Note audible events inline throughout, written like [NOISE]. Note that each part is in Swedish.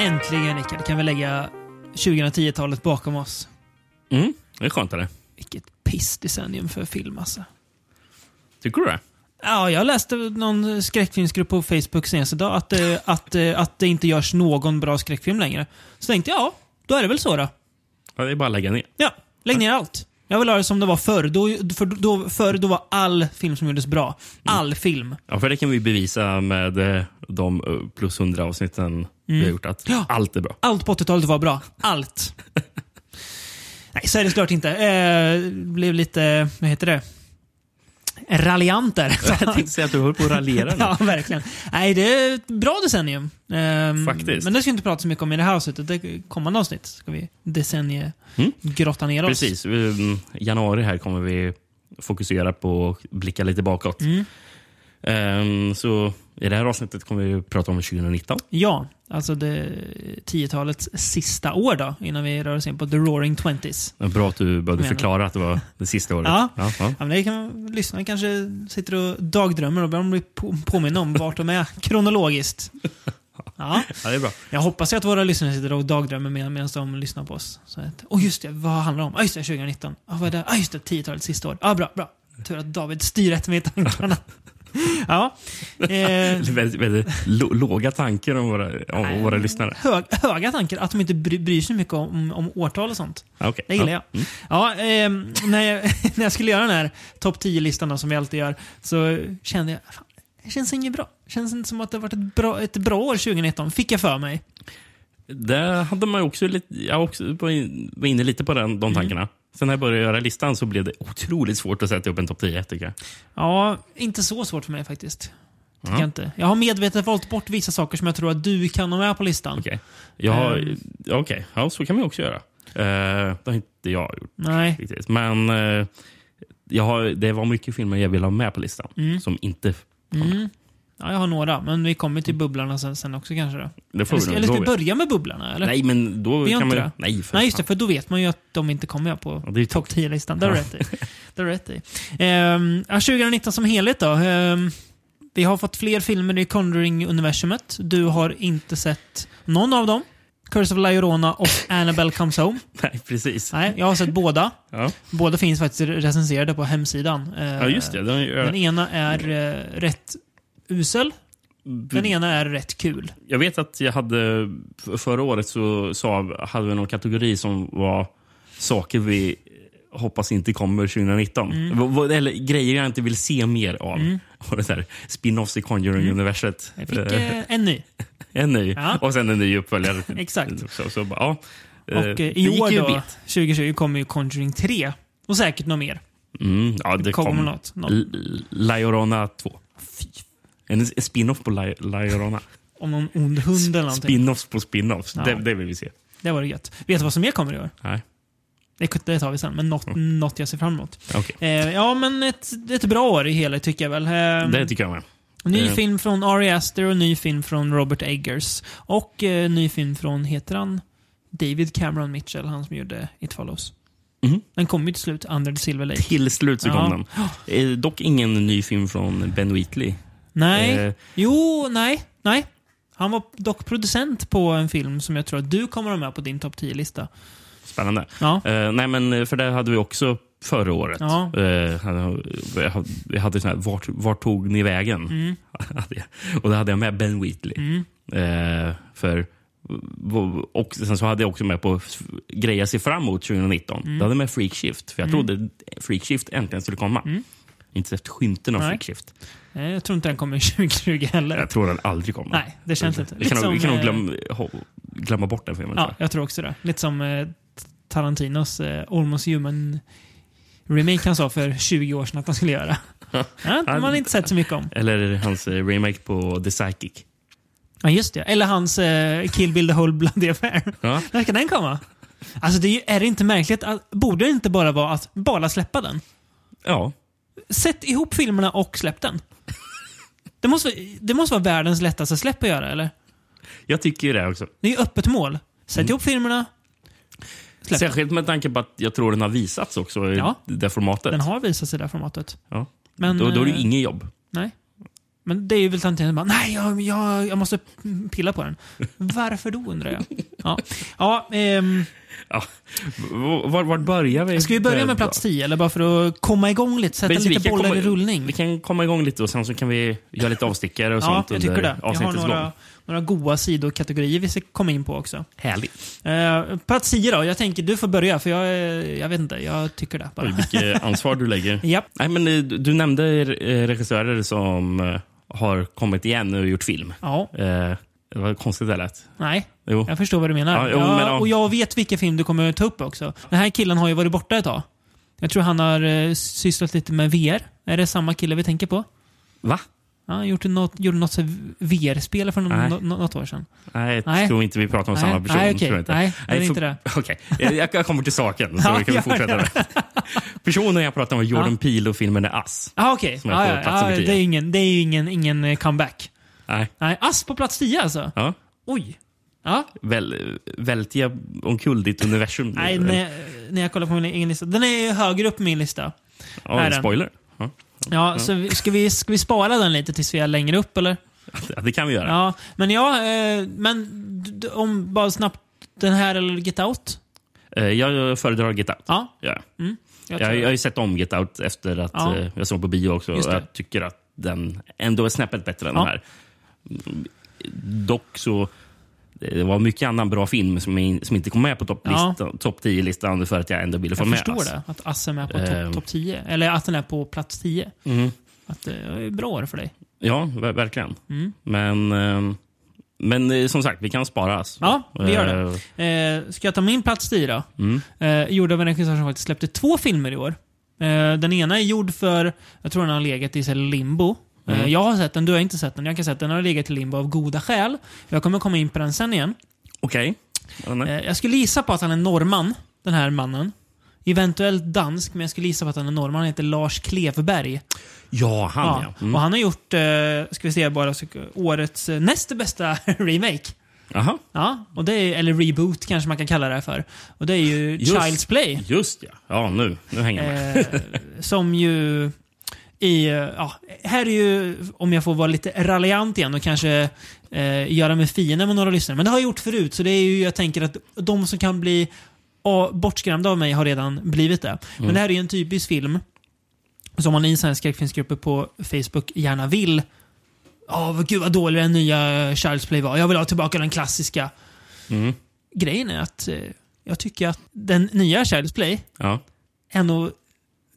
Äntligen Rickard, kan vi lägga 2010-talet bakom oss. Mm, det är skönt. Eller? Vilket pissdecennium för film alltså. Tycker du det? Ja, jag läste någon skräckfilmsgrupp på Facebook senast idag att, eh, att, eh, att det inte görs någon bra skräckfilm längre. Så tänkte jag, ja, då är det väl så då. Ja, det är bara att lägga ner. Ja, lägg ner allt. Jag vill ha det som det var förr. Då, för, då, förr då var all film som gjordes bra. All film. Ja, för det kan vi bevisa med eh, de eh, plus 100 avsnitten vi har gjort. Att Mm. Ja. Allt är bra. Allt på 80-talet var bra. Allt. [LAUGHS] Nej, så är det såklart inte. Eh, blev lite, vad heter det? Raljant där. [LAUGHS] Jag tänkte säga att du håller på att raljera nu. ja, verkligen. Nej, det är ett bra decennium. Ehm, Faktiskt. Men det ska vi inte prata så mycket om i det här avsnittet. Det kommande avsnitt ska vi Mm. decenniegrotta ner oss. Precis. Mm, januari här kommer vi fokusera på att blicka lite bakåt. Mm. Ehm, så i det här avsnittet kommer vi prata om 2019. Ja, alltså det 10-talets sista år då, innan vi rör oss in på the roaring twenties. Det var Bra att du behövde Menar. förklara att det var det sista året. Ja. Ja, ja. Ja, men det kan lyssnarna kanske sitter och dagdrömmer och börjar de bli på, påminna om vart de är kronologiskt. Ja, ja, [LAUGHS] det är bra. jag hoppas ju att våra lyssnare sitter och dagdrömmer med, medan de lyssnar på oss. Så att, oh just det, vad handlar det om? Ah, just det, 2019. Ah, vad är det? Ah, just det, 10-talet, sista år. Ah, bra, bra. Tur att David styr rätt med i tankarna. Ja. [LAUGHS] Eh, Det är Väldigt, väldigt lo- låga tankar om våra, om våra lyssnare. hög, höga tankar, att de inte bry, bryr sig mycket om, om årtal och sånt. Ja, okej. Det gillar ja. jag. Ja, ehm, [LAUGHS] när, jag när jag skulle göra den här topp 10-listan då, som jag alltid gör så kände jag fan, det känns inget bra. Det känns inte som att det har varit ett bra, ett bra år 2019, fick jag för mig. Det hade man ju också lite, jag också var in- var inne lite på den, Mm. de tankarna. Sen när jag började göra listan så blev det otroligt svårt att sätta upp en topp 10 tycker jag. Ja, inte så svårt för mig faktiskt. Tycker Ja. jag, inte. jag har medvetet valt bort vissa saker som jag tror att du kan ha med på listan. Okej, ja, Ehm. okej. ja, så kan man ju också göra. Eh, det har inte jag gjort Nej. riktigt. Men eh, jag har, det var mycket filmer jag ville ha med på listan som inte... Mm. Ja, jag har några, men vi kommer till bubblarna sen, sen också kanske. Då. Det Mm. får Eller vi ska, nog- eller då ska vi vet- börja med bubblarna? Eller? Nej, men då Vi gör kan inte man ju... det. Nej, för Nej, just det. fan. För då vet man ju att de inte kommer jag på Ja, det är ju topp 10-listan. Det har du Ja. rätt i. Det har du rätt i. Ehm, ja, 2019 som helhet då. Ehm, vi har fått fler filmer i Conjuring-universumet. Du har inte sett någon av dem. Curse of La Llorona [LAUGHS] och Annabelle Comes Home. [LAUGHS] Nej, precis. Nej, jag har sett båda. Ja. Båda finns faktiskt recenserade på hemsidan. Ehm, ja, just det. Den, Den jag, ena är eh, rätt usel. Den ena är rätt kul. jag vet att jag hade... f- Förra året så sa, hade vi någon kategori som var saker vi hoppas inte kommer 2019. Mm. V- v- Eller grejer jag inte vill se mer av. [LAUGHS] Och det där spin-offs i Conjuring-universet. Jag fick Eh, eh, en ny. En ny. Ja. Och sen en ny uppföljare. [LAUGHS] Exakt. Så, så, bara, ja. Eh, Och eh, det i gick år ju då, bet. 2020, kommer ju Conjuring 3. Och säkert något mer. Mm, ja, det kommer kom något, något. L- Lajorona 2. En en spin-off på Laj- Lajorona. Om någon ond hund eller någonting. Spin-offs på spin-offs. Ja. Det, det vill vi se. Det var det gött. Vet du vad som mer kommer i år? Nej. Det, det tar vi sen, men något, Mm. något jag ser fram emot. okej. Eh, ja, men ett, ett bra år i hela tycker jag väl. Eh, Det tycker jag med. ny eh. film från Ari Aster och ny film från Robert Eggers. Och eh, ny film från, heter han? David Cameron Mitchell, han som gjorde It Follows. Mhm. Den kom ju till slut, Under the Silver [LAUGHS] Lake. Till slut så Ja. kom den. Eh, dock ingen ny film från Ben Wheatley. Nej. Eh, Jo, nej, nej. Han var dock producent på en film som jag tror att du kommer att ha med på din topp 10-lista. spännande. Ja. Eh, nej, men eh, för det hade vi också förra året. Ja. Eh, hade- jag hade- jag hade sån här, vart, vart tog ni vägen? Mm. [LAUGHS] Hade jag. och då hade jag med Ben Wheatley. Eh, för, och sen så hade jag också med på f- grejer jag ser fram emot 2019. Mm. Då hade jag med Freak Shift. För jag trodde Freak Shift äntligen skulle komma. Inte sett skymten av Mm. Nej. Freak Shift. Nej, Jag tror inte den kommer [LAUGHS] 2020 heller. Jag tror den aldrig kommer. Nej, det känns inte. Vi kan, Lite nog- vi kan som, eh, nog glömma, ho- glömma bort den filmen. tror Ja, jag tror också det. Lite som eh, Tarantinos eh, Almost Human remake han sa för 20 år sedan att han skulle göra. [LAUGHS] Ja, man har inte sett så mycket om. jag. Eller hans eh, remake på The Psychic. Ja, just det. Eller hans eh, Kill Bill the Whole Bloody Affair. Ja. När ska den komma? Alltså, det är, ju, är det inte märkligt? Att, borde det inte bara vara att bara släppa den? Ja. Sätt ihop filmerna och släpp den. Det måste, vara- det måste vara världens lättaste släpp att göra, eller? Jag tycker ju det också. Det är ju öppet mål. Sätt Mm. ihop filmerna. Släpp. Särskilt med tanke på att jag tror den har visats också i Ja. det formatet. Den har visat sig i det här formatet. Ja. Men, då, då är det eh, ju inget jobb. Nej. Men det är väl tanten som bara, nej, jag, jag, jag måste pilla på den. Varför då undrar jag. Ja, ja ehm, Ja. Var, var börjar vi? ska vi börja med plats 10 eller bara för att komma igång lite, sätta Men vi lite kan bollar i komma- rullning? Vi kan komma igång lite och sen så kan vi göra lite avstickare och ja, sånt jag tycker under det. Jag har avsnittets några, gång. några goa sidokategorier vi ska komma in på också. Härligt. Eh, plats 10 då, jag tänker du får börja för jag, eh, jag vet inte, jag tycker det bara. Oj, Vilket ansvar [LAUGHS] du lägger. Japp. Nej, men eh, du du nämnde eh, regissörer som eh, har kommit igen och gjort film. Ja, Eh, Det var konstigt det lät. nej. Jo. Jag förstår vad du menar. Ja, jo, Ja, men ja. Och jag vet vilken film du kommer ta upp också. Den här killen har ju varit borta ett tag. Jag tror han har eh, sysslat lite med VR. Är det samma kille vi tänker på? Va? Ja, han gjort något, gjorde något så här VR-spel för Nej. någon, nå- något år sedan. Nej, jag Nej. tror inte vi pratar om Nej, samma person. nej, okej. tror jag inte. Nej, det är för- inte det. Okej, Eh, jag, jag kommer till saken [LAUGHS] så Ja, vi kan gör fortsätta. Med. Personen jag pratar om var Jordan Ja. Peele och filmen är Ass. Ah, okej. Som är på Ja, ja, plats ja, nummer tio. det är ju ingen, det är ju ingen, ingen eh, comeback. Nej. Nej, Ass på plats 10 alltså? Ja. Oj. Ja, Väl, välte jag omkull ditt universum? nej, när, när jag kollar på min egen lista. Den är ju högre upp på min lista. ja, är en den. spoiler. Ja. Ja, så vi, ska, vi, ska vi spara den lite tills vi är längre upp eller? Ja, det kan vi göra. Ja, men ja, eh, men d- d- om bara snabbt den här eller Get Out? Eh, Jag, jag föredrar Get Out. Ja, mm. Ja. jag tror Jag, jag det. har ju sett om Get Out efter att Ja. eh, jag såg på bio också. Just Och det. jag tycker att den ändå är snäppet bättre än Ja. den här. Mm, Dock så det var mycket annan bra film som, in- som inte kom med på topplistan- topp 10-listan för att jag ändå ville få jag med. förstår alltså. det, att Assem är på Ehm. topp top 10. Eller att den är på plats 10. Mm. Att eh, det är bra år för dig. Ja, ver- verkligen. Mm. Men, eh, men eh, som sagt, vi kan spara. Alltså. Ja, vi gör det. Eh, Eh, ska jag ta min plats 10 då? Mm. Eh, gjord av en regissör som faktiskt släppte två filmer i år. Eh, den ena är gjord för, jag tror den har legat i så här limbo. Eh, Mm. jag har sett den, du har inte sett den. Jag kan säga att den har legat i limbo av goda skäl. Jag kommer komma in på den sen igen. Okej. Ja, nej. Eh, Jag skulle gissa på att han är norrman, den här mannen. Eventuellt dansk, men jag skulle gissa på att han är norrman. Han heter Lars Klevberg. Ja, han ja. Mm. Och han har gjort, eh, ska vi se bara, så- årets eh, näst bästa [LAUGHS] remake. Aha, Ja, och det är, eller reboot kanske man kan kalla det här för. Och det är ju Just. Child's Play. just ja. Ja, nu, nu hänger jag med. Eh, som ju i, eh, ja, här är ju, om jag får vara lite raljant igen och kanske eh, göra mig fiende med några lyssnare. Men det har jag gjort förut, så det är ju, jag tänker att de som kan bli ah, bortskrämda av mig har redan blivit det. Men det här är ju en typisk film som man i sådana här skräckfilmsgrupper på Facebook gärna vill. Ja, vad gud vad dålig den nya eh, Charles Play var. Jag vill ha tillbaka den klassiska. Eh. Mm. Grejen är att eh, jag tycker att den nya Charles Play Ja. ändå...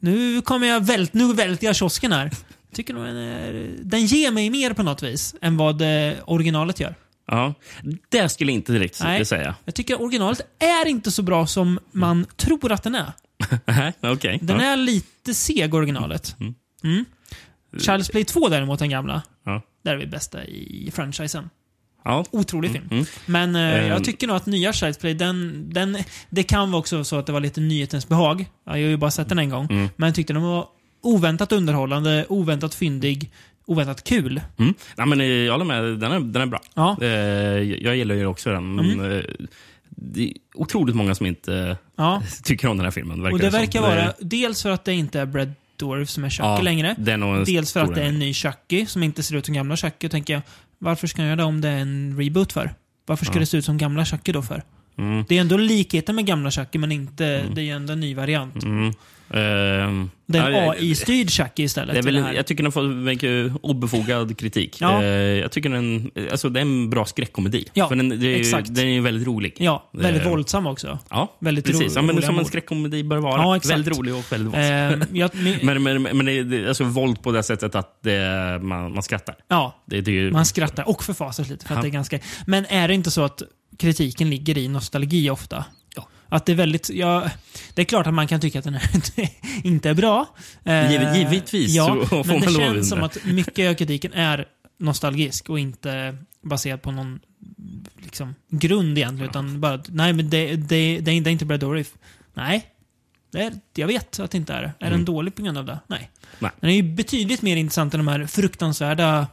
Nu kommer jag vält, nu välter jag kiosken här. Jag tycker nog den, är, den ger mig mer på något vis än vad eh, originalet gör. Ja, det skulle jag inte direkt Nej. säga. Jag tycker originalet är inte så bra som man tror att den är. Nej, Okej. Den Mm. Ja. är lite seg, originalet. Mm. Charles Play 2 däremot, den gamla. Ja. Där är vi bästa i franchisen. Ja. Otrolig film. Mm. Men eh, Ehm. jag tycker nog att nya Child's Play, den, den, det kan vara också så att det var lite nyhetens behag. Ja, Jag har ju bara sett den en gång. Mm. Men jag tyckte den var oväntat underhållande, oväntat fyndig, oväntat kul. Mm. Nej, men eh, jag håller med, den är, den är bra. Ja, Mm. Eh, jag- jag gillar ju också den. Men, eh, det är otroligt många som inte eh, [LAUGHS] ja. tycker om den här filmen. Och det som. verkar Det vara är- dels för att det inte är Brad Dourif som är Chucky ja, längre. Det är nog en Dels för stor att det är en ny Chucky som inte ser ut som gamla Chucky. Då tänker jag, varför ska jag göra det om det är en reboot för? Varför ska Ja. det se ut som gamla Chucky då för? Mm. Det är ändå likheten med gamla Chucky, men inte, det är ju ändå en ny variant. Mm. Ehm, Det är en ja, det- AI-styrd Chucky istället. Det är väl, i det här. jag tycker den får mycket obefogad kritik. Ja. Eh, jag tycker den, alltså, det är en bra skräckkomedi. Ja, För den, det är, ju- exakt. den är ju väldigt rolig. Ja, väldigt Eh, våldsam också. Ja, Väldigt precis. ro- Ja, men roliga som en mord. skräckkomedi bör vara. Ja, exakt. väldigt rolig och väldigt våldsam. Ehm, jag, men, [LAUGHS] Men, men, men det är det är alltså våld på det sättet att det, man, man skrattar. ja, Det, det är ju, man skrattar och förfasas lite. För att Ja. det är ganska, men är det inte så att kritiken ligger i nostalgi ofta? Ja. Att det är väldigt... Ja, det är klart att man kan tycka att den här [LAUGHS] inte är bra. Eh, Givet- givetvis Ja, så får men det man lov känns att som undra. att mycket av kritiken är nostalgisk och inte baserad på någon liksom, grund egentligen. Utan bara att, nej men det, det, det, är- det är inte Brad Dourif. Nej, det är, jag vet att det inte är det. Är den dålig på grund av det? Nej. Mm. Nej. Den är ju betydligt mer intressant än de här fruktansvärda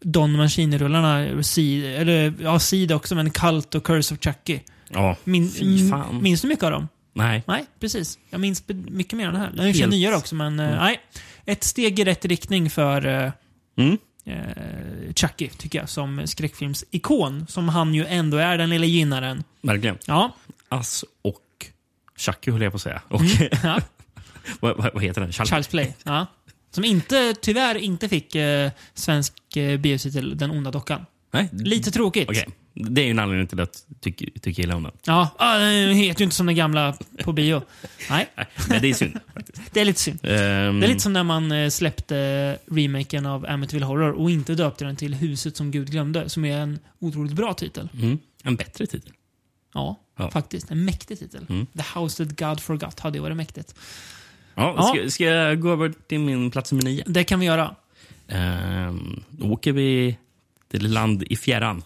Don Mancini-rullarna. Seed, eller ja, Seed också, men Cult och Curse of Chucky. ja. Min, Fy fan. minns du mycket av dem? Nej. Nej, precis. Jag minns be- mycket mer av den här. Den är Helt- Mm. Helt... nyare också, men eh, nej. Ett steg i rätt riktning för eh, Mm. eh, Chucky, tycker jag, som skräckfilmsikon. Som han ju ändå är, den lilla gynnaren. Verkligen. [LAUGHS] Ja. Ass och Chucky höll jag på att säga. Och, ja. [LAUGHS] vad, vad vad heter den? Charles. Charles Play. Ja. Som inte, tyvärr inte fick eh, svensk eh, biotitel Den onda dockan. Nej, Lite tråkigt. Mm. Okej. Det är ju en anledning till att tycka tycka illa om den. Ja, ah, den heter ju inte som den gamla på bio. Nej, Nej, men det är synd. [LAUGHS] det är lite synd. Ehm, Det är lite som när man eh, släppte remaken av Amityville Horror och inte döpte den till Huset som Gud glömde, som är en otroligt bra titel. mm, en bättre titel. Ja, Ja. faktiskt. En mäktig titel. Mm. The House That God Forgot hade ju varit mäktigt. Ja, Ja. Ska, ska jag gå över till min plats nummer nio? Det kan vi göra. Ehm, då åker vi till land i fjärran.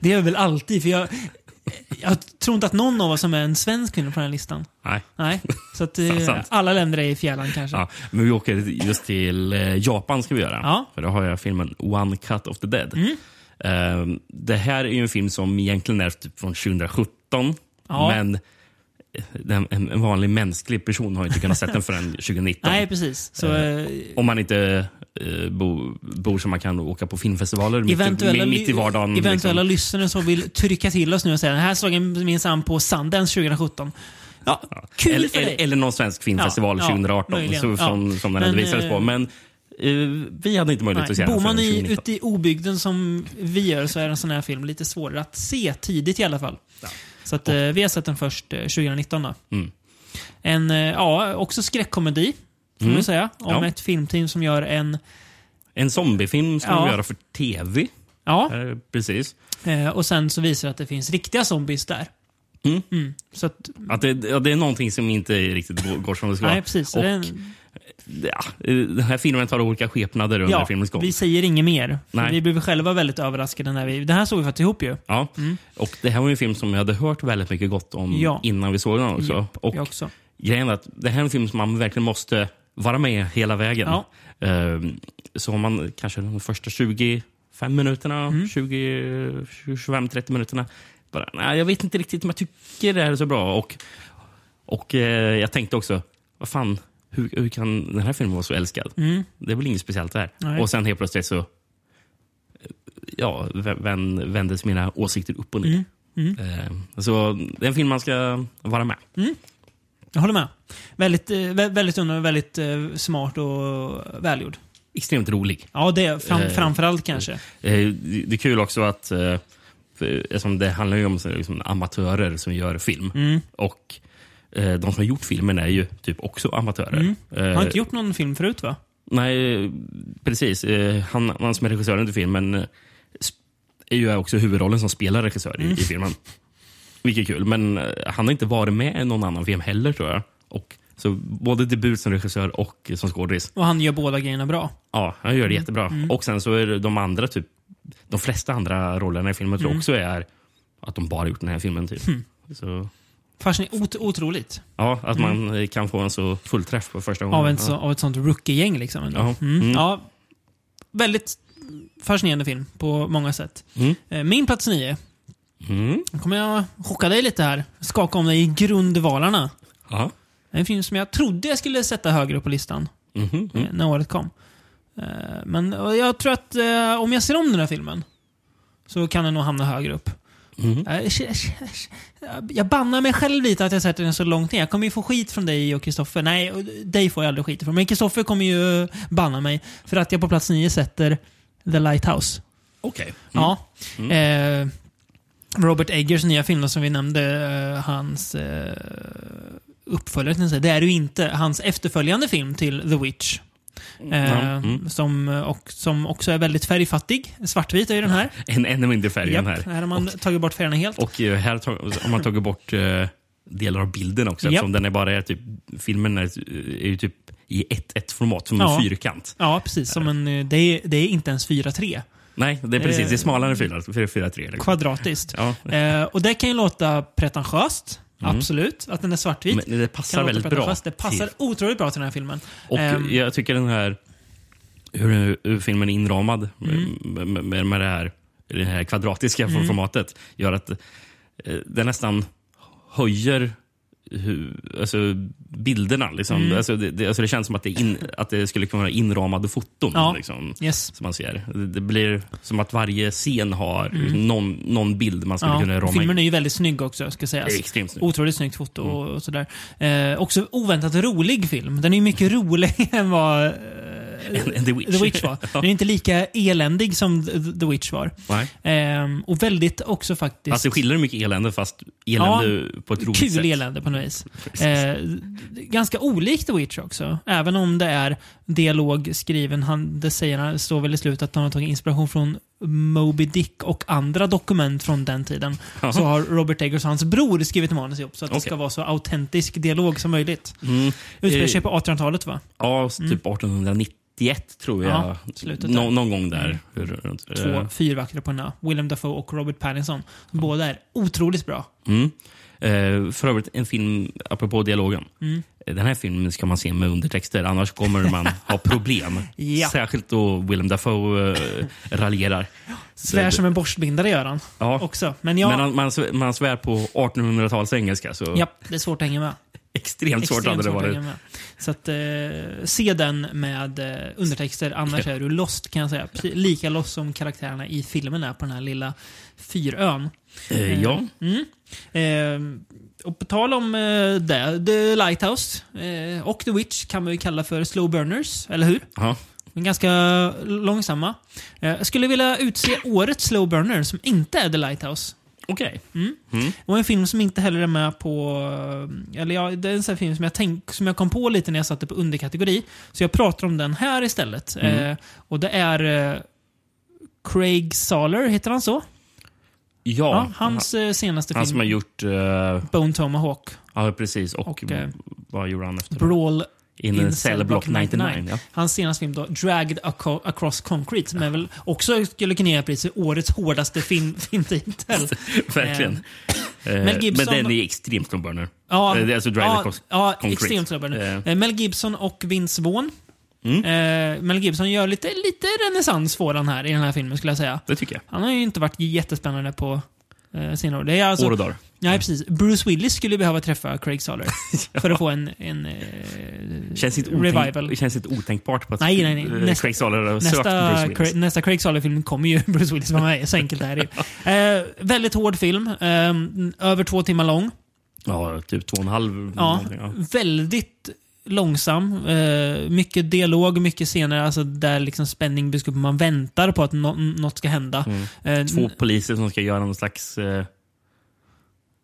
Det är väl alltid, för jag, eh, jag tror inte att någon av oss som är en svensk kvinna på den här listan. Nej. Nej, så [LAUGHS] att eh, Sant. alla länder är i fjällan kanske. Ja, men vi åker just till eh, Japan ska vi göra. Ja. För då har jag filmen One Cut of the Dead. Mm. Ehm, det här är ju en film som egentligen är typ från 2017. Ja. Men den, en, en vanlig mänsklig person har ju inte kunnat sett [LAUGHS] den förrän 2019. Nej, precis. Så, eh, Om man inte eh, bo, bor så man kan åka på filmfestivaler mitt, i- eventuella, mi- mitt i vardagen. liksom. eventuella lyssnare som vill trycka till oss nu och säga den här såg jag minsann på Sundance 2017. Ja, kul Eller, för dig. eller, eller någon svensk filmfestival Ja, ja, 2018 möjligen. så, som, Ja. som den ändå Men, visades på. eh, Men eh, vi hade inte möjlighet att se Nej, den bor man förrän i, 2019. ute i obygden som vi gör så är en sån här film lite svårare att se tidigt i alla fall. Så att, eh, vi har sett den först eh, 2019. Då. Mm. En, eh, ja, också skräckkomedi, får man säga. Om Mm. Ja. ett filmteam som gör en... En zombiefilm ska Ja. de göra för tv. Ja, Eh, precis. eh, och sen så visar det att det finns riktiga zombies där. Mm. Så att, Att det, ja, det är någonting som inte riktigt går- går som det ska. nej, precis. Så Och, det är en- ja, eh, den här filmen tar olika skepnader under filmens gång. Vi säger inget mer. för Nej. Vi blev själva väldigt överraskade när vi... Det här såg vi faktiskt ihop ju. Ja. Och det här var ju en film som jag hade hört väldigt mycket gott om Mm. Ja. Mm. innan vi såg den också. och Jag också. grejen är att det här är en film som man verkligen måste vara med hela vägen. Ja. Ehm, Så om man kanske de första 25 minuterna, Mm. 20, 25-30 minuterna bara, nej, jag vet inte riktigt om jag tycker det här är så bra. Och, och eh, jag tänkte också, vad fan, hur, hur kan den här filmen vara så älskad? Det är väl inget speciellt det här. mm, Nej. Och sen helt plötsligt så eh, ja, vä- vän- vändes mina åsikter upp och ner. Mm, Ehm, Så det är en film man ska vara med. Jag håller med. Väldigt, eh, vä- väldigt under, väldigt eh, smart och välgjord. Extremt rolig. Ja, det är fram, Eh, framförallt kanske. Eh, Det det är kul också att eh, för- eftersom det handlar ju om så, liksom, amatörer som gör film. Mm. Och eh, de som har gjort filmen är ju typ också amatörer. Eh, Mm. Har inte gjort någon film förut va? Nej, precis. Eh, Han, han som är regissören till filmen eh, sp- är ju också huvudrollen som spelar regissör i, i Mm. filmen. Vilket är kul. Men eh, han har inte varit med i någon annan film heller tror jag. Och, så både debut som regissör och som skådis. Och han gör båda grejerna bra. Ja, han gör det Mm. jättebra. Och sen så är det de andra, typ, de flesta andra rollerna i filmen Mm. tror jag också är att de bara gjort den här filmen. Typ. Så, Fascin- ot- otroligt. ja, att man eh, kan få en så fullträff på första gången. Av, en, Mm. så, av ett sånt rookie-gäng liksom. ändå. Ja. Mm. Mm. Ja, väldigt fascinerande film på många sätt. Mm. Eh, Min plats nio. Mm. Nu kommer jag chocka dig lite här. Skaka om dig i grundvalarna. Ja. En film som jag trodde jag skulle sätta högre upp på listan Mhm. Mm. eh, när året kom. Eh, Men eh, jag tror att eh, om jag ser om den här filmen så kan den nog hamna högre upp. Mhm. Eh, sh- sh- sh- Jag bannar mig själv lite att jag sätter den så långt ner. Jag kommer ju få skit från dig och Kristoffer. Nej, och dig får jag aldrig skit ifrån. Men Kristoffer kommer ju eh, banna mig för att jag på plats nio sätter The Lighthouse. Okej. Mm. Ja. Eh, Robert Eggers nya film som vi nämnde, eh, hans eh, uppföljare, tänkte jag säga. det är det ju inte. Hans efterföljande film till The Witch. Eh, Ja, mm. som, eh, och, som också är väldigt färgfattig. Svartvit är ju den här. [LAUGHS] En ännu mindre färg än Japp, här. här har man tagit bort färgerna helt. Och eh, här tar- har man tagit bort eh, delar av bilden också. Japp. Eftersom den är bara är typ, filmen är, är ju typ i 1-1-format, som Ja. en fyrkant. Ja, precis. Som en, eh, det, är, det är inte ens 4-3 Nej, det är precis. Eh, Det är smalare än 4-3. Liksom. kvadratiskt. Ja. Mm. Eh, och det kan ju låta pretentiöst. Absolut, att den är svartvit. Men det passar Kan låta väldigt bra. pretentiöst. Det passar till- otroligt bra till den här filmen. Och Ehm, jag tycker den här, hur, hur filmen är inramad Mm. med, med, med det här, det här kvadratiska formatet gör att eh, den nästan höjer hur, alltså, bilderna. Liksom. Mm. Alltså, det, det, alltså, det känns som att det, är in, att det skulle kunna vara inramade foton. Ja. Liksom, Yes. som man ser. Det, det blir som att varje scen har liksom någon, någon bild man skulle Mm. kunna Ja. rama in. Filmen är ju väldigt snygg också, ska Det är sägas. extremt snyggt. Otroligt snyggt foto Mm. och, och sådär. Eh, också oväntat rolig film. Den är ju mycket roligare [LAUGHS] än vad eh, Än- än [LAUGHS] The Witch. The Witch [LAUGHS] var. Den är inte lika eländig som The- The Witch var. Nej. Ehm, och väldigt också faktiskt... Fast det skiljer mycket elände, fast elände på ett roligt Kul sätt. elände på något vis. Eh, ganska olikt The Witch också. Även om det är dialog skriven, han, det säger han, står väl i slutet att han har tagit inspiration från Moby Dick och andra dokument från den tiden. Ja. Så har Robert Eggers och hans bror skrivit manus ihop så att det Okej. ska vara så autentisk dialog som möjligt. Mm. Utspelar Eh, sig på 1800-talet va? Ja, typ 1891 tror jag. Mm. Ja, slutet Nå- där. Mm. någon gång där. Runt. Eh, Två fyrvakter på en ö. William Dafoe och Robert Pattinson. Båda är otroligt bra. Mm. Eh, för övrigt, en film, apropå dialogen. Mm. Eh, Den här filmen ska man se med undertexter, annars kommer [LAUGHS] man ha problem. Ja. Särskilt då Willem Dafoe eh, raljerar. Svär som en borstbindare gör han Ja. också. Men ja, Men han, man, svär- man svär på 1800-tals engelska, så japp, det är svårt att hänga med. extremt svårt hade Extremt det svårt att varit. hänga med. Så att, eh, se den med eh, undertexter, annars är du lost kan jag säga. Precis, lika lost som karaktärerna i filmen är på den här lilla fyrön. Eh, ja. Mm. Eh, och på tal om eh, det, The Lighthouse eh, och The Witch kan man ju kalla för slow burners, eller hur? ja. Men ganska långsamma. Eh, jag skulle vilja utse årets slow burner som inte är The Lighthouse. Okej. Mm. Mm. Och en film som inte heller är med på... Eller ja, det är en sån här film som jag, tänk, som jag kom på lite när jag satte på underkategori. Så jag pratar om den här istället. Mm. Eh, och det är eh, Craig Saller, heter han så? Ja, Ja, hans eh, senaste han film, som har gjort... eh, Bone Tomahawk, ja, precis. Och, Och, eh, vad gjorde han efter det? Brawl In, in Cell Block 99. Ja. Hans senaste film då, Dragged Aco- Across Concrete, som är väl också skulle kunna ge priset årets hårdaste film, [LAUGHS] [LAUGHS] filmtitel. Verkligen. Eh, Mel Gibson- Men den är extremt slow burner. Ja, Eh, det är alltså Drive ja, Across ja, Concrete. extremt slubbar nu. Eh. Eh. Mel Gibson och Vince Vaughn. Mm. Eh, Mel Gibson gör lite, lite renässans får han här i den här filmen skulle jag säga. Det tycker jag. Han har ju inte varit jättespännande på eh, senare år. Det är alltså, År och dagar. Nej, precis. Bruce Willis skulle behöva träffa Craig Saller [LAUGHS] för att få en, en eh, Känns inte, revival. otänk, känns inte otänkbart på att Nej, nej, nej. eh, Nästa- Craig Saller har sökt Nästa, Bruce Willis. Cra- nästa Craig Saller-film kommer ju [LAUGHS] Bruce Willis vara med i. Så enkelt är det [LAUGHS] ju. eh, Väldigt hård film. Eh, över två timmar lång. Ja, typ två och en halv. Ja, någonting, ja. väldigt långsam. Eh, mycket dialog, mycket scener alltså där liksom spänning byggs upp. Man väntar på att nå- något ska hända. Eh, Mm. Två poliser som ska göra någon slags... eh,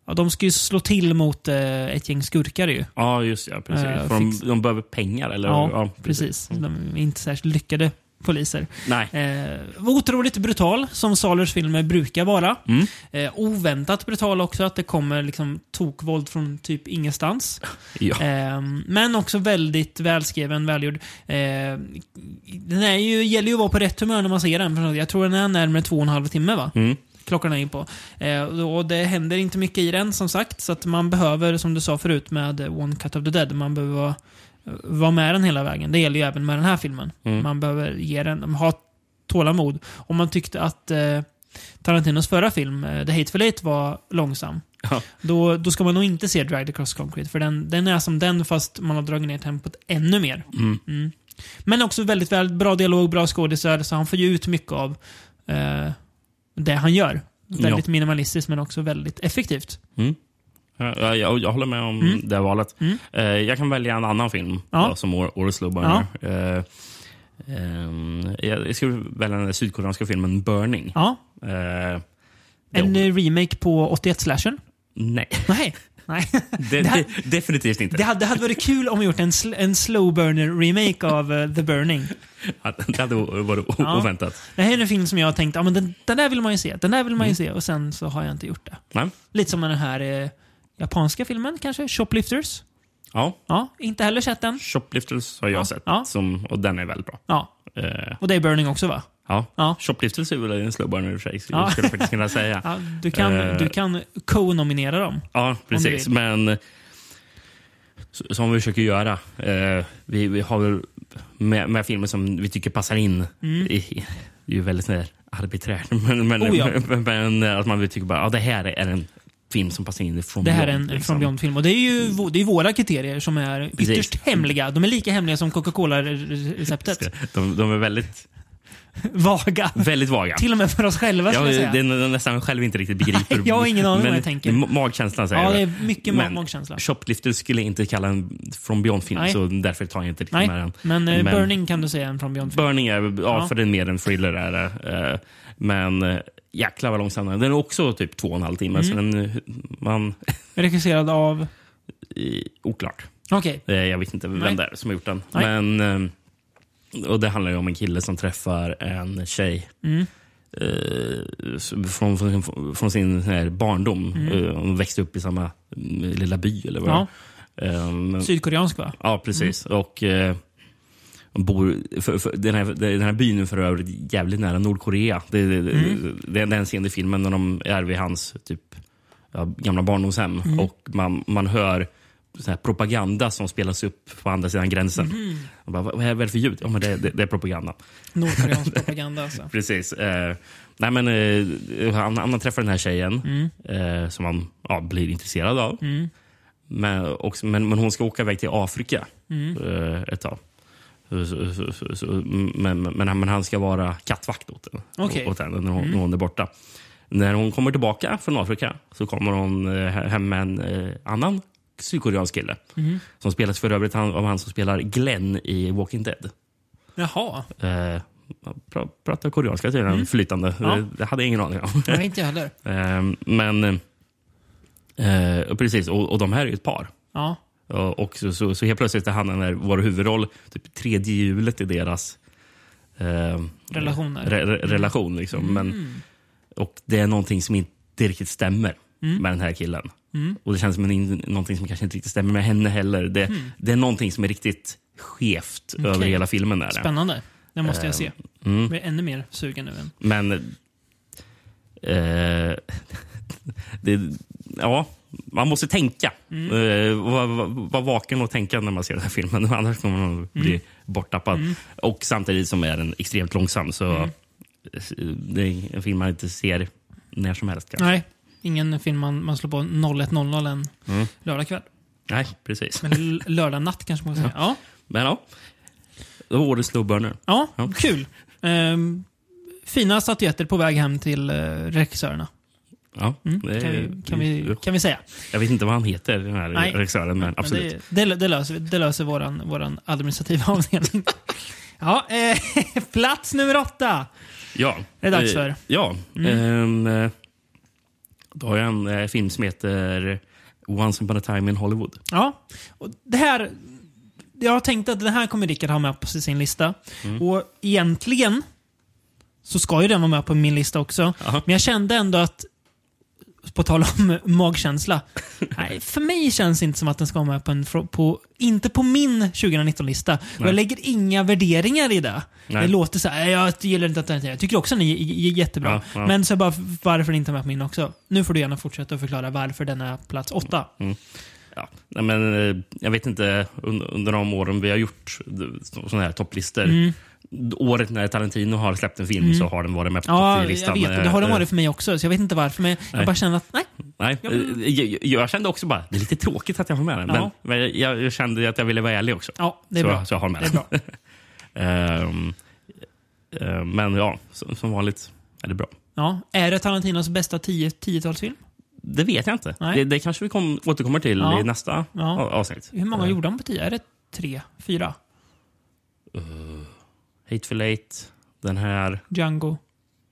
ja, de ska ju slå till mot eh, ett gäng skurkar ju. Ja, just ja. Precis. Eh, För de, fix- de behöver pengar, eller? Ja, precis. Mm. De är inte särskilt lyckade poliser. Nej. Eh, var otroligt brutal, som Salers filmer brukar vara. Mm. Eh, oväntat brutal också, att det kommer liksom tokvåld från typ ingenstans. Ja. Ehm, men också väldigt välskriven, välgjord. Ehm, den är ju, gäller ju att vara på rätt humör när man ser den. för Jag tror den är närmare två och en halv timme va? Mm. Klockan är in på. Ehm, och det händer inte mycket i den som sagt. Så att man behöver, som du sa förut med One Cut of the Dead, man behöver vara, vara med den hela vägen. Det gäller ju även med den här filmen. Mm. Man behöver ge den, ha tålamod. Om man tyckte att eh, Tarantinos förra film, eh, The Hateful Eight, var långsam. Ja. Då, då ska man nog inte se Dragged Across Concrete, för den, den är som den fast man har dragit ner tempot ännu mer. Mm. Mm. Men också väldigt väl, bra dialog, bra skådisar, så han får ju ut mycket av eh, det han gör. Väldigt minimalistiskt men också väldigt effektivt. Ja, Jag, jag, jag håller med om Mm. det valet. Mm. Eh, jag kan välja en annan film Ja. då, som år- Årets Slow Burner. Eh, ehm, jag jag skulle välja den där sydkoreanska filmen Burning. Ja, Eh, det- en eh, remake på 81-slashern. nej, [LAUGHS] Nej. Nej. det, det här- det, definitivt inte. Det hade, det hade varit kul om vi gjort en, sl- en slow burner remake av eh, The Burning. Det hade o- varit o- Ja. oväntat. Det här är en film som jag har tänkt, ja, men den, den där vill man ju se, den där vill man ju se och sen så har jag inte gjort det. Mm. Nej. Lite som med den här eh, japanska filmen kanske, Shoplifters. Ja, Ja, inte heller sett den. Shoplifters har jag sett ja. Som, och den är väldigt bra. Ja, Eh, och det är Burning också va? ja. Ja. Shoplifters är väl en slow burner i och för sig, Ja. skulle jag faktiskt [LAUGHS] kunna säga. ja du kan, Eh. du kan co-nominera dem. Ja, precis. vill. Men s- som vi försöker göra. Eh, vi, vi har väl med, med filmer som vi tycker passar in. I, det är ju väldigt sådär arbiträrt. [LAUGHS] Men, eh, men, Mm. Oh ja. men, men att man vill tycka bara, ja, det här är en film som passar in i From Det här är Beyond, en, en liksom. From Beyond-film. Och det är ju vå- det är våra kriterier som är Precis. ytterst hemliga. De är lika hemliga som Coca-Cola-receptet. De, de [LAUGHS] är väldigt, Vaga. väldigt vaga. Till och med för oss själva Ja, skulle jag säga. det är nä- nästan själv inte riktigt begriper. Nej, [LAUGHS] jag har ingen aning Men vad jag tänker. ma- Magkänslan säger ja, det det. är mycket ma- Men- magkänsla. Shoplifter skulle jag inte kalla en From Beyond-film, Nej. så därför tar jag inte riktigt Nej, med den. men, eh, Men- Burning kan du säga är en From Beyond-film. Burning är, ja, Ja. för den är mer en thriller. Är det. Eh, Men eh, jäklar vad långsam den är. Den är också typ två och en halv timme, så Mm. den, eh, man, Regisserad av... i- oklart. Okej. Eh, Jag vet inte vem Nej. det är som har gjort den. Nej. Men, eh, och det handlar ju om en kille som träffar en tjej Mm. eh, s- från, från, från sin sån här barndom. Eh, Hon växte upp i samma mm, lilla by eller vad Mm. Ja, det var. Eh, men- sydkoreansk va? Ja, precis. Och eh, de bor, för, för, den, här, den här byn är för övrigt jävligt nära Nordkorea. Det, det, det, det är en scen i filmen när de är vid hans typ, ja, gamla barndomshem och man, man hör så här propaganda som spelas upp på andra sidan gränsen. Och Bara, vad vad är det för ljud? Ja, men det, det, det är propaganda. Nordkoreansk propaganda alltså. Precis. Eh, nej, men, eh, han, han träffar den här tjejen Mm, eh, som han ja, blir intresserad av. Men, också, men, men hon ska åka iväg till Afrika mm, eh, ett tag. Så, så, så, så, så, men, men, han- men han ska vara kattvakt åt, henne- Okej. Mm. åt henne när hon, när hon är borta. När hon kommer tillbaka från Afrika så kommer hon eh, hem med en eh, annan sydkoreansk kille. mm. Som spelas för övrigt han- av han som spelar Glenn i Walking Dead. Jaha, Eh, pra- pratar koreanska tydligen flytande. Mm. Ja. Det- Det hade jag ingen aning om. [LAUGHS] det vet inte jag heller. Eh, men eh, eh, precis, och, och de här är ju ett par. Ja. Och, och så, så, så helt plötsligt är han den där, vår huvudroll, typ tredje hjulet i deras eh, Relationer. re, re, relation. Liksom. Mm. Men, och det är någonting som inte riktigt stämmer med den här killen. mm. Och det känns som en, in- någonting som kanske inte riktigt stämmer med henne heller. Det, det är någonting som är riktigt skevt över Okej. hela filmen. Där. Spännande. Det måste jag se. Mm. Jag blir ännu mer sugen nu än. Men... Eh, [LAUGHS] det, ja, man måste tänka. Mm. Eh, Vara var vaken och tänka när man ser den här filmen. [LAUGHS] Annars kommer man bli Mm. borttappad. Och samtidigt som är den extremt långsam. Så Mm. eh, Det är en film man inte ser när som helst. Kanske. Nej, ingen film man, man slår på 01.00 en Mm. lördag kväll. Nej, precis. Men l- lördag natt kanske man ska säga. Ja, Men ja, det var årets slowburner. ja, Ja. kul. Ehm, fina statyetter på väg hem till eh, regissörerna. Ja, Mm, det är- kan, vi, kan, vi, kan vi säga. Jag vet inte vad han heter, den här Nej. regissören, men absolut. Men det, det, det löser, vi. det löser våran, våran administrativa [LAUGHS] avdelning. ja, eh, [LAUGHS] plats nummer åtta. Ja. Det är dags Eh, för. Mm. Ja. Ehm, eh, då har jag en eh, film som heter Once upon a time in Hollywood. Ja, och det här... Jag tänkte att det här kommer Rickard ha med på sin lista. Mm. Och egentligen så ska ju den vara med på min lista också. Jaha. Men jag kände ändå att, på tal om [LAUGHS] magkänsla, nej, för mig känns det inte som att den ska vara med på en, fro- på, inte på min 2019-lista. Och Nej. jag lägger inga värderingar i det. Nej. Det låter så här, jag gillar inte att den Jag tycker också den är j- j- jättebra. Ja, ja. Men så bara, varför den inte är med på min också? Nu får du gärna fortsätta att förklara varför den är plats åtta. Ja, nej, men, eh, jag vet inte, under, under de åren vi har gjort sådana här topplistor. Mm. Året när Tarantino har släppt en film så har den varit med på Ja, jag topplistan. vet. Och Det har den Eh, varit för mig också, så jag vet inte varför. Men jag Nej. bara känner att, nej. Nej, Ja, eh, men- jag, jag kände också bara det är lite tråkigt att jag har med den. Ja. Men, men jag, jag kände att jag ville vara ärlig också. Ja, det är så, bra. så jag har med Det är [LAUGHS] bra. Ehm, eh, men ja, som, som vanligt är det bra. Ja. Är det Tarantinos bästa 10 10-talsfilm? Det vet jag inte. Nej. Det, det kanske vi kom, återkommer till Ja. i nästa Ja. a- avsnitt. Hur många Eh, gjorde han på 10? Är det tre, fyra? Hateful Eight, den här. Django?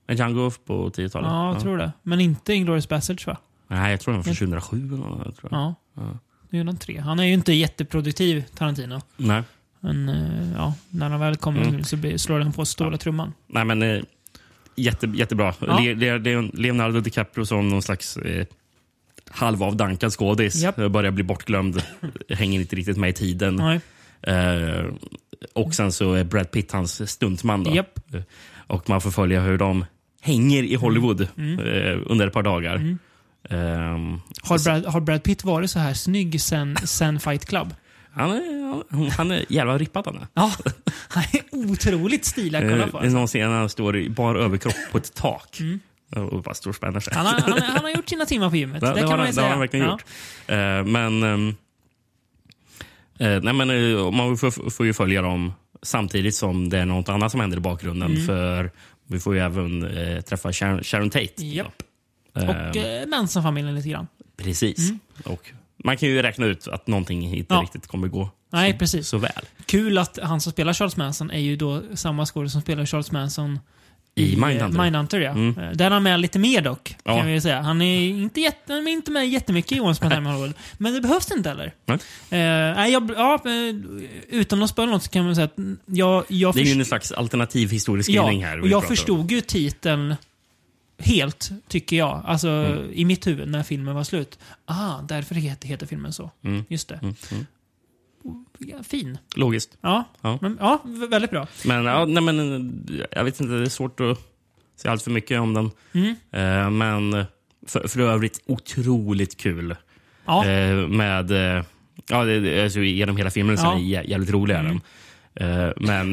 Men Django på 10-talet. Ja, jag tror det. Men inte Inglourious Basterds va? Nej, jag tror den var från 2007. Eller något, tror jag. Ja. Ja. Nu är han tre. Han är ju inte jätteproduktiv, Tarantino. Nej. Men eh, ja, när han väl kommer Mm. så blir- slår han på stora trumman. Nej, men eh, jätte, jättebra. Ja. Le, Le, Le, Leonardo DiCaprio som någon slags eh, halvavdankad skådis. Japp. Eh, Börjar bli bortglömd. Hänger inte riktigt med i tiden. Nej. Eh, och sen så är Brad Pitt hans stuntman. Då. Japp. Och man får följa hur de hänger i Hollywood Mm. eh, under ett par dagar. Ehm, Har Brad, har Brad Pitt varit så här snygg sen, sen Fight Club? han, är, han är jävla rippad han är. [LAUGHS] Ja, han är otroligt stilig att kolla Eh, på. alltså. Mm. någon scen när han står i bar överkropp på ett tak. Och bara storspänner sig. Han har, han, han har gjort sina timmar på gymmet. Ja, det, kan har, man han- ju det säga. har han verkligen Ja. gjort. Eh, men, ehm, eh, nej, men eh, man får, får ju följa dem samtidigt som det är något annat som händer i bakgrunden. Mm. För Vi får ju även eh, träffa Sharon, Sharon Tate. Japp. Eh, Och eh, Manson-familjen lite grann. precis. Och man kan ju räkna ut att någonting inte Mm. Ja. riktigt kommer gå Nej, precis. så väl Kul att han som spelar Charles Manson är ju då samma skådespelare som spelar Charles Manson i eh, Mindhunter. Mm. Mindhunter ja. Eh, Där är han med lite mer dock, Ja. kan vi ju säga. Han är inte, jätte, han är inte med jättemycket i Once upon a time in Hollywood. Men det behövs inte heller. Nej. Eh, nej, jag, ja, eh, utan att spöa något så kan man säga att mm, jag, jag det är ju först- en slags alternativ historieskrivning här. och vi jag pratar om. förstod ju titeln helt, tycker jag. Alltså Mm. i mitt huvud när filmen var slut. Ah, därför heter, heter filmen så. Mm. Just det. Mm, mm. Ja, fin. Logiskt. Ja, Ja. Men, ja v- väldigt bra. Men, ja, nej, men eh, jag vet inte, det är svårt att säga allt för mycket om den. Mm. Eh, men för, för övrigt otroligt kul. Ja. Eh, med, eh, ja, det- det, alltså, genom hela filmen så Ja. Mm. är den jä- jävligt rolig. är den. Eh, men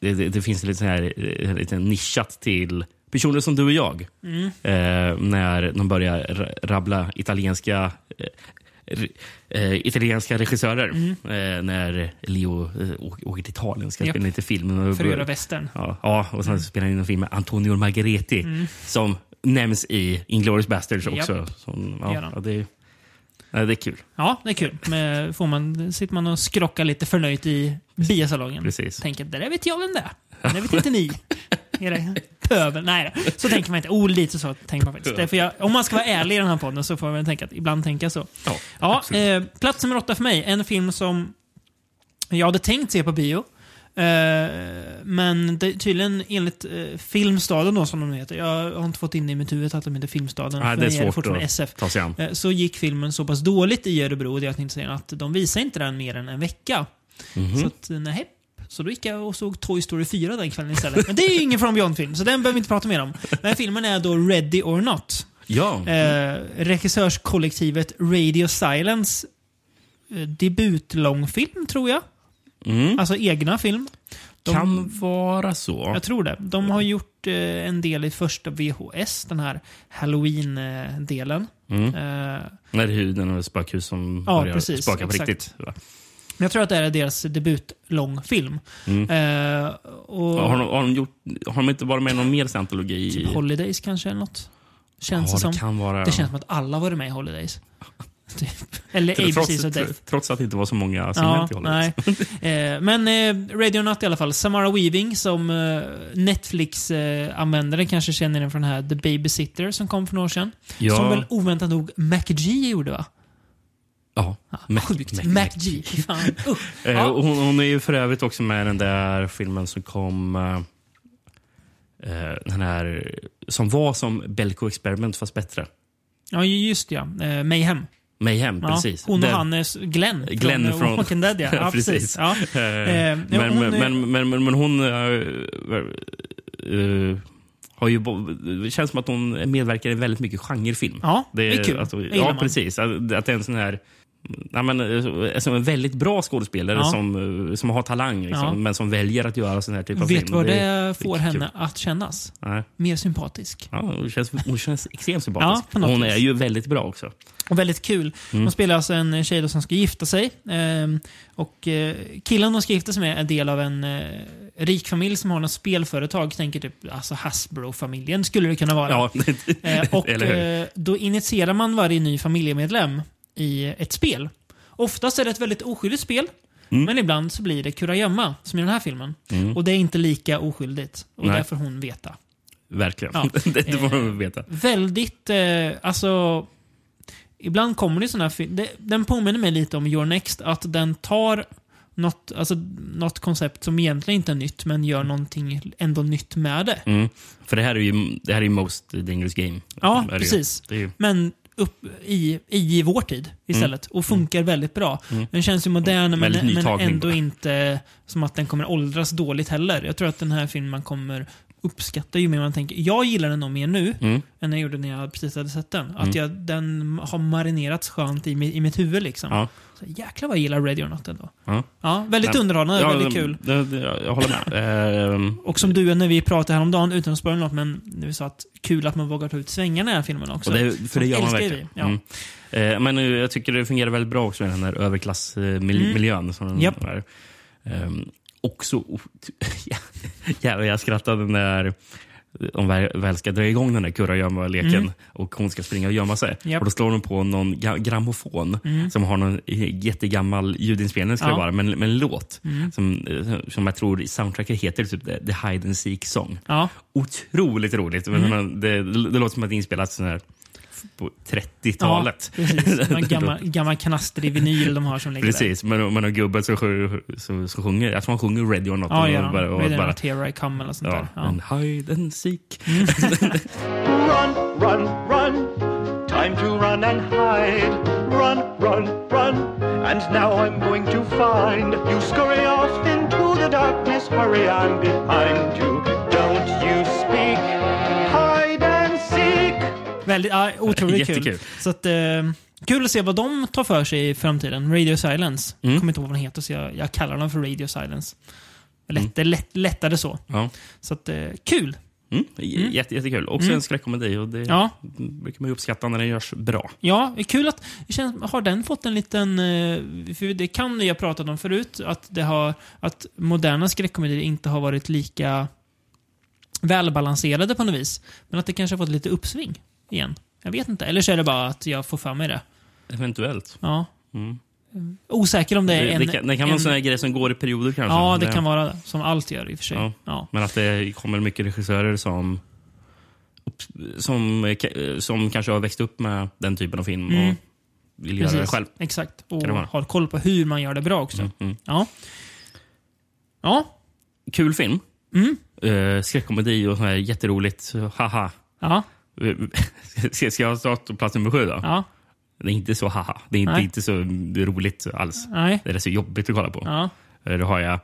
det, det, det finns lite, så här, eh, lite nischat till personer som du och jag. Mm. Eh, när de börjar ra- rabbla italienska eh, re- eh, italienska regissörer. Mm. Eh, när Leo eh, åker, åker till Italien ska Japp. spela lite film. Och För att göra västern. Ja, ja, och sen spelar han in en film med Antonio Margheriti som nämns i Inglourious Basterds Mm. Japp. också. Som, Det gör ja, han. ja, det, är- ja, det är kul. Ja, det är kul. Men får man, sitter man och skrockar lite förnöjt i biosalongen. Precis. Tänker, det där vet jag vem det är. Det vet inte ni. Era pöbel. Nej då. Så tänker man inte. Oh, lite så tänker man faktiskt. Därför jag, om man ska vara ärlig i den här podden så får man väl tänka att ibland tänka så. Ja, Ja, absolut. eh, plats nummer åtta för mig. En film som jag hade tänkt se på bio. Eh, men det, tydligen enligt eh, Filmstaden då som de heter. Jag har inte fått in i mitt huvud att de heter Filmstaden. för Nej, det är mig svårt fortfarande att- SF. Ta sig an. Eh, så gick filmen så pass dåligt i Örebro, det är att inte säger att de visar inte den mer än en vecka. Mhm. Så att, eh, nej. Så då gick jag och såg Toy Story 4 den kvällen istället. Men det är ju ingen From Beyond-film, så den behöver vi inte prata mer om. Den här filmen är då Ready or Not. Ja, Eh, regissörskollektivet Radio Silence eh, debutlångfilm, tror jag. mm. Alltså egna film. De, kan vara så. Jag tror det. De har gjort eh, en del i första VHS, den här halloween-delen. Mm. Eh, När huden och spökhus som Ja, börjar precis, spöka på exakt. riktigt. va? Men jag tror att det här är deras debutlångfilm. Mm. Eh, och Har, de, har, de gjort, har de inte varit med i någon mer scientologi? typ Holidays kanske eller något. Känns ja, det som. det kan vara. Det känns som att alla varit med i [LAUGHS] Holidays. typ. Eller trots, ABC's och Death. trots att det alltså, inte var så många signal till Hollywood. [LAUGHS] nej. Eh, men eh, Radio Nut i alla fall. Samara Weaving som eh, Netflix-användare kanske känner den från den här The Babysitter som kom för några år sedan. Ja, Som väl oväntat nog MacG gjorde va? ja. Ja, Mac- Sjukt. Mac- MacG. Fy fan. Uh. Eh, Ja. och hon, hon är ju för övrigt också med i den där filmen som kom... eh, eh, den här som var som Belko Experiment fast bättre. Ja, just det, ja. Eh, Mayhem. Mayhem, Ja, precis. Hon och Den- han är Glenn. Glenn från... från- eh, Walking Dead, ja. [LAUGHS] ja precis. Precis. Ja. [LAUGHS] Eh, men, ja, hon men, är- men, men, men, men hon... eh, eh, har ju, bo- det känns som att hon medverkar i väldigt mycket genrefilm. Ja, det är kul. Att, Det gillar alltså, ja, man. precis. Att, att det är en sån här... Ja, men, eh, som en väldigt bra skådespelare Ja. som, eh, som har talang, liksom, Ja. men som väljer att göra sån här typ av film. Vet vad det, får kul. henne att kännas? Nej. Mer sympatisk. Ja, hon, känns, hon känns extremt sympatisk. Ja, på något hon vis. är ju väldigt bra också. Och väldigt kul. Hon spelar alltså en tjej då som ska gifta sig. Ehm, och eh, killen hon ska gifta sig med är del av en eh, rik familj som har något spelföretag. Tänker typ alltså Hasbro-familjen skulle det kunna vara. Ja, [LAUGHS] Eh, [LAUGHS] och Eller hur? eh, då initierar man varje ny familjemedlem i ett spel. Oftast är det ett väldigt oskyldigt spel. Men ibland så blir det kurragömma, som i den här filmen. mm, Och det är inte lika oskyldigt. Och Nej. där får hon veta. verkligen. Ja. [LAUGHS] det, det får man veta. Väldigt, eh, alltså... Ibland kommer det sådana här fil- det, Den påminner mig lite om Your Next, att den tar något, alltså, något koncept som egentligen inte är nytt, men gör någonting ändå nytt med det. Mm. För det här är ju det här är ju most dangerous game. Ja, Mm, Är det ju. precis. Det är ju, Men upp i, i vår tid istället. Och funkar väldigt bra. Den känns ju modern men, Mm. Väldigt ny men tagning ändå bara. inte som att den kommer åldras dåligt heller. Jag tror att den här filmen kommer uppskattar ju mer man tänker. Jag gillar den nog mer nu Mm. än jag gjorde när jag precis hade sett den. Att Mm. jag, den har marinerats skönt i, mi- i mitt huvud. Liksom. Ja. Så jäklar vad jag gillar Ready or Not ändå. Ja. Ja, väldigt Nej, underhållande, Ja, väldigt kul. det- det- Jag, jag håller [LAUGHS] med. Ehm, Och som du när vi pratade häromdagen, utan att spoila något, men när vi sa att kul att man vågar ta ut svängarna i den här filmen också. och det, för det gör man älskar ju verkligen. vi, ja. Mm. Eh, men eh, jag tycker det fungerar väldigt bra också i den här Mm. överklassmiljön. Som den Japp. är. Ehm, också... ot- [LAUGHS] Ja, Jävlar, jag skrattade när de eh, väl väl ska dra igång den där kurragömma-leken Mm. och hon ska springa och gömma sig. Japp. Och Då slår hon på någon ga- grammofon Mm. som har någon jättegammal ljudinspelning, ska det Ja. vara, men, men låt. Mm. Som, eh, som jag tror i soundtracket heter typ The, the Hide and Seek Song. Ja, Otroligt roligt. Mm. Men man, det, det låter som att det är inspelat sån här på 30-talet. Ja, precis. [LAUGHS] Någon gammal, gammal knaster i vinyl de har som ligger där. Precis, men men har gubben som, sju- som, som sjunger, jag tror han sjunger Ready or not. Ja, och gör de. bara, och Ready or bara, Not Here I Come eller sånt ja, där. Ja. En hide and seek. Mm. Run, run, run. Time to run and hide. Run, run, run. And now I'm going to find you. Scurry off into the darkness. Hurry, I'm behind you. Don't you speak. Hide and seek. Väldigt, ja, otroligt kul. Jättekul. Så att, eh, kul att se vad de tar för sig i framtiden. Radio Silence. Jag kommer inte ihåg vad den heter, så jag, jag kallar den för Radio Silence. Lätt, det är lätt, lättare så. Ja. Så att, eh, kul! Mm, j- Jätte, jättekul. Också en skräckkomedi och det Mm. Ja, brukar man ju uppskatta när den görs bra. Ja, det är kul att... det Känns, har den fått en liten... eh, För det kan vi ha pratat om förut, att, det har, att moderna skräckkomedier inte har varit lika välbalanserade på något vis. Men att det kanske har fått lite uppsving igen. Jag vet inte. Eller så är det bara att jag får för mig det. Eventuellt. Ja. Mm. Osäker om det är Det, en... det kan, det kan vara en sån här grej som går i perioder kanske. Ja, det kan vara det. Som allt gör i och för sig. Ja. Ja. Men att det kommer mycket regissörer som som, eh, som kanske har växt upp med den typen av film Mm. och vill göra det själv. Exakt. Och Kan det vara. har koll på hur man gör det bra också. Mm, mm. Ja. Ja. Kul film. Mm. Eh, skräckkomedi och sån här jätteroligt. Haha. [LAUGHS] Ja. Ska, ska jag ta plats nummer sju då? Ja. Det är inte så haha. Det är inte, Nej. inte så roligt alls. Nej. Det är så jobbigt att kolla på. Ja. Eh, Då har jag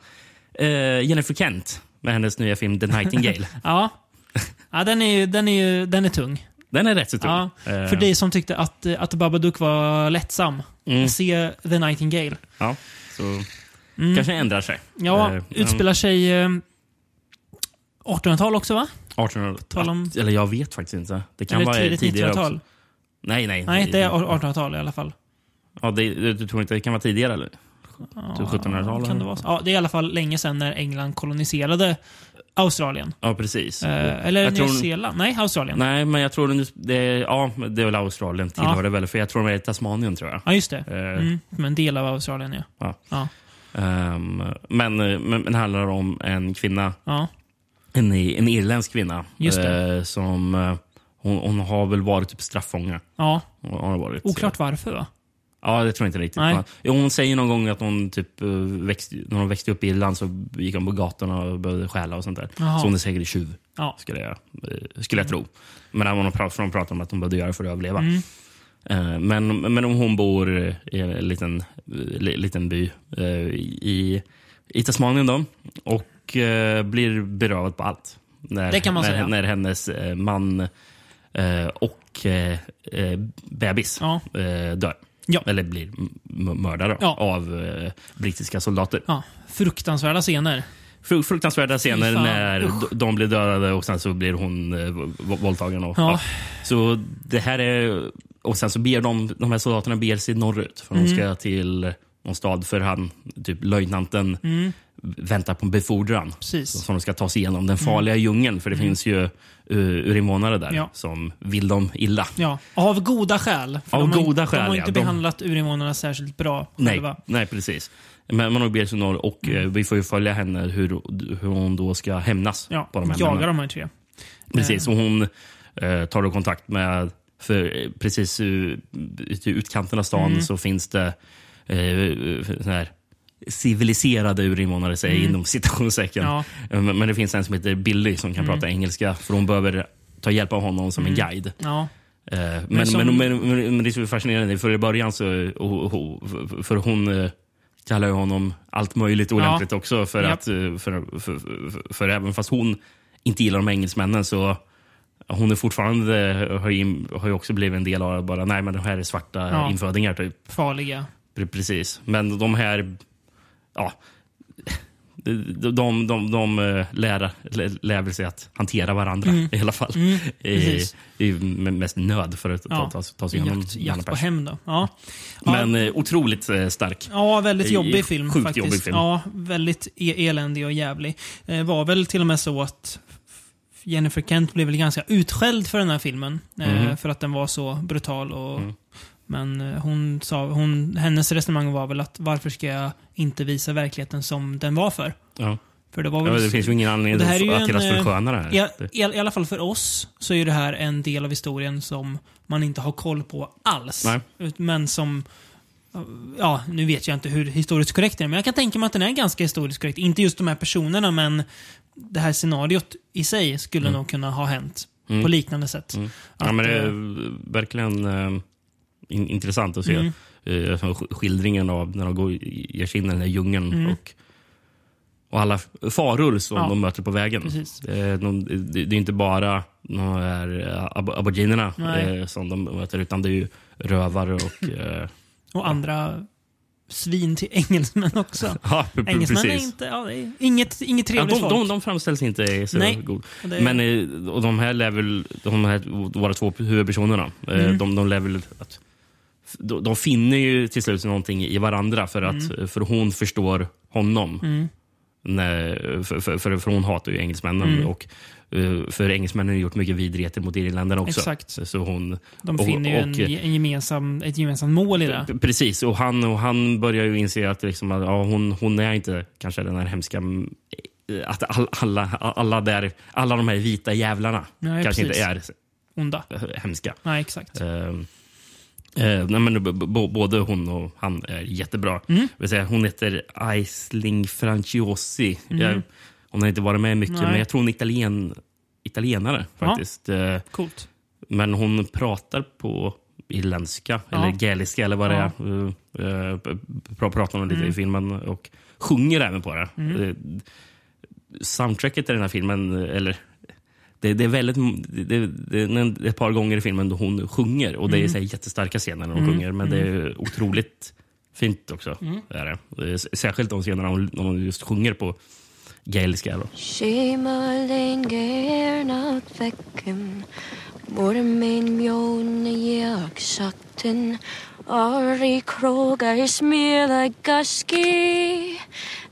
eh, Jennifer Kent med hennes nya film [LAUGHS] The Nightingale. Ja. Ja, den är, ju- den är, ju- den är tung. Den är rätt så tung. Ja, Eh, för dig som tyckte att, eh, att Babadook var lättsam, Mm. se The Nightingale. Ja, så Mm. kanske ändrar sig. Ja, Eh, men- utspelar sig eh, 1800-tal också va? 1800 Tal om- Eller jag vet faktiskt inte. Det kan Eller vara tidigt tidigare 1900-tal? också. Mm. Nej, nej. Nej, det är 1800-tal i alla fall. Ja, det, du, du tror inte det kan vara tidigare? Eller? Ja, Typ 1700-tal? Kan det vara så? Ja, det är i alla fall länge sedan när England koloniserade Australien. Ja, precis. Eh, eller Typ. Jag Nya tror- Zeeland? Nej, Australien. Nej, men jag tror nu- det, ja, det är väl Australien tillhör Ja. det väl. För jag tror det är Tasmanien, tror jag. Ja, just det. Eh. Mm, men en del av Australien, ja. Ja. Ja. Ehm, men, men, men det handlar om en kvinna, ja. en, i- en irländsk kvinna. Just eh, som eh, hon, hon har väl varit typ straffånge. ja. Hon har varit, Oklart varför va? Ja, det tror jag inte riktigt. Nej. Men- Jo, hon säger någon gång att hon typ eh, växte, när hon växte upp i Irland så gick hon på gatorna och började stjäla och sånt där. Jaha. Så hon är säkert tjuv, Ja. skulle jag, eh, skulle jag tro. Men hon har pratat, hon pratar om att hon behövde göra det för att överleva. Mm. Eh, Men, men om hon bor i en liten, li- liten by eh, i, i Tasmanien då, och eh, blir berövad på allt. När, Det kan man när, säga. När hennes eh, man eh, och eh, eh, bebis Ja. eh, dör. Ja. Eller blir m- m- mördade Ja. av eh, brittiska soldater. ja. Fruktansvärda scener. Fru- Fruktansvärda scener Fy fan. när Usch. d- de blir dödade och sen så blir hon eh, v- v- våldtagen. Och, Ja. Så det här är... Och sen så ber de, de här soldaterna ber sig norrut för Mm. de ska till någon stad för han, typ löjtnanten, väntar på en befordran. mm, Precis. Så- Som de ska ta sig igenom den Mm. farliga djungeln för det finns ju uh, urinvånare där Ja. som vill dem illa. Ja, av goda skäl. För Av de har, goda De skäl, har ja. inte De- behandlat urinvånarna särskilt bra Nej, själva. Mm. nej precis. Men man har Berit Norr och eh, vi får ju följa henne hur, hur hon då ska hämnas Ja, på de här jagar männen. de här tre. Precis, och hon eh, tar då kontakt med, för eh, precis uh, ute i utkanten av stan Mm. så finns det eh, sån här civiliserade urinvånare, säger jag inom citationstecken. Mm. Ja. Mm. Eh, Men men det finns en som heter Billy som kan prata engelska, för hon behöver ta hjälp av honom som en guide. Ja, Eh, Men, som- men, men, men, men det är så fascinerande, för i början så... Och, och, för hon eh, kallar ju honom allt möjligt olämpligt också. För, Japp. att, eh, för, för, för, för även fast hon inte gillar de här engelsmännen så eh, hon är fortfarande, eh, har ju, har ju också blivit en del av det bara, nej men de här är svarta Ja. infödingar typ. Farliga. Pre- Precis. Men de här... Ja, de, de, de, de eh, lär, lä- lär väl sig att hantera varandra Mm. i alla fall. I, precis. i med mest nöd för att ta, Ja. ta, ta sig igenom Jakt, denna jakt på pers. hem då. Ja. Ja, Men eh, otroligt eh, stark. Ja, väldigt Det är jobbig film sjukt faktiskt. jobbig film. Ja, väldigt e- eländig och jävlig. Det var väl till och med så att Jennifer Kent blev väl ganska utskälld för den här filmen. eh, Mhm. Mm. För att den var så brutal. Och, Men eh, hon sa, hon, hennes resonemang var väl att varför ska jag inte visa verkligheten som den var för? Ja. För det var Ja, väl... det finns ju ingen Och det anledning här är ju att en, deras eh, försköna det här. i, Det- i, I alla fall för oss så är ju det här en del av historien som man inte har koll på alls. Nej. Ut- Men som... Ja, nu vet jag inte hur historiskt korrekt den är, men jag kan tänka mig att den är ganska historiskt korrekt. Inte just de här personerna, men det här scenariot i sig skulle nog kunna ha hänt på liknande sätt. Mm. Ja, Att, men det är eh, Mm. verkligen eh, in, intressant att se eh, alltså sk- skildringen av när de går, ger sig in i den där djungeln och, och alla f- faror som Mm. Ja. de möter på vägen. Precis. Eh, de, det, det är inte bara de här eh, ab- aboriginerna Nej. eh, som de möter, utan det är ju rövare och... Eh, [LAUGHS] och andra svin till [LAUGHS] engelsmän [LAUGHS] också. ja, p- p- engelsmän är precis. inte... Ja, det är inget, inget Ja, trevligt de, folk. de, de framställs inte i så Nej. god. Och det- Men eh, och de här lär väl, de här, våra två huvudpersonerna, eh, Mm. de, de lär väl att de, de finner ju till slut någonting i varandra för att Mm. för hon förstår honom. När, för, för, för, för hon hatar ju engelsmännen Mm. och eh, för engelsmännen har gjort mycket vidrigheter mot irländarna också. Exakt. Så, så hon, de och- finner ju en, och- ge- en gemensam, ett gemensamt mål i det. P- Precis, och han, och han börjar ju inse att liksom, att, ja, hon, hon är inte kanske den här hemska... mm, Att all, alla, alla, där, alla de här vita jävlarna Nej, kanske precis. inte Onda. är hemska. Nej, exakt. Ehm, eh, nej, men, b- b- både hon och han är jättebra. Mm. Jag Vill säga, hon heter Aisling Franciosi. Jag, hon har inte varit med mycket, Mm. Nej. men jag tror hon är italien, italienare faktiskt. Eh, Coolt. men hon pratar på irländska, Ja. eller gaeliska eller vad det är. Eh, eh, pra- pratar hon lite i filmen och sjunger även på det. Eh, soundtracket i den här filmen, eh, eller det, det är väldigt, det, det, det är en- ett par gånger i filmen då hon sjunger och det är så här jättestarka scener när hon sjunger men det är otroligt fint också. Är det. Eh, s- Särskilt de scenerna när hon, när hon just sjunger på gaeliska. Då. Skimmerlin gärna väcken Både min björn jaktsakten Ari krogar smela gaski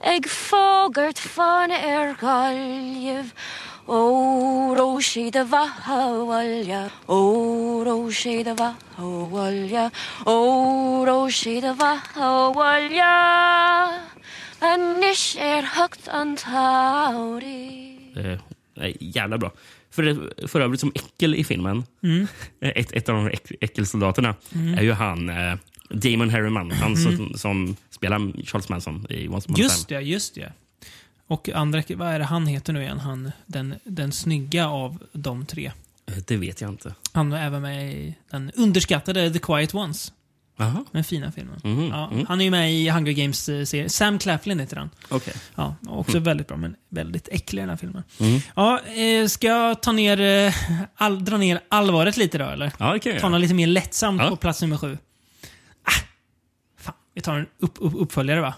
Eg fagert fan er galjev O roshida vahavalja O roshida vahavalja O roshida vahavalja en nisch er högt antaurig. Eh, nej, jävla bra. För, för övrigt som äckel i filmen, Mm. eh, ett, ett av de äck, äckelsoldaterna, är ju han eh, Damon Harriman. Han som, som spelar Charles Manson i Once upon Mm. Just a time. det, just det. Och andra, vad är det han heter nu igen? Han, den, den snygga av de tre. Eh, Det vet jag inte. Han var även med i den underskattade The Quiet Ones. Aha. Den fina filmen. Mhm, Ja, han är ju med i Hunger Games-serien. Sam Claflin heter han. Okay. Ja, också Mm. väldigt bra, men väldigt äcklig den här filmen. Ja, eh, ska jag ta ner, eh, all, dra ner allvaret lite då, eller? Ja, det kan jag Ta något göra. lite mer lättsamt Ja. på plats nummer sju. Ah, fan, vi tar en upp, upp, uppföljare va?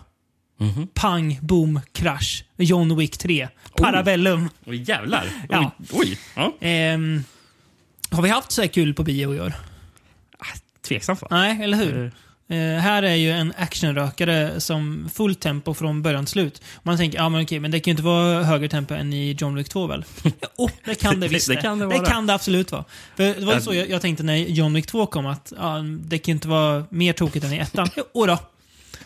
Mhm. Pang, boom, krasch. John Wick 3. Oh. Parabellum. Oj, jävlar. Oj. Ja. Oj. Ja. Ehm, har vi haft så här kul på bio i år? Ah, Tveksam fan. Nej, eller hur? Eh, här är ju en actionrökare som fullt tempo från början till slut. Man tänker, ja men okej, men det kan ju inte vara högre tempo än i John Wick 2 [LAUGHS] väl? oh, det kan det visst Det kan det det vara. kan det absolut vara. Alltså- För det var ju Jag- så jag, jag tänkte när John Wick 2 kom, att ja, det kan ju inte vara mer tokigt än i ettan. [LAUGHS] Jo då.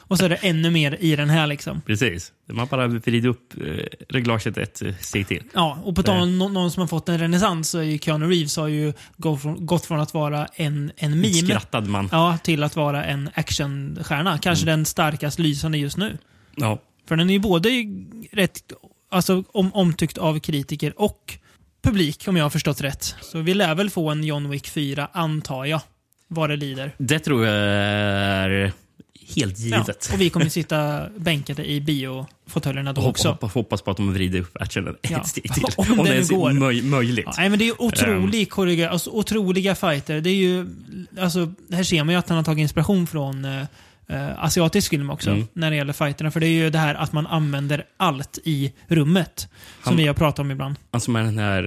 Och så är det ännu mer i den här liksom. Precis. Man bara vrider upp eh, reglaget ett eh, steg till. Ja, och på tal om nå- någon som har fått en renässans så är ju Keanu Reeves har ju gått från, gått från att vara en, en meme Skrattad man. ja, till att vara en actionstjärna. Kanske den starkast lysande just nu. Ja. För den är ju både rätt alltså, om, omtyckt av kritiker och publik, om jag har förstått rätt. Så vi lär väl få en John Wick 4, antar jag. Vad det lider. Det tror jag är helt givet. Ja, och vi kommer sitta bänkade i biofåtöljerna då Och också. Hoppas, hoppas på att de vrider upp actionen Ja. ett steg till. [LAUGHS] Om det Om nu det ens går. är möj, möjligt. Ja, nej, men det är ju otrolig korriga, alltså, otroliga fighter. Det är ju, alltså, här ser man ju att han har tagit inspiration från eh, eh, asiatisk film också, Mm. när det gäller fighterna. För det är ju det här att man använder allt i rummet, som Han- vi har pratat om ibland. Han som är Alltså den här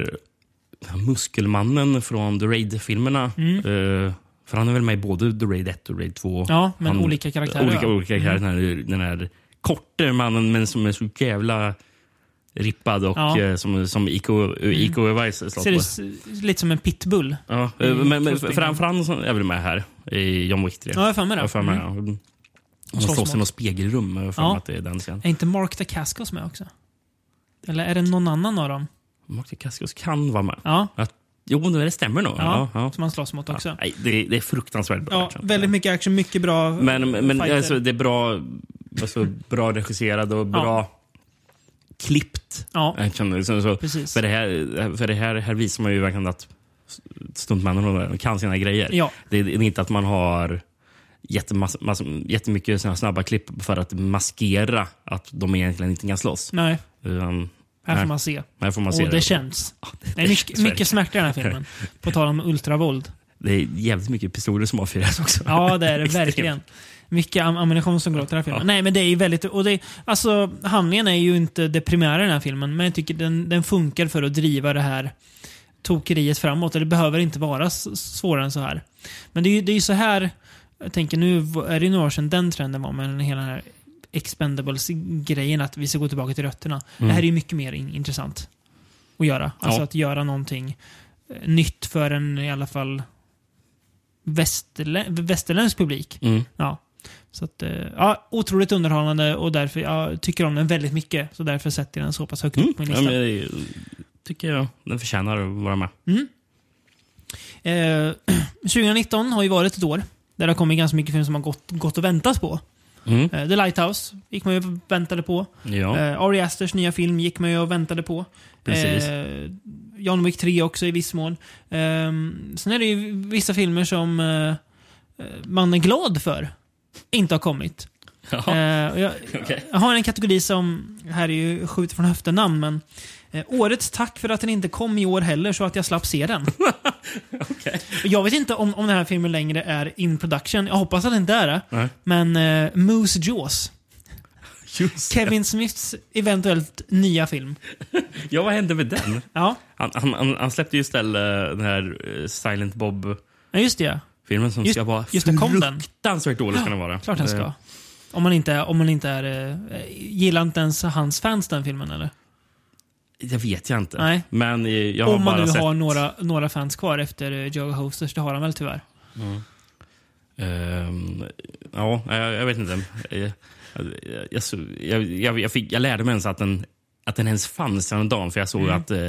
den här muskelmannen från The Raid-filmerna. Mm. Eh, för han är väl med i både The Raid 1 och Raid 2. Ja, men han, olika karaktärer. Olika, ja. Mm. olika karaktärer. Den, här, den här korte mannen men som är så jävla rippad och Ja. Mm. eh, som, som Iko Uwais slåss Ser det på. s- lite som en pitbull? Ja, eh, men, men Två Fran stycken. Fransson är väl med här i John Wick 3? Mm, Ja, jag har för mig Jag har det. för mig Mm. det. Mm. De slåss slåss mot- i något spegelrum. Jag har för mig Ja. att det är den scenen. Är inte Mark Dacascos med också? Eller är det någon annan av dem? Mark Dacascos kan vara med. Ja, Att, jo, det stämmer nog. ja, Ja, ja. som han slåss mot också. Nej, det, det är fruktansvärt bra Ja, action. väldigt mycket action, mycket bra Men, men fighter. alltså, det är bra, alltså, bra regisserad och bra klippt Ja. action. Så, så, Precis. För, det här, för det här, här visar man ju verkligen att stuntmännen och de kan sina grejer. Ja. Det är inte att man har jättemass, mass, jättemycket såna här snabba klipp för att maskera att de egentligen inte kan slåss. Nej, Utan, här får man se. här får man se Och det känns. Det är mycket, mycket smärta i den här filmen. På tal om ultravåld. Det är jävligt mycket pistoler som avfyras också. Ja, det är det [LAUGHS] Extremt. verkligen. Mycket am- ammunition som går åt i den här filmen. Ja. Nej, men det är ju väldigt... Och det, alltså, handlingen är ju inte det primära i den här filmen, men jag tycker den, den funkar för att driva det här tokeriet framåt. Och det behöver inte vara s- svårare än så här. Men det är ju det är ju så här... Jag tänker, nu v- är det ju några år sedan den trenden var med den hela den här expendables-grejen, att vi ska gå tillbaka till rötterna. Det här är ju mycket mer in, intressant att göra. Alltså Mm. Ja. att göra någonting eh, nytt för en i alla fall västerlä västerländsk publik. Mm. Ja. Så att, eh, ja, otroligt underhållande och därför jag tycker om den väldigt mycket. Så därför sätter jag den så pass högt Mm. upp på min Ja, men, lista. det tycker jag den förtjänar att vara med. Eh, [CLEARS THROAT] 2019 har ju varit ett år där det har kommit ganska mycket film som har gått, gått att väntas på. Mm. Eh, The Lighthouse gick man ju och väntade på. Ja. Eh, Ari Asters nya film gick man ju och väntade på. Precis. Eh, John Wick 3 också i viss mån. Ehm, sen är det ju vissa filmer som eh, eh, man är glad för inte har kommit. [LAUGHS] Ja. Eh, och jag, [LAUGHS] Okej. jag har en kategori som, här är ju skjuter från höften namn, men eh, årets tack för att den inte kom i år heller så att jag slapp se den. [LAUGHS] Okej. Jag vet inte om, om den här filmen längre är in production, jag hoppas att den inte är det. Nej. Men eh, Moose Jaws, Just det. Kevin Smiths eventuellt nya film. Ja, vad hände med den? Ja, Han, han, han, han släppte ju istället den här eh, Silent Bob-filmen ja, just det. som Just- ska vara just det, kom den? fruktansvärt dålig. Ska den vara. Klart den ska. Eh, Om man inte, om man inte är... eh, Gillar inte ens hans fans den filmen eller? Det vet jag inte. Nej. Men eh, jag har Om man bara nu sett... har några, några fans kvar efter eh, Joe Hosters, det har han väl tyvärr. Ehm, ja, jag, jag vet inte. Eh, jag- jag, så- jag, jag, jag, fick, jag lärde mig ens att den, att den ens fanns den dagen, för jag Mm. såg att eh,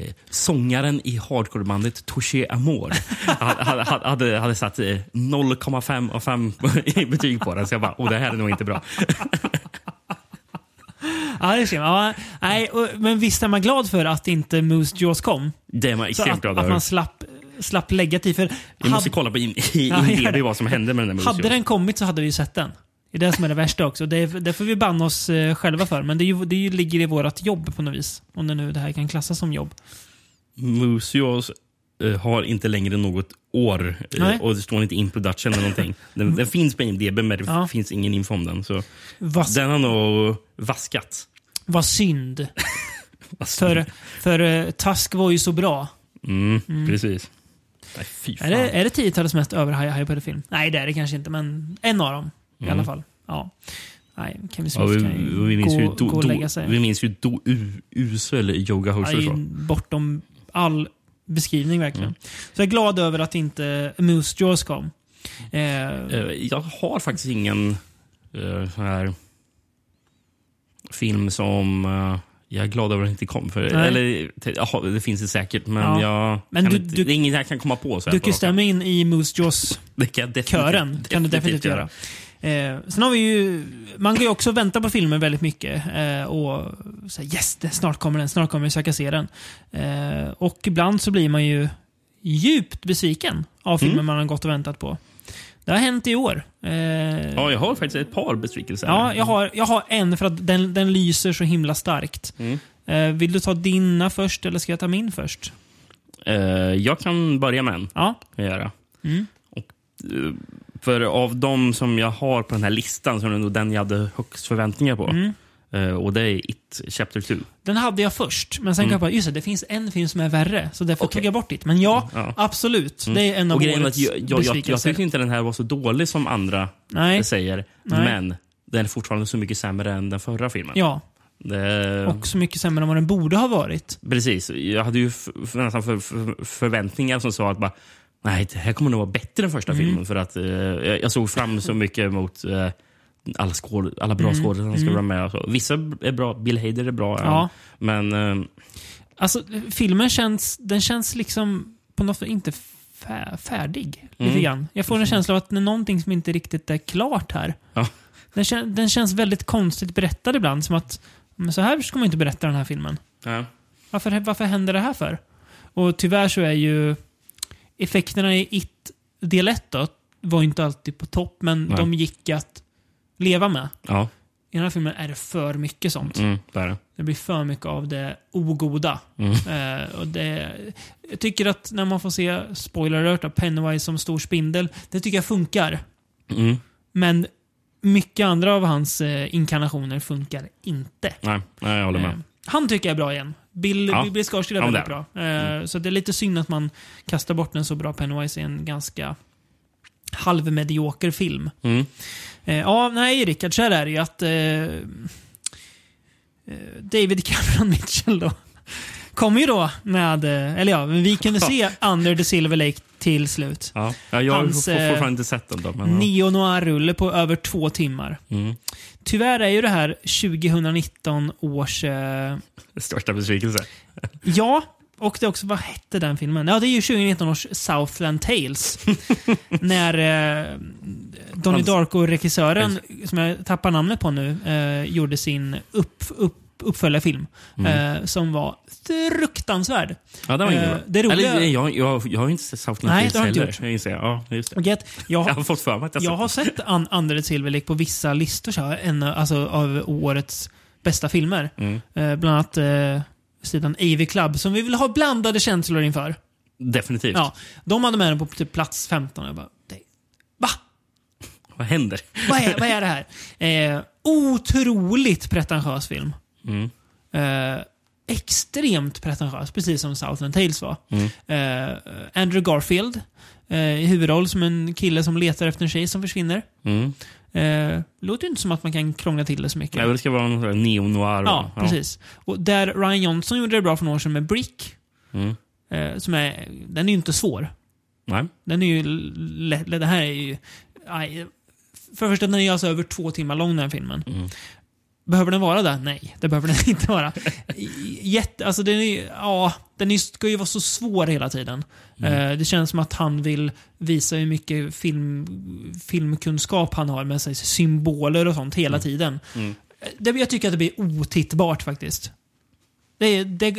eh, sångaren i hardcorebandet Touché [LAUGHS] Amour hade, hade, hade, hade satt eh, 0,5 av 5 i betyg på den. Så jag bara, åh det här är nog inte bra. Ja, det ser man. Ja, nej, och, men visst är man glad för att inte Moose Jaws kom? Det är man Så extremt att, glad att över. man slapp, slapp lägga till. För Vi måste hade, kolla på in, i Ja, gör IMDB det. vad som hände med den där hade musikvideon. den kommit så hade vi ju sett den. Det är det som är det värsta också. Det, det får vi banna oss eh, själva för. Men det, är ju, det är ju ligger i vårt jobb på något vis. Om det nu det här kan klassas som jobb. Moose Jaws eh, har inte längre något år eh, Nej. och det står inte in production [LAUGHS] eller någonting. Den, den finns på IMDB men det Ja. finns ingen info om den. Så Vad, den har nog vaskat. vad [LAUGHS] synd. För, för eh, Tusk var ju så bra. Mm, Precis. Nej, fy fan. Är det, är det 10-talets mest överhypade film? Nej, det är det kanske inte, men en av dem i alla fall. Ja. Nej, Kevin Mm. Ja, Smith vi, kan ju vi, minns gå, ju do, gå och do, lägga sig. vi minns ju do, u, usel yoga Ja, Hosers det är va? ju bortom all beskrivning verkligen. Så jag är glad över att inte Moose Jaws kom. Eh, Eh, Jag har faktiskt ingen eh, sån här film som eh, jag är glad över att den inte kom. För, Nej. eller, te- jaha, det finns det säcket, men Ja. jag... Men kan du- inte, du- det är inget jag kan komma på. Så här du på rak arm. kan ju in i Moose Jaws [LAUGHS] Det kan jag definitivt- kören kan du definitivt göra. Eh, sen har vi ju, man kan ju också vänta på filmer väldigt mycket eh, och säga yes, det, snart kommer den, snart kommer jag söka se den. Eh, och ibland så blir man ju djupt besviken av filmer man har gått och väntat på. Det har hänt i år. Eh, Ja, jag har faktiskt ett par besvikelser. ja, jag, har, jag har en för att den, den lyser så himla starkt. Mm. Eh, vill du ta dina först eller ska jag ta min först? Eh, jag kan börja med en. Ja, Kan jag göra. Mm. Och, eh, för av de som jag har på den här listan så är det nog den jag hade högst förväntningar på. Mm. Eh, och det är It Chapter 2. Den hade jag först, men sen kom jag på just det, det finns en film som är värre. Så därför Mm. Okej. tog jag bort det. Men ja, Ja. Mm. absolut. Det är en av Och grejen är årets att jag, jag, jag, jag besvikelser. tyckte inte den här var så dålig som andra Nej. säger. Nej. Men den är fortfarande så mycket sämre än den förra filmen. Ja, Det, och så mycket sämre än vad den borde ha varit. Precis. Jag hade ju f- f- nästan för, för, förväntningar som sa att bara, nej, det här kommer nog vara bättre än Mm. första filmen. För att eh, jag, jag såg [LAUGHS] fram så mycket mot eh, alla, skål, alla bra skådespelare som skulle vara med. och så. Vissa är bra. Bill Hader är bra. Mm. Ja. Men eh, Alltså, filmen känns, den känns liksom på något sätt inte fä färdig. Mm. Lite grann. Jag får en känsla av att det är någonting som inte riktigt är klart här. Ja. Den, kän den känns väldigt konstigt berättad ibland. Som att, men så här ska man ju inte berätta den här filmen. ja. Varför, varför händer det här för? Och tyvärr så är ju effekterna i It del 1 då, var ju inte alltid på topp, men Nej. de gick att leva med. ja. I den här filmen är det för mycket sånt. Mm, där är det. Mm. Det blir för mycket av det ogoda. Eh, och det, jag tycker att när man får se, spoiler alert, av Pennywise som stor spindel, det tycker jag funkar. Mm, Men mycket andra av hans eh, inkarnationer funkar inte. nej, nej, jag håller Eh, med. Han tycker jag är bra igen. Bill, Ja. Bill Skarsgård är Ja, väldigt det är Mm. bra. Eh, Så det är lite synd att man kastar bort en så bra Pennywise i en ganska halvmedioker film. Mm. Eh, ja, nej Rickard, så här är det ju att eh, eh, David Cameron [LAUGHS] Mitchell då kom ju då med, eh, eller ja, men vi kunde se Under the Silver Lake till slut. Ja. Ja, jag har Hans, for- eh, fortfarande inte sett den. Då, men, ja. Neo Noir-rulle på över två timmar. mm. Tyvärr är ju det här 2019 års eh, Största besvikelse. Ja, och det är också, vad hette den filmen? Ja, det är ju 2019 års Southland [LAUGHS] Tales. när eh, Donnie Hans- Darko-regissören, som jag tappar namnet på nu, eh, gjorde sin upp, upp, uppföljarfilm. Mm. Eh, som var fruktansvärd. Ja, det var Eh, ingen bra. det roliga- Eller, nej, jag, jag, jag har ju inte sett South Nej, Lake det har du inte heller. gjort. Jag inser, ja, just det. Och jag, jag, Jag har fått för mig att jag, jag har sett sett An- Under the Silver Lake på vissa listor så här, en, alltså, av årets bästa filmer. Mm. Eh, bland annat eh, sidan AV Club, som vi vill ha blandade känslor inför. den. Definitivt. Ja, de hade med den på typ plats 15. Jag bara, det- va? Vad händer? Vad är, vad är det [LAUGHS] här? Eh, otroligt pretentiös film. Mm. Eh, extremt pretentiös, precis som Southland Tales var. Mm. Eh, Andrew Garfield eh, i huvudroll som en kille som letar efter en tjej som försvinner. Mm. Eh, låter ju inte som att man kan krångla till det så mycket. Nej, det ska vara någon sån här neo-noir. Ja, va? precis. Och där Ryan Johnson gjorde det bra för några år sedan med Brick. Mm. Eh, som är, den är ju inte svår. Nej. Den är ju lätt, det här är ju... Aj, för det första, den är alltså över två timmar lång den här filmen. Mm. Behöver den vara det? Nej, det behöver den [LAUGHS] inte vara. Jätte, alltså den är ju- ja, den är, ska ju vara så svår hela tiden. Eh, det känns som att han vill visa hur mycket film, filmkunskap han har med sig, symboler och sånt hela tiden. Mm. Eh, Det, jag tycker att det blir otittbart faktiskt. Det, är- det,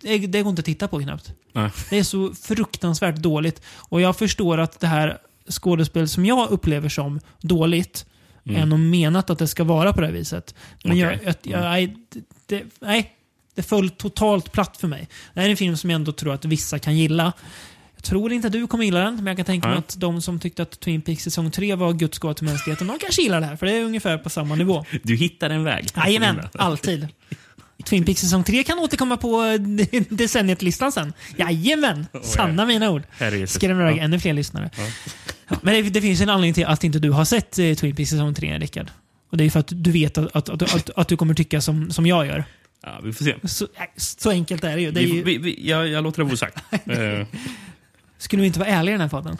det, det går inte att titta på knappt. Nej. Det är så fruktansvärt dåligt. Och jag förstår att det här skådespel som jag upplever som dåligt är nog menat att det ska vara på det här viset. Men jag, Mm. Okej. Mm. jag, jag, nej, det, nej, det föll totalt platt för mig. Det här är en film som jag ändå tror att vissa kan gilla. Jag tror inte att du kommer gilla den, men jag kan tänka mig Nej. att de som tyckte att Twin Peaks säsong 3 var Guds gåva till mänskligheten, de kanske gillar det här, för det är ungefär på samma nivå. Du hittar en väg. Jajamän, alltid. Twin Peaks säsong 3 kan återkomma på eh, [LAUGHS] decenniet-listan sen. Jajamän, sanna mina ord. Herrejösses. Skrämmer iväg ännu fler lyssnare. Ja, Men det, det finns en anledning till att inte du har sett eh, Twin Peaks säsong 3, Rickard. Och det är för att du vet att, att, att, att, att du kommer tycka som, som jag gör. Ja, vi får se. Så, äh, så enkelt är det ju. Det är Vi, ju vi, vi, jag, jag låter det vara osagt. [LAUGHS] Eh, skulle vi inte vara ärliga i den här [LAUGHS] podden?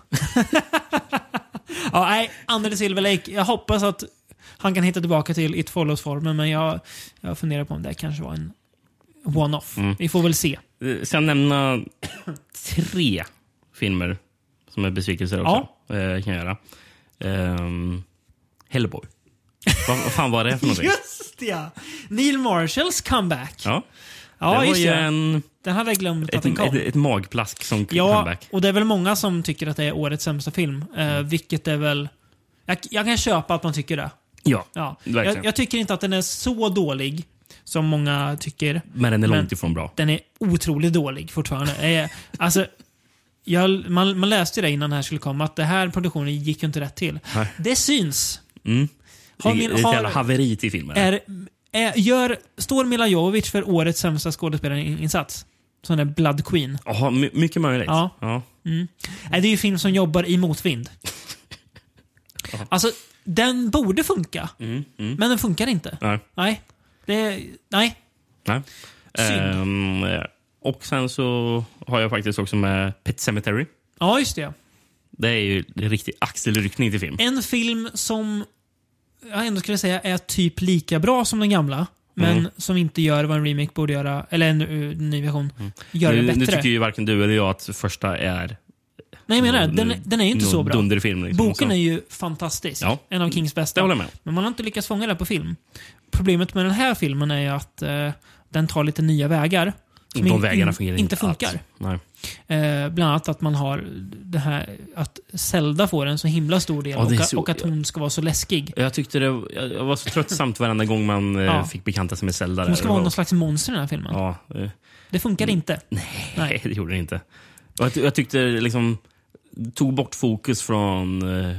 ja, nej, Anders Silver Lake. Jag hoppas att han kan hitta tillbaka till It Follows-formen, men jag, jag funderar på om det här kanske var en one-off. Mm. Vi får väl se. eh, Sen nämna tre filmer som är besvikelser också. Eh, kan jag göra. Ehm, Hellboy. [LAUGHS] vad, vad fan var det för någonting? Just ja! Neil Marshalls comeback. Ja. Ja, det var just ju det. en, Den hade jag glömt att ett, den kom. ett, ett magplask som Ja, comeback. Mm. och det är väl många som tycker att det är årets sämsta film. Eh, vilket är väl... Jag, jag kan köpa att man tycker det. Ja, Ja. Verkligen. Jag, jag tycker inte att den är så dålig som många tycker. men den är Men- långt ifrån bra. Den är otroligt dålig fortfarande. Eh, alltså, jag, man, man läste ju det innan det här skulle komma, att det här produktionen gick ju inte rätt till. Nej. Det syns. Mm. Har Det är min- ett har- jävla haveri till filmen. Är, är, gör, står Mila Jovovich för årets sämsta skådespelarinsats? Sån där Blood Queen. Jaha, my- mycket möjligt. Ja. Ja. Nej, det är ju film som jobbar i motvind. Alltså, den borde funka. Men den funkar inte. Mm. Nej. Nej. Det, nej. Nej. Ehm, och sen så har jag faktiskt också med Pet Cemetery. Ja, just det. Det är ju en riktig axelryckning till film. En film som jag ändå skulle säga är typ lika bra som den gamla. Men Mm. som inte gör vad en remake borde göra, eller en uh, ny version, gör Mm. nu, det nu bättre. tycker ju varken du eller jag att första är Nej, jag menar Mm. den, den är ju inte någon så bra. dunderfilm. Liksom. Boken Så- är ju fantastisk. Ja. En av Kings bästa. Det håller jag med om. Men man har inte lyckats fånga det på film. Problemet med den här filmen är ju att eh, den tar lite nya vägar. som De in- vägarna in- fungerar inte funkar. alls. Nej. Eh, bland annat att man har det här att Zelda får en så himla stor del Ja, det är och, att- så- och att hon ska vara så läskig. Jag tyckte det jag jag var så tröttsamt varenda gång man eh, Ja. fick bekanta sig med Zelda. där. Hon ska Det vara var- någon slags monster i den här filmen. Ja, eh, Det funkar inte. Nej. nej, det gjorde det inte. Och Jag, ty- jag tyckte det liksom tog bort fokus från eh,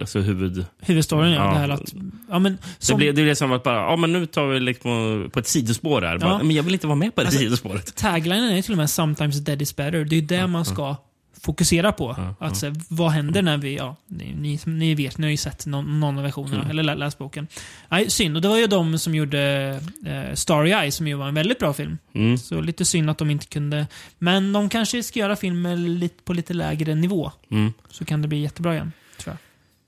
alltså huvud... Huvudstoryn är Ja. det här att... Ja, men, Det som blev, det blev som att bara, ja men nu tar vi liksom på ett sidospår här. Bara, Ja. Men jag vill inte vara med på det Alltså, sidospåret. Taglinen är ju till och med “Sometimes dead is better”. Det är ju det man ska fokusera på. att Så, här, vad Mm. händer när vi... Ja, ni, ni, ni vet, ni har ju sett någon, någon av versionerna, eller lä- läst boken. Nej, synd. Och det var ju de som gjorde eh, Starry Eye, som ju var en väldigt bra film. Mm. Så lite synd att de inte kunde... Men de kanske ska göra filmer lite, på lite lägre nivå. Mm. Så kan det bli jättebra igen, tror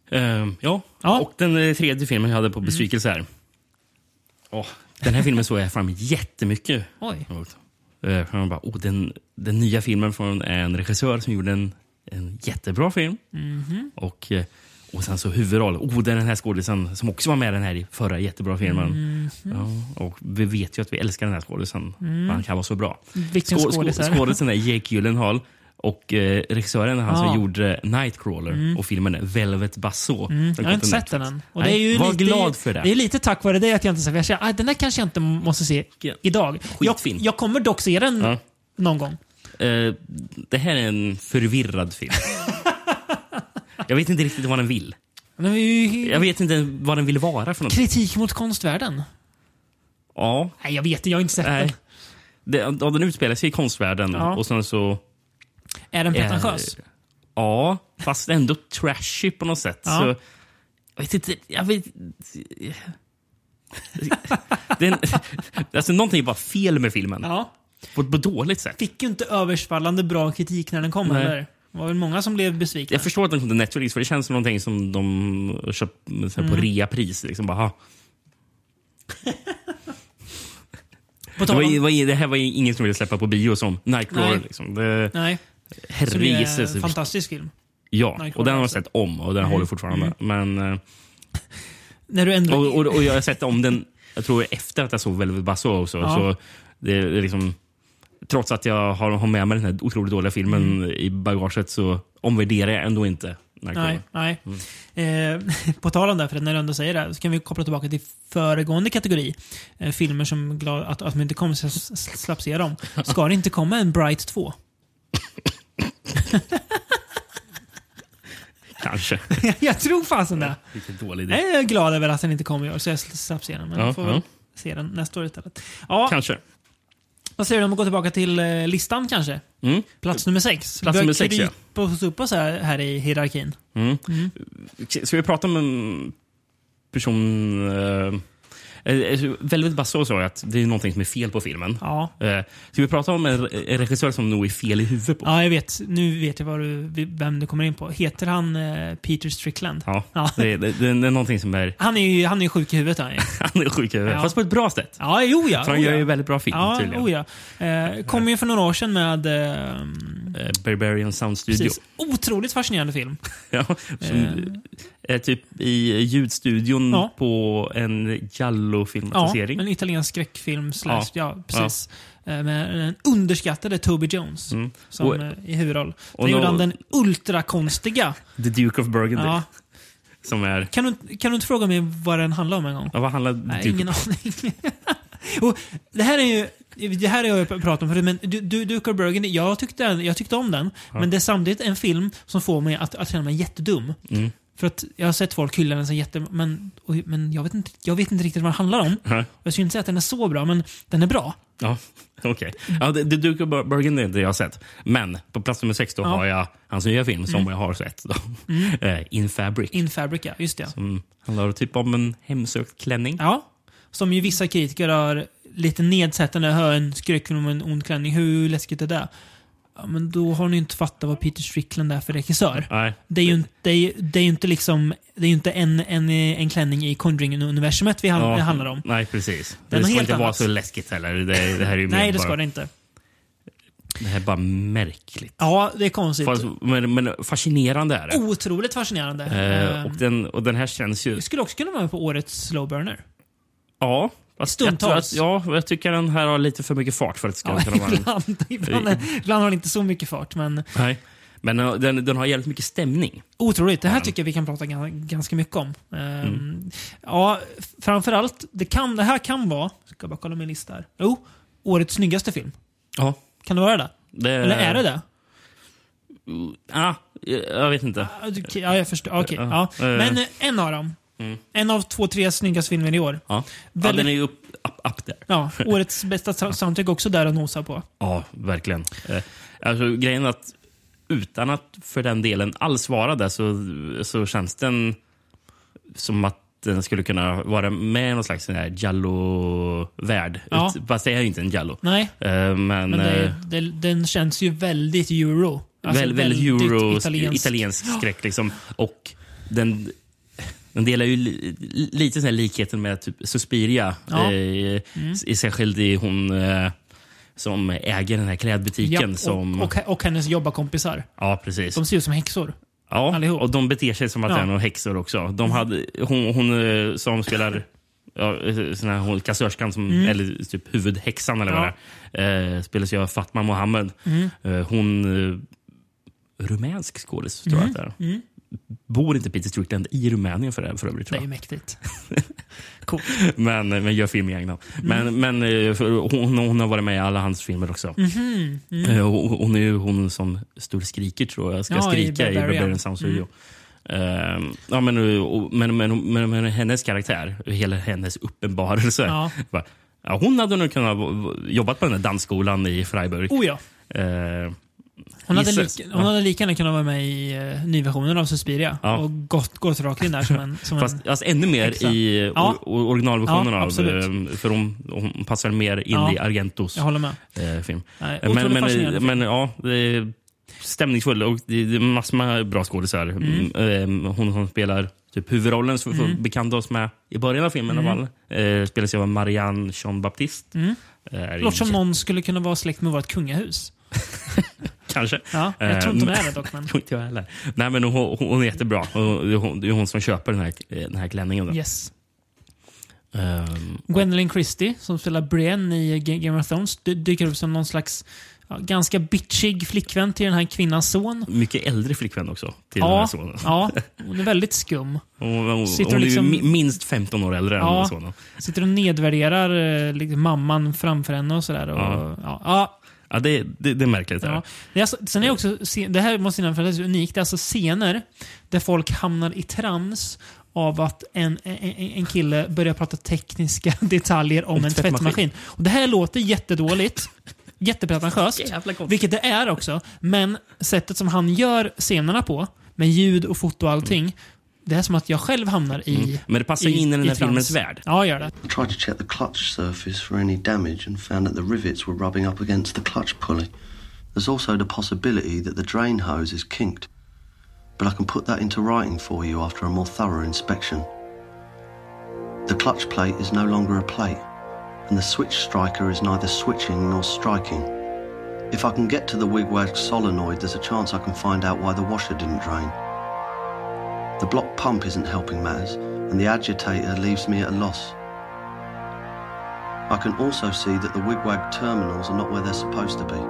jag. Ehm, ja. Ja. och den eh, tredje filmen jag hade på besvikelse här. Åh, den här filmen såg jag fram jättemycket Oj. emot. Eh, för man bara, oh, den, den nya filmen från en regissör som gjorde en, en jättebra film. Och, eh, och sen så huvudroll. Oh, det är den här skådisen som också var med i den här i förra jättebra filmen. Mhm. Mm, Ja, och vi vet ju att vi älskar den här skådisen. Han kan vara så bra. Vilken Skå- skådis är skå- det? Skådisen är Jake Gyllenhaal. Och eh, regissören är han Ja. Mm. som gjorde Nightcrawler och filmen är Velvet Buzzsaw. Mm. Jag har inte sett den än. Och det är Nej, ju var lite, glad för det. Det är lite tack vare det att jag inte sett för Jag känner, "Ah, den där kanske jag inte måste se idag. Jag, Skitfilm. jag kommer dock se den Ja. någon gång. Eh, det här är en förvirrad film. jag vet inte riktigt vad den vill. Men det är ju Jag vet inte vad den vill vara för något. kritik mot konstvärlden. Ja, Nej, jag vet inte. Jag har inte sett nej. den. Det, ja, den utspelar sig i konstvärlden Ja. och sen så... Är den eh, pretentiös? ja, fast ändå trashy på något sätt. Ja. Så, jag vet inte... Jag vet, [LAUGHS] den, [LAUGHS] alltså någonting är bara fel med filmen. Ja. På ett på ett dåligt sätt. Fick ju inte översvallande bra kritik när den kom Nej. heller. Det var väl många som blev besvikna. Jag förstår att den kom till Netflix, för det känns som någonting som de köpt så här, på Mm. reapris. Liksom, bara, "Ha, På det, tal var, om... ju- var, ju- det här var ju ingen som ville släppa på bio som Nightcrawler. Nej. Liksom. Det- Nej. Så Herre det Jesus. är en fantastisk film. Ja, och Nightcrawler den har jag alltså. Mm. sett om och den håller fortfarande. Men, eh, När du ändrar... och, och, och jag har sett om den, jag tror efter att jag såg Velvet Buzzsaw också. Ja. Så det är liksom, trots att jag har, har med mig den här otroligt dåliga filmen i bagaget så omvärderar jag ändå inte Nightcrawler. Nej, nej. Mm. Eh, [LAUGHS] på tal om det, för när du ändå säger det, så kan vi koppla tillbaka till föregående kategori. Eh, filmer som glad att, att man inte kommer så s- s- slapp se [LAUGHS] dem. Ska det inte komma en Bright 2? Kanske. [LAUGHS] Eh, jag tror fasen det. [LAUGHS] Vilken dålig idé. Nej, Jag är glad över att den inte kom i år, så jag sl- slapp se den. Men Ja, jag får ja. väl se den nästa år istället. Ja, Kanske. vad säger du om att gå tillbaka till eh, listan kanske? Mm. Plats nummer sex. Plats nummer sex, ja. ja. oss upp oss här, här i hierarkin. mm. Ska vi prata om en person... Eh, eh, Velvet Buzzsaw sa ju att det är någonting som är fel på filmen. Ja. Eh, ska vi prata om en, en regissör som nog är fel i huvudet på? Ja, jag vet. Nu vet jag vad du, vem du kommer in på. Heter han eh, Peter Strickland? Ja, Ja. Det, det, det är någonting som är... Han är ju, han är ju sjuk i huvudet han är. Han är sjuk i huvudet. Ja. Fast på ett bra sätt. Ja, jo ja. För han oh, ja. gör ju väldigt bra film Ja, tydligen. oh, ja. Eh, kom ju för några år sedan med... Eh, [LAUGHS] Eh, Barbarian Sound Studio. precis. Otroligt fascinerande film. Ja, som, eh, typ i ljudstudion Ja. på en Ja, Giallo-filmatisering. en italiensk skräckfilm. Slash, ja. Ja. precis. Eh, Med den underskattade Toby Jones Mm. som, Och- eh, i huvudroll. Sen och gjorde nå- han den ultrakonstiga. The Duke of Burgundy. Ja. Som är... Kan, du, kan du inte fråga mig vad den handlar om en gång? Ja, vad handlar Nej, Duke ingen of... aning. [LAUGHS] och det här är ju... Det här har jag ju pratat om förut, men du, du, Duke of Burgundy, jag tyckte, jag tyckte om den. Men det är samtidigt en film som får mig att, att känna mig jättedum. Mm. För att jag har sett folk hylla den så jätte... Men, och, men jag, vet inte, jag vet inte riktigt vad den handlar om. Ja, Och Jag skulle inte säga att den är så bra, men den är bra. ja. okej. Ja, The The Duke of Bur- Burgundy är det jag har sett. Men på plats nummer sex då har jag hans nya film som jag har sett. Då. Eh, In Fabric. Mm. In Fabrica, just det. Mm. Handlar typ om en hemsökt klänning. Ja. Som ju vissa kritiker har lite nedsättande. Hör en skräckfilm om en ond klänning. Hur läskigt är det? Ja, men då har ni ju inte fattat vad Peter Strickland är för regissör. Nej. Det är ju inte, det är, ju- det är ju inte liksom... Det är ju inte en, en, en klänning i Conjuring-universumet vi han, Ja. det handlar om. Nej, precis. är Det något ska helt inte vara annat. så läskigt heller. Det, det här är [LAUGHS] ju Nej, mer det ska bara, det inte. det här är bara märkligt. Ja, det är Oh. konstigt. Fast, men, men fascinerande är det. Otroligt fascinerande. Eh, Ehm, och, den, och den här känns ju... det skulle också kunna vara med på årets slow burner. Ja. Fast jag, tror Stundtals. att, ja, jag tycker den här har lite för mycket fart för att det ska Ja, kunna [LAUGHS] vara... en- [LAUGHS] ibland, ibland, ibland har den inte så mycket fart, men Nej. Men eh, den, den har jävligt mycket stämning. Otroligt. Det här tycker jag vi kan prata gan- ganska mycket om. Ehm, Mm. Ja, framförallt, det, kan, det här kan vara, ska jag bara kolla min lista här. Jo, årets snyggaste film. Ja. Kan det vara det? Det, Eller är det det? Ja, jag vet inte. Ja, du- okej, Ja, jag förstår. Okej, Ja. Mm. ja. Eh. Men eh, en av dem. En av två, tre snyggaste filmer i år. Ja. Ja, Väldigt- den är ju upp, up, up där. [LAUGHS] Ja, årets bästa sa- soundtrack också där att nosa på. Ja, verkligen. Eh, Alltså, grejen är att utan att för den delen alls vara där så, så känns den som att den skulle kunna vara med i någon slags sån här Jallo-värld. Ja. Ut- Fast det är ju inte en Jallo. Nej, Eh, Men, men det, eh, det, den känns ju väldigt euro. Alltså väl, väldigt euro, italienskt. italiensk, skräck. Liksom. Och den, den delar ju li, li- lite sån här likheten med typ Suspiria. Ja. Mm. Eh, s- Särskilt i hon eh, som äger den här Ja, klädbutiken. som, och, och, och hennes jobbarkompisar. ja, precis. De ser ut som häxor. Ja, Allihop. och de beter sig som att Ja. det är några häxor också. De hade, hon, hon eh, som spelar ja, eh, sån här, hon, kassörskan, som, eller typ huvudhäxan eller Mm. Ja. Mm. vad det är, eh, spelas ju av Fatma Mohammed. Eh, hon, eh, rumänsk skådis tror Mm. jag att det är. Bor inte Peter Strickland i Rumänien för, för övrigt? Det är Tror ju jag. [LAUGHS] mäktigt. Coolt. Men, eh, men gör film i egna. Men, Mm. men eh, för hon, hon har varit med i alla hans filmer också. Mhm, Eh, och- och Hon är ju hon som står och skriker tror jag. Ska mm. Ja, i skrika i Barbarian. Mm. Barbarian Sound Studio. Ehm, ja, men, och, men, men, men, men hennes karaktär, hela hennes uppenbarelse. Ja. Bara, ja, hon hade nog kunnat v- jobbat på den där dansskolan i Freiburg. Oh ja. Ehm, Hon hade, Gissas. lika, hon hade lika gärna kunnat vara med i uh, nyversionen av Suspiria Ja. och gått, gått rakt in där som en... Som fast, en fast ännu mer Häxa. i eh, Mm. Ja. or, originalversionen Ja, av... absolut. ehm, För hon, hon passar mer in Ja. i Argentos jag håller med. eh, film. Nej, Men, otroligt fascinerande men, film. men ja, det är stämningsfull och det det är massor med bra skådisar. Mm. eh, Hon som spelar typ huvudrollen som Mm. vi bekantade oss med i början av filmen. Mm. Eh, spelas ju av Marianne Jean-Baptiste. Mm. Låter som någon skulle kunna vara släkt med vårt kungahus. Kanske. Ja, jag Eh, tror inte hon men- är [LAUGHS] det dock, men... tror inte jag heller. Nej, men hon, hon är jättebra. Och det är hon, det är hon som köper den här, eh, den här klänningen. Då. Yes. Ehm, Gwendolyn Christie, som spelar Brienne i Ga- Game of Thrones, dy- dyker upp som någon slags ja, ganska bitchig flickvän till den här kvinnans son. mycket äldre flickvän också till den här Ja, sonen. [LAUGHS] ja, hon är väldigt skum. Hon, hon, Sitter hon är hon liksom- ju mi- minst 15 år äldre än Ja. sonen. Sitter och nedvärderar eh, liksom, mamman framför henne och sådär. Och, Ja. Ja, ja, Ja, det, det, det är märkligt. det Här. Ja. Det är alltså, sen är också, scen- det här måste jag nämna för det är unikt. Det är alltså scener där folk hamnar i trams av att en, en, en kille börjar prata tekniska [LAUGHS] detaljer om, Om en tvättmaskin. tvättmaskin. Och det här låter [LAUGHS] jättedåligt. Jättepretentiöst. Vilket det är också. Men sättet som han gör scenerna på, med ljud och foto och allting, det är som att jag själv hamnar i... Mm. Men det passar i, ju in i den i här trams. filmens värld. Ja, gör det. I tried to check the clutch surface for any damage and found that the rivets were rubbing up against the clutch pulley. There's also the possibility that the drain hose is kinked, but I can put that into writing for you after a more thorough inspection. The clutch plate is no longer a plate, and the switch striker is neither switching nor striking. If I can get to the wigwag solenoid, there's a chance I can find out why the washer didn't drain. The block pump isn't helping matters, and the agitator leaves me at a loss. I can also see that the wigwag terminals are not where they're supposed to be,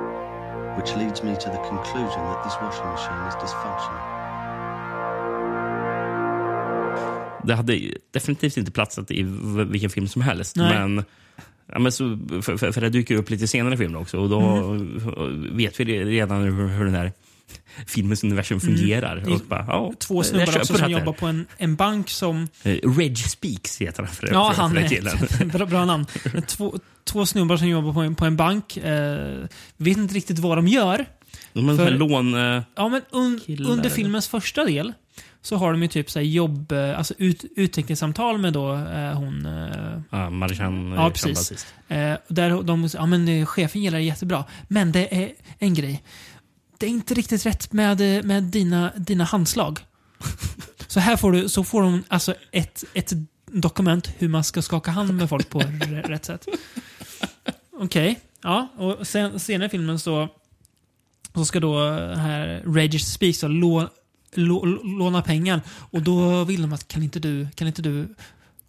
which leads me to the conclusion that this washing machine is dysfunctional. Det hade definitivt inte platsat i v- vilken film som helst. Nej. Men, ja, men så, för, för, för det dyker upp lite senare i filmen också. Och då Mhm. eh, vet vi re- redan hur, hur den här filmens universum fungerar. Och bara, ja, Mm. Två jag snubbar köper också som att det- jobbar på en, en bank som... Eh, Reg Speaks heter han för, Ja, för, för han den killen. är [LAUGHS] bra, bra [LAUGHS] namn. Men Två, två snubbar som jobbar på en, på en bank. Eh, vet inte riktigt vad de gör. De har För- för... lån... eh, Ja, men un, Killar, under eller? filmens första del så har de ju typ så här jobb... eh, Alltså ut, utvecklingssamtal med då eh, hon... Eh, Ja, Marjan Ja, precis. Eh, där de, ja, men, eh, chefen gillar det jättebra. Men det är en grej. Det är inte riktigt rätt med, eh, med dina, dina [LAUGHS] handslag. så här får du, så får de alltså ett, ett dokument hur man ska skaka hand med folk på [LAUGHS] r- rätt sätt. Okej, ja. Och sen, senare i filmen så, så ska då eh, här Regis Speaks då lå, lå, låna pengar. Och då vill de att kan inte du, kan inte du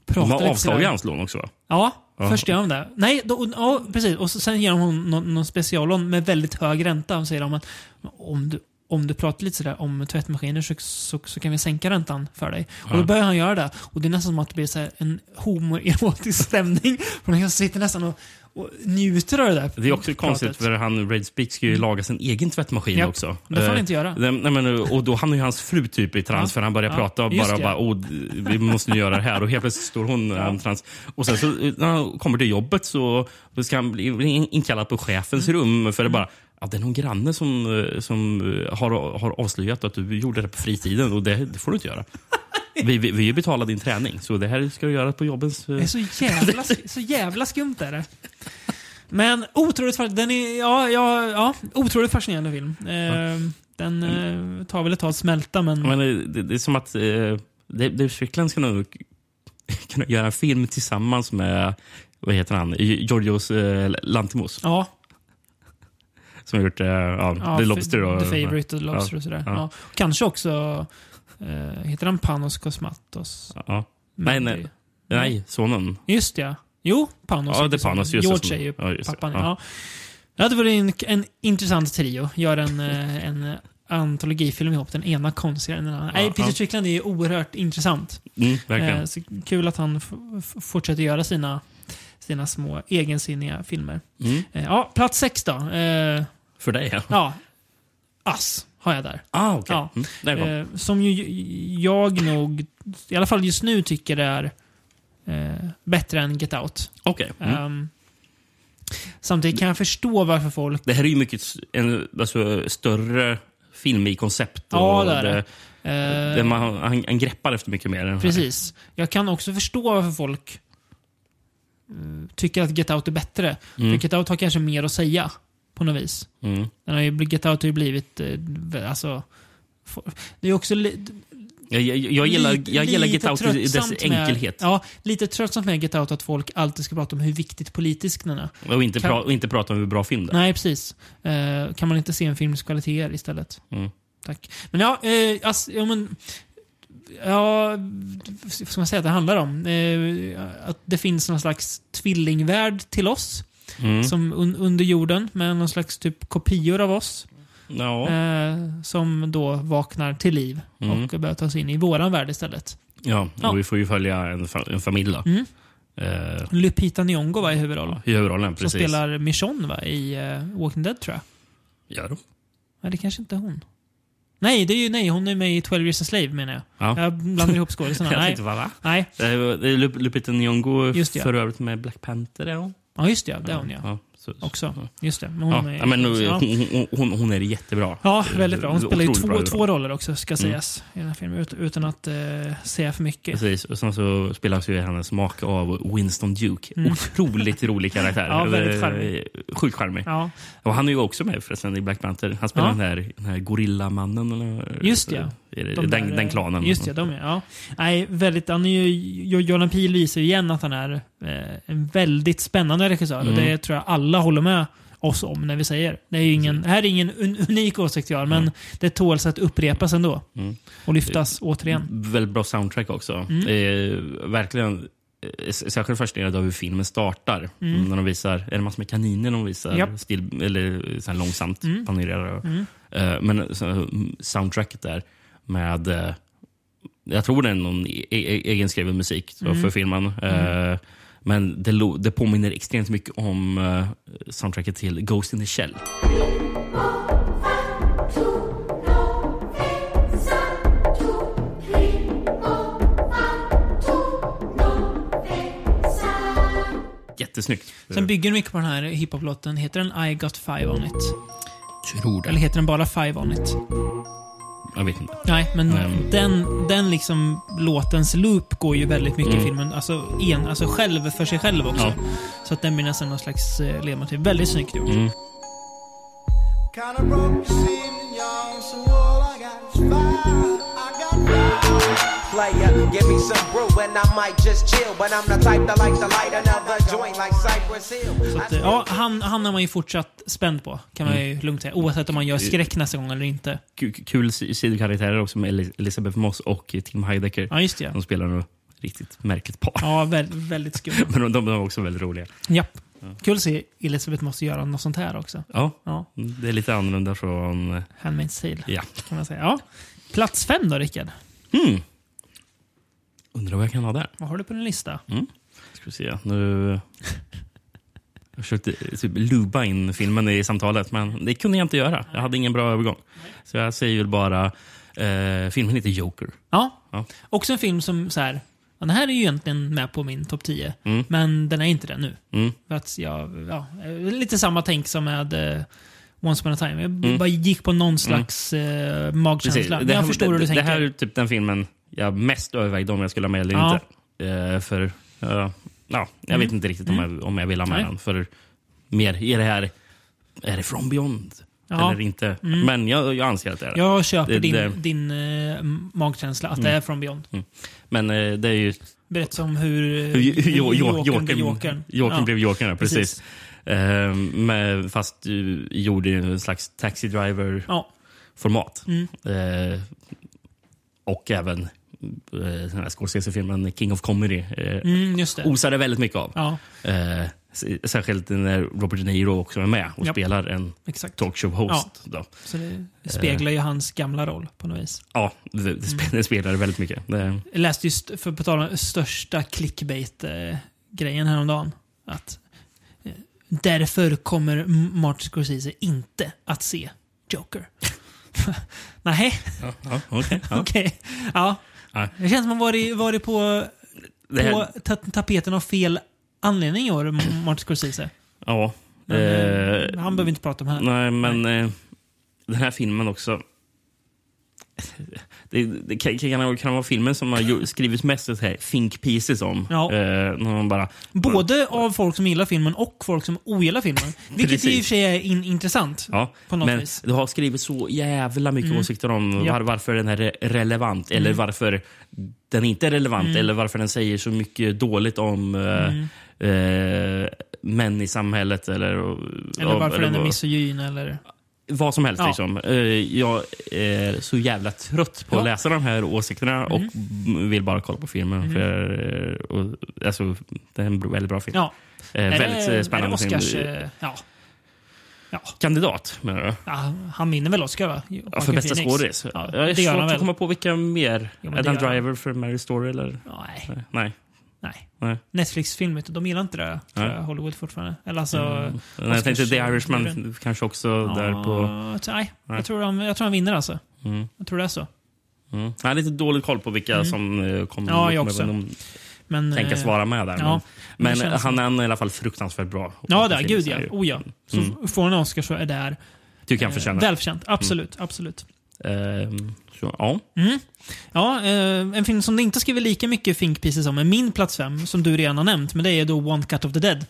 prata lite De har sådär?" avslagit hans lån också va? Ja, Ja. först gör de det. Nej, då, ja, precis. Och så, sen ger de hon någon, någon speciallån med väldigt hög ränta. Och säger de att om du, om du pratar lite sådär om tvättmaskiner så, så, så kan vi sänka räntan för dig. Och då börjar han göra det. Och det är nästan som att det blir så här en [LAUGHS] homoerotisk stämning. För han sitter nästan och, och njuter av det där Det är också konstigt pratet. för han, Red Speak ska ju laga sin egen tvättmaskin Japp, också. Mm. det får han Eh, inte göra. Nej, nej, men, eh, och då hamnar ju hans fru typ i trans Ja, för han börjar ja, prata och just bara, det. bara oh, d- vi måste nu göra det här och helt plötsligt står hon ja. trans. Och sen så eh, när han kommer till jobbet så så ska han bli bli inkallad på chefens Mm. rum för det bara Ja, det är någon granne som, eh, som eh, har, har avslöjat att du gjorde det på fritiden och det, det får du [LAUGHS] inte göra. Vi, vi, vi betalar din träning, så det här ska du göra på jobbens... eh, Det är så jävla, så jävla skumt är det. Men otroligt, fa- den är, ja, ja, ja, otroligt fascinerande film. Eh, Den eh, tar väl ett tag att smälta men... Men eh, det, det är som att eh, Dave Dave Strickland ska nog kunna göra en film tillsammans med vad heter han? Georgios eh, Lantimos Ja, som har gjort eh, ja, ja, The f- Lobster. Och, The Favourite och The Lobster och sådär. Ja. ja. Kanske också... Eh, heter han Panos Kosmatos? Ja. Nej, nej. Mm. Nej, sonen. Just ja. Jo, Panos. Ja, heter det är Panos. sonen. Just det, George som- är ju ja, just det. pappan. Ja. Ja. Ja. Det vore en, en intressant trio. Gör en, eh, en antologifilm ihop. Den ena konstigare än den andra. Nej, Ja, Peter ja. Strickland är ju oerhört intressant. Mm, verkligen. Eh, så kul att han f- f- fortsätter göra sina, sina små egensinniga filmer. Mm. Eh, ja, plats sex då. Eh, För dig, ja. ja. Ass har jag där. Ah, okej. Ja. Mm, där kom. Eh, som ju jag nog, i alla fall just nu, tycker är eh, bättre än Get Out. Okej. Mm. Ehm, samtidigt kan jag förstå varför folk... Det här är ju mycket s- en alltså, större film i koncept. Ja, och det är det. det- eh, det man, han, han greppar efter mycket mer. än den här. Precis. Jag kan också förstå varför folk eh, tycker att Get Out är bättre. För Get Out har kanske mer att säga, på något vis. Mm. Den har ju, Get Out har ju blivit... Eh, vä- alltså, for- det är ju också... li- Jag, jag, jag gillar, Lite- jag gillar Get lite Out i dess tröttsamt med- enkelhet. Ja, lite tröttsamt med Get Out att folk alltid ska prata om hur viktigt politisk den är. Och inte, Kan- pra, och inte prata om hur bra film det är. Nej, precis. Eh, kan man inte se en films kvaliteter istället? Mm. Tack. Men ja, eh, ass, ja men... Ja, vad ska man säga att det handlar om? Eh, att det finns någon slags tvillingvärld till oss. Mm. Som un, under jorden med någon slags typ kopior av oss. Ja. Eh, som då vaknar till liv Mm. och börjar ta sig in i våran värld istället. Ja, och Ja. Mm. vi får ju följa en, fa- en familj då. Eh, Lupita Nyong'o var i huvudrollen. I Som huvudrollen, precis. spelar Michonne va, i eh, Walking Dead tror jag. Gör de? Nej, det kanske inte är hon. Nej, det är ju, nej, hon är med i 12 years a slave menar jag. Ja. Jag blandar ihop skådisarna. [LAUGHS] Jag nej. tänkte, va, va? nej. Eh, det är Lup- Lupita Nyong'o Just det, ja. för övrigt med Black Panther. Ja, Ja, just det. ja. Det är hon ja. så, så- Också. Just det. Men hon Ja, är, ja, men, nu- ja. hon, hon, hon, hon är jättebra. ja, väldigt bra. Hon spelar ju Otroligt bra Mm. två, huvudroll. två roller också, ska sägas, i den här filmen. ut- Utan att eh, säga för mycket. Precis, och sen så spelas ju hennes make av Winston Duke. Otroligt rolig karaktär. Mm. [LAUGHS] Ja, väldigt Eh, charmig. Sjukt charmig. Ja, Och han är ju också med förresten i Black Panther. Han spelar Ja. den, här, den här gorillamannen. Eller, Just det, ja. Är det- de den, där, eh, den klanen. liksom. Just det, de är, ja. Nej, väldigt, han är ju, Jordan Mm. Peele visar ju igen att han är eh, en väldigt spännande regissör. Och det tror jag alla håller med oss om när vi säger. Det är ju ingen, här är ingen un, unik åsikt jag har, men det tåls att upprepas ändå. Mm. Och lyftas återigen. Väldigt bra soundtrack också. Eh, verkligen. eh, s- Särskilt fascinerad av hur filmen startar. När de visar, är det massor med kaniner de visar? Japp. Still, eller eh, så här långsamt panerar. Eh, men så, här, mm, soundtracket där med, eh, jag tror det är någon e- e- egenskriven musik så, för filmen. Eh, men det, lo- det påminner extremt mycket om eh, soundtracket till Ghost in the Shell. Jättesnyggt. Eh, Sen bygger de mycket på den här hiphop-låten. Heter den I got five on it? tror Eller heter den bara five on it? Jag vet inte. Nej, men Mm. den, den liksom låtens loop går ju väldigt mycket i filmen. Alltså, en, alltså själv för sig själv också. Så att den blir nästan någon slags eh, ledmotiv. Väldigt snyggt gjort. Kinda broke this evening, y'all. So all I got is fire. I got fire. player. Give me some brew and I might just chill. But I'm the type that likes to light another joint like Cypress Hill. Så att, eh, ja, han, han är man ju fortsatt spänd på, kan man ju lugnt säga. Oavsett om man gör skräck nästa gång eller inte. Kul, kul si- sidokaraktärer också med Elis- Elisabeth Moss och Tim Heidecker. Ja, just det. ja. De spelar nog riktigt märkligt par. [LAUGHS] Ja, väldigt, väldigt skumt. Men de, de är också väldigt roliga. Japp. Kul att se Elisabeth måste göra något sånt här också. Ja, Ja, det är lite annorlunda från... eh, Handmaid's Tale, Ja. kan man säga. Ja. Plats fem då, Rickard. Mm. Undrar vad jag kan ha där. Vad har du på din lista? Ska vi se. Nu... Jag försökte eh, typ luba in filmen i samtalet, men det kunde jag inte göra. Jag hade ingen bra övergång. Så jag säger väl bara... Eh, filmen heter Joker. Ja. Ja. Också en film som så här, ja, den här är ju egentligen med på min topp 10, men den är inte det nu. Mm. För att jag, ja, eh, lite samma tänk som med eh, Once upon a time. Jag b- bara gick på någon slags eh, magkänsla. Mm. Precis. Men Det här- jag förstår hur du det, tänker. Det här är typ den filmen jag mest övervägde om jag skulle ha med eller Ja. Mm. inte. Eh, för, eh, ja, jag vet inte riktigt om jag, om jag vill ha med Nej. den. För mer, är det här är det from beyond? Ja. Mm. Eller inte? Men jag, jag anser att det är det. jag köper Det- din, det- Mm. din eh, magkänsla, att det är från Beyond. Men eh, det är ju Berätta om hur, eh, hur jo, jo, Jokern Jokern blev Jokern. Jokern Ja. blev Jokern, ja, precis. Precis. Eh, men, fast du gjorde ju en slags taxi driver Ja. format. Mm. Eh, och även eh, den här Scorsese-filmen King of Comedy eh, Mm, just det. osade väldigt mycket av. Ja, Eh, s- särskilt när Robert De Niro också är med och Japp. spelar en exakt. talkshow-host. Ja. Så det speglar ju hans gamla roll på något vis. ja, det, det spe- det spelar väldigt mycket. Det, Jag läste just, för på tal om största clickbait-grejen häromdagen. Att eh, därför kommer M- Martin Scorsese inte att se Joker. [LAUGHS] Nej, ja, ja, okej, [LAUGHS] ja. okej. Ja. Nej. Det känns som man varit, varit på, Det här- på ta tapeten av fel anledning i år, M- Martin Scorsese. ja. Men, Eh, eh, han behöver vi inte prata om här. Nej, men eh, den här filmen också. Det, det kan, kan, kan vara filmen som har ju- skrivits mest så här, think pieces om. Ja. Eh, när man bara, Både av folk som gillar filmen och folk som ogillar filmen. Vilket i och Precis. för sig är in intressant. Ja, På något men vis. Mm. du har skrivit så jävla mycket åsikter om Ja. var, varför den här är relevant Mm. eller varför den inte är relevant eller varför den säger så mycket dåligt om Mm. eh, eh, män i samhället eller, eh, Eller varför den är vad- misogyn eller... vad som helst. Ja. Liksom. Eh, jag är så jävla trött på Ja. att Mm. läsa de här åsikterna och m- vill bara kolla på filmen. För, eh, och, alltså, det är en br- väldigt bra film. Ja. Eh, Är väldigt det, eh, spännande är det Oscars, film. eh, Ja. Ja. Kandidat menar du? ja, han vinner väl Oscar va? Ja, för Joaquin bästa Phoenix. skådis. Ja, jag är det gör svårt han att väl? komma på vilka mer. Jo, men det Adam gör han. Driver för Mary Story eller? Nej, Nej. nej. Nej. Netflix-film, vet du, de gillar inte det tror Nej. Mm. jag, Hollywood fortfarande. Eller alltså... Nej, jag tänkte The Irishman Oscars- kanske också där på... Ja, nej, Nej. jag tror, de, jag tror han vinner alltså. Mm. Jag tror det är så. Mm. Jag har lite dålig koll på vilka som eh, kommer Mm. Ja, jag kommer också. de Men, tänkas eh, vara med där. ja, men men det men känns han är i alla fall fruktansvärt bra. Ja, Och där, det gud finns ja. Eh, ju. Mm. Oh, ja. Så får han en Oscar så är det här Tycker han förtjänar. välförtjänt. Absolut, absolut. Ehm, så, ja. Ja, eh, en film som det inte skriver lika mycket think pieces om är min plats fem, som du redan har nämnt, men det är då One Cut of the Dead.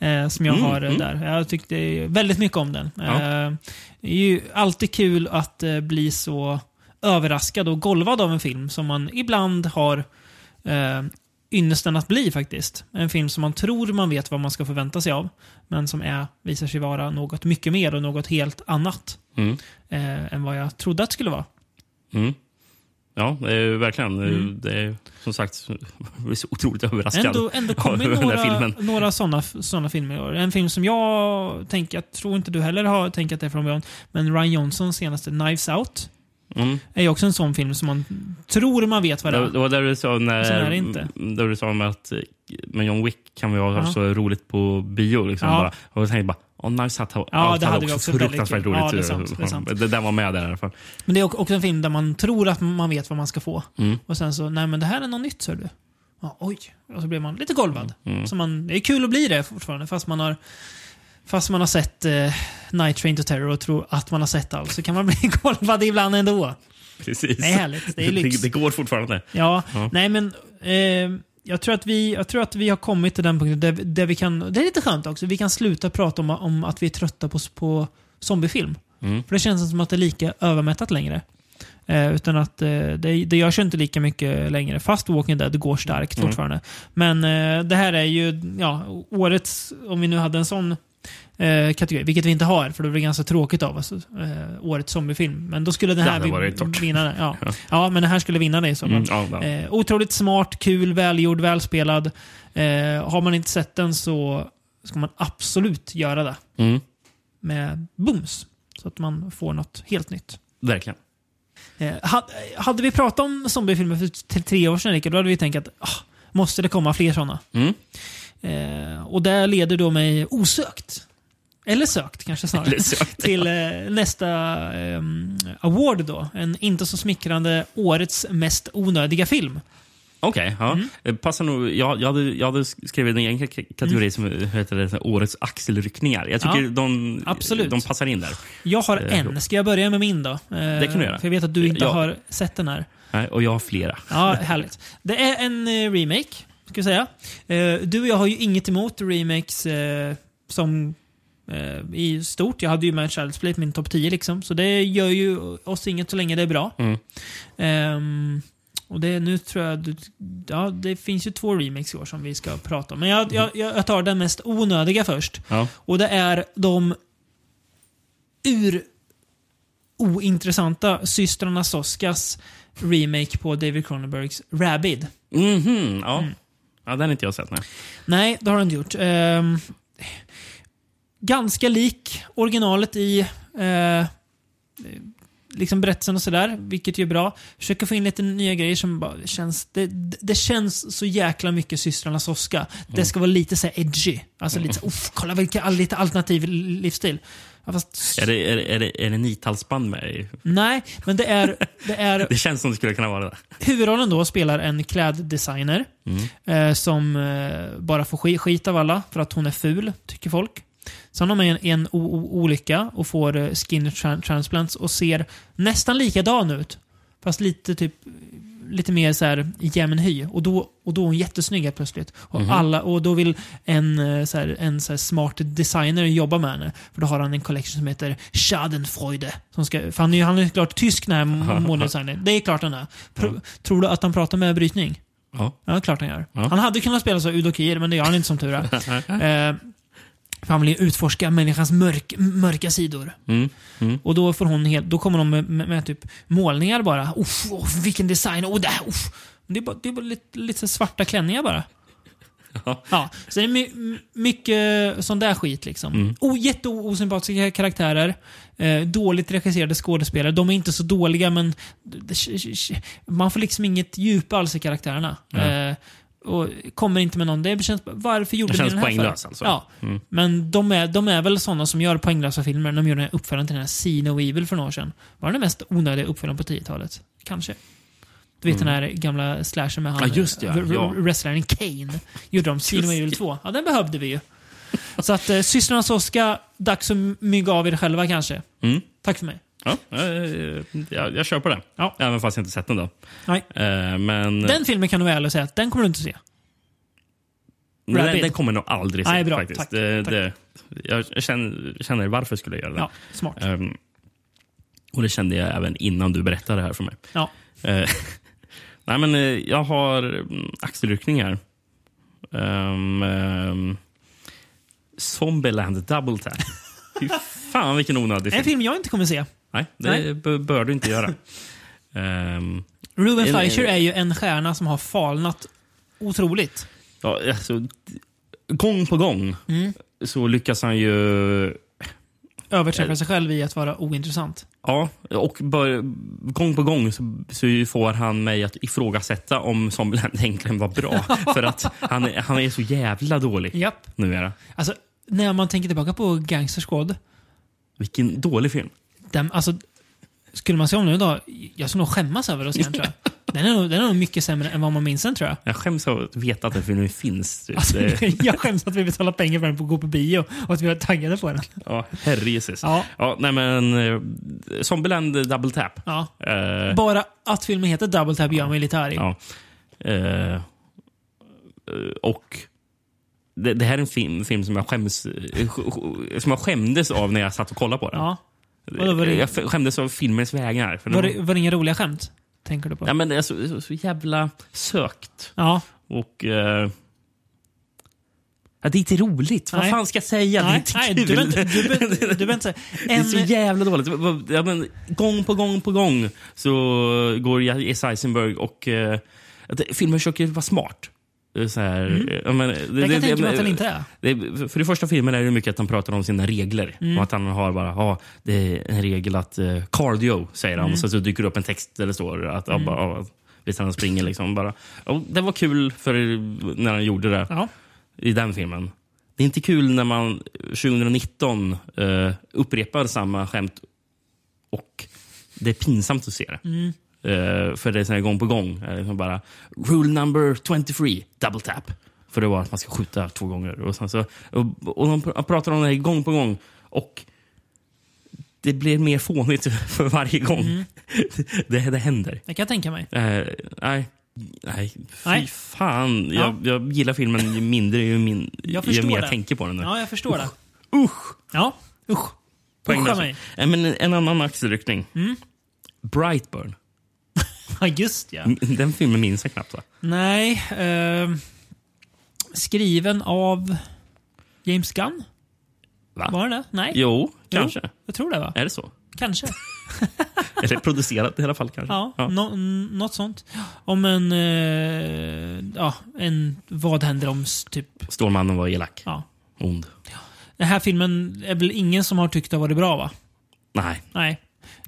Eh, som jag Mm, har eh, mm. där. Jag tyckte väldigt mycket om den. Ja. Eh, det är ju alltid kul att eh, bli så överraskad och golvad av en film som man ibland har eh, ynnesten att bli faktiskt. En film som man tror man vet vad man ska förvänta sig av, men som är, visar sig vara något mycket mer och något helt annat Mm. eh, än vad jag trodde att det skulle vara. Mm. Ja, eh, verkligen. Eh, Det är som sagt, jag blir så otroligt överraskad Mm. Ändå, ändå av [LAUGHS] kommer den här några, filmen. några sådana såna filmer i år. En film som jag tänker, jag tror inte du heller har tänkt att det är från början, men Ryan Johnsons senaste Knives Out Mm. är ju också en sån film som man tror man vet vad det Det är. det var där du sa, Så är när, det inte. där du sa om att eh, med John Wick kan vi ha Ja. så roligt på bio. Liksom, Ja. bara. Och jag tänkte bara, oh, nice hat, det hade vi också väldigt fruktansvärt kul. roligt. Ja, det är sant, det är sant. Det där var med där i [LAUGHS] alla fall. Men det är också en film där man tror att man vet vad man ska få. Mm. Och sen så, nej men det här är något nytt, ser du. Ja, oj. Och så blir man lite golvad. Mm. Så man, det är kul att bli det fortfarande, fast man har, fast man har sett eh, Night Train to Terror och tror att man har sett allt, så kan man bli [LAUGHS] golvad ibland ändå. Precis. Det är härligt, det är lyx. Det, går fortfarande. Ja, Ja. nej men eh, jag, tror att vi, jag tror att vi har kommit till den punkten där, där vi kan, det är lite skönt också, vi kan sluta prata om, om att vi är trötta på, på zombiefilm. Mm. För det känns som att det är lika övermättat längre. Eh, utan att eh, det, det görs ju inte lika mycket längre, fast Walking Dead går starkt Mm. fortfarande. Men eh, det här är ju, ja, årets, om vi nu hade en sån eh, kategori, vilket vi inte har, för det blir ganska tråkigt av oss, eh, årets zombiefilm. Men då skulle den Det här hade vi- varit torrt. vinna den. [LAUGHS] Ja. ja, men den här skulle vinna det i så fall. Mm, ja, ja. Eh, otroligt smart, kul, välgjord, välspelad. Eh, har man inte sett den så ska man absolut göra det Mm. med booms. Så att man får något helt nytt. Verkligen. Eh, ha- hade vi pratat om zombiefilmer för t- tre år sedan, Rickard, då hade vi tänkt att ah, måste det komma fler sådana? Mm. Eh, och det leder då mig osökt, eller sökt kanske snarare, Eller sökt, [LAUGHS] till eh, nästa ehm, award då. En inte så smickrande årets mest onödiga film. Okej, ja. Mm. Eh, Passar nog, jag, jag, hade, jag hade skrivit en egen k- kategori som heter det, så här, Årets axelryckningar. Jag tycker Mm. Ja, de, absolut. de passar in där. Jag har Eh, en. Ska jag börja med min då? Eh, det kan du göra. För jag vet att du inte Ja. har sett den här. Nej, Och jag har flera. Ja, härligt. Det är en eh, remake, ska vi säga. Eh, du och jag har ju inget emot remakes eh, som eh, i stort. Jag hade ju med Child's Play på min topp 10 liksom. Så det gör ju oss inget så länge det är bra. Mm. Ehm, och det, nu tror jag, du- ja, det finns ju två remakes i år som vi ska prata om. Men jag, jag, jag tar den mest onödiga först. Ja. Och det är de ur ointressanta systrarna Soskas remake på David Cronenbergs Rabid. Mhm, ja. Mm. ja, den har inte jag sett. Nej. Nej, det har han inte gjort. Ehm, ganska lik originalet i eh, liksom berättelsen och sådär, vilket ju är bra. Försöker få in lite nya grejer som bara känns... Det, det känns så jäkla mycket systrarna Soska. Det ska vara lite så här edgy. Alltså lite så här, uff, kolla vilka, lite alternativ livsstil. Ja, fast, Är det, är, det- är det, är det nithalsband med? i? nej, men det är, det är [LAUGHS] Det känns som det skulle kunna vara det. Huvudrollen då spelar en kläddesigner eh, som eh, bara får skit, skit av alla för att hon är ful, tycker folk. Sen har man en, en o, o, olycka och får eh, skin tran- transplants och ser nästan likadan ut. Fast lite typ lite mer så här jämn hy. Och då, och då är hon jättesnygg helt plötsligt. Och, alla, och då vill en, eh, så här, en så här smart designer jobba med henne. För då har han en collection som heter Schadenfreude. Som ska, för han är ju han är ju klart tysk den här mo- modedesignern. Det är klart han är. Pro, Tror du att han pratar med brytning? Ja. Ja, klart han gör. Ja. Han hade kunnat spela så Udo Kier, men det gör han inte som tur är. eh, för han vill ju utforska människans mörk, mörka sidor. Mm. Och då, får hon helt, då kommer de med, med, med typ målningar bara. Uff, uff, vilken design! Oh, det, här, uff. det är bara, det är bara lite, lite så här svarta klänningar bara. Ja. Ja, så det är my, my- mycket sån där skit liksom. Mm. Oh, jätteosympatiska karaktärer. Eh, dåligt regisserade skådespelare. De är inte så dåliga men det- det- man får liksom inget djup alls i karaktärerna. Eh, och kommer inte med någon. Det känns, varför gjorde Det ni känns den här poänglös för? alltså. Ja. Men de är, de är väl sådana som gör poänglösa filmer. De gjorde den här uppföljaren till den här See No Evil för några år sedan. Var den mest onödiga uppföljaren på 10-talet? Kanske. Du vet den här gamla slashern med han, Mm. Ja, just det, ja. v- v- Ja. wrestlaren Kane. Gjorde de See No Evil 2. Ja, den behövde vi ju. Så att eh, systrarna Soska, dags att mygga av er själva kanske. Mm. Tack för mig. Ja, eh, jag, jag kör på den. Ja. Även fast jag inte sett den. Då. Nej. Eh, Men Den filmen kan du väl säga att den kommer du inte se. men den, Rabbit. den kommer jag nog aldrig se. Nej, bra. faktiskt. Tack. Det, Tack. Det, jag känner, känner varför skulle jag göra det. Ja, smart. Ehm, och det kände jag även innan du berättade det här för mig. Ja. Eh, [LAUGHS] Nej, men eh, jag har mm, axelryckningar. Um, um, Zombieland [LAUGHS] Double Tap. Fy fan vilken onödig En film. film jag inte kommer se. Nej, det Nej. b- bör du [LAUGHS] inte göra. Ehm, Ruben En- Fleischer är ju en stjärna som har falnat otroligt. ja, alltså, gång på gång Mm. så lyckas han ju Överträffar sig själv i att vara ointressant. Ja, och bör, gång på gång så, så får han mig att ifrågasätta om Zombieland [LAUGHS] egentligen [LAUGHS] var bra. för att han, är- han är så jävla dålig Japp. numera. Alltså, när man tänker tillbaka på Gangster Squad. Vilken dålig film. Den, alltså, skulle man se om den idag, jag skulle nog skämmas över att se den tror jag. Den är, nog, den är nog mycket sämre än vad man minns den tror jag. Jag skäms av att veta att den filmen finns. Typ. Alltså, [LAUGHS] det, jag skäms att vi betalar pengar för den på att gå på bio och att vi var taggade på den. ja, herrejösses. Ja. Ja. nej men eh, Zombieland Double Tap. Ja. Eh, Bara att filmen heter Double Tap gör mig lite arg. Ja. Eh, eh, och det, det här är en film, film som, jag skäms, eh, som jag skämdes av när jag satt och kollade på den. Ja. Vadå, var det- Jag f- skämdes av filmens vägnar. För Var, den- det, var det inga roliga skämt? Tänker du på? ja, men det är så, så, så jävla sökt. Ja. Och... Eh, ja, det är inte roligt. Vad Nej. fan ska jag säga? nej, det är nej, inte du kul. behöver inte- du behöver [LAUGHS] inte- du behöver inte säga. Det är så En- jävla dåligt. Det var- Ja, men, gång på gång på gång så går Jesse Eisenberg och... Eh, att filmen försöker vara smart. Eh, Så här, eh, ja, men, det, Mm. Jag det- kan tänka mig men- att den inte är. det är- För det första filmen är det mycket att han pratar om sina regler. Mm. Och att han har bara, ja, det är en regel att eh, cardio, säger Mm. han. Och sen så dyker det upp en text där det står att, mm. bara, ja, visst han springer liksom bara. Och det var kul för när han gjorde det Ja. i den filmen. Det är inte kul när man 2019 eh, upprepar samma skämt och det är pinsamt att se det. Eh, för det är sån här gång på gång. Eh, liksom bara, Rule number 23, double tap. För det var att man ska skjuta två gånger. Och, sen så, och, och de pr- pratar om det här gång på gång. Och det blir mer fånigt [LAUGHS] för varje gång [LAUGHS] det, det händer. Det kan jag tänka mig. Eh, nej. Nej, fy Nej. fan. Jag, Ja. jag gillar filmen ju mindre ju, min, Jag ju förstår mer det. jag tänker på den. nu. Ja, jag förstår det. Usch! Ja, usch. Poäng Uscha alltså. mig. Mm. Nej, men en annan axelryckning. Brightburn. Ja, just ja. Den filmen minns jag knappt. Va? Mm. Nej. ehm, skriven av James Gunn? va? Var det det? Nej? Jo, kanske. Jag tror det va? Är det så? Kanske. Eller producerat i alla fall. kanske. [LAUGHS] Ja, Mm. nå- n- något sånt. Om en... eh, ja, en... Vad händer om... s- Typ... Stålmannen var elak. Ja. Ond. Den här filmen är väl ingen som har tyckt det har varit bra va? Nej. Nej.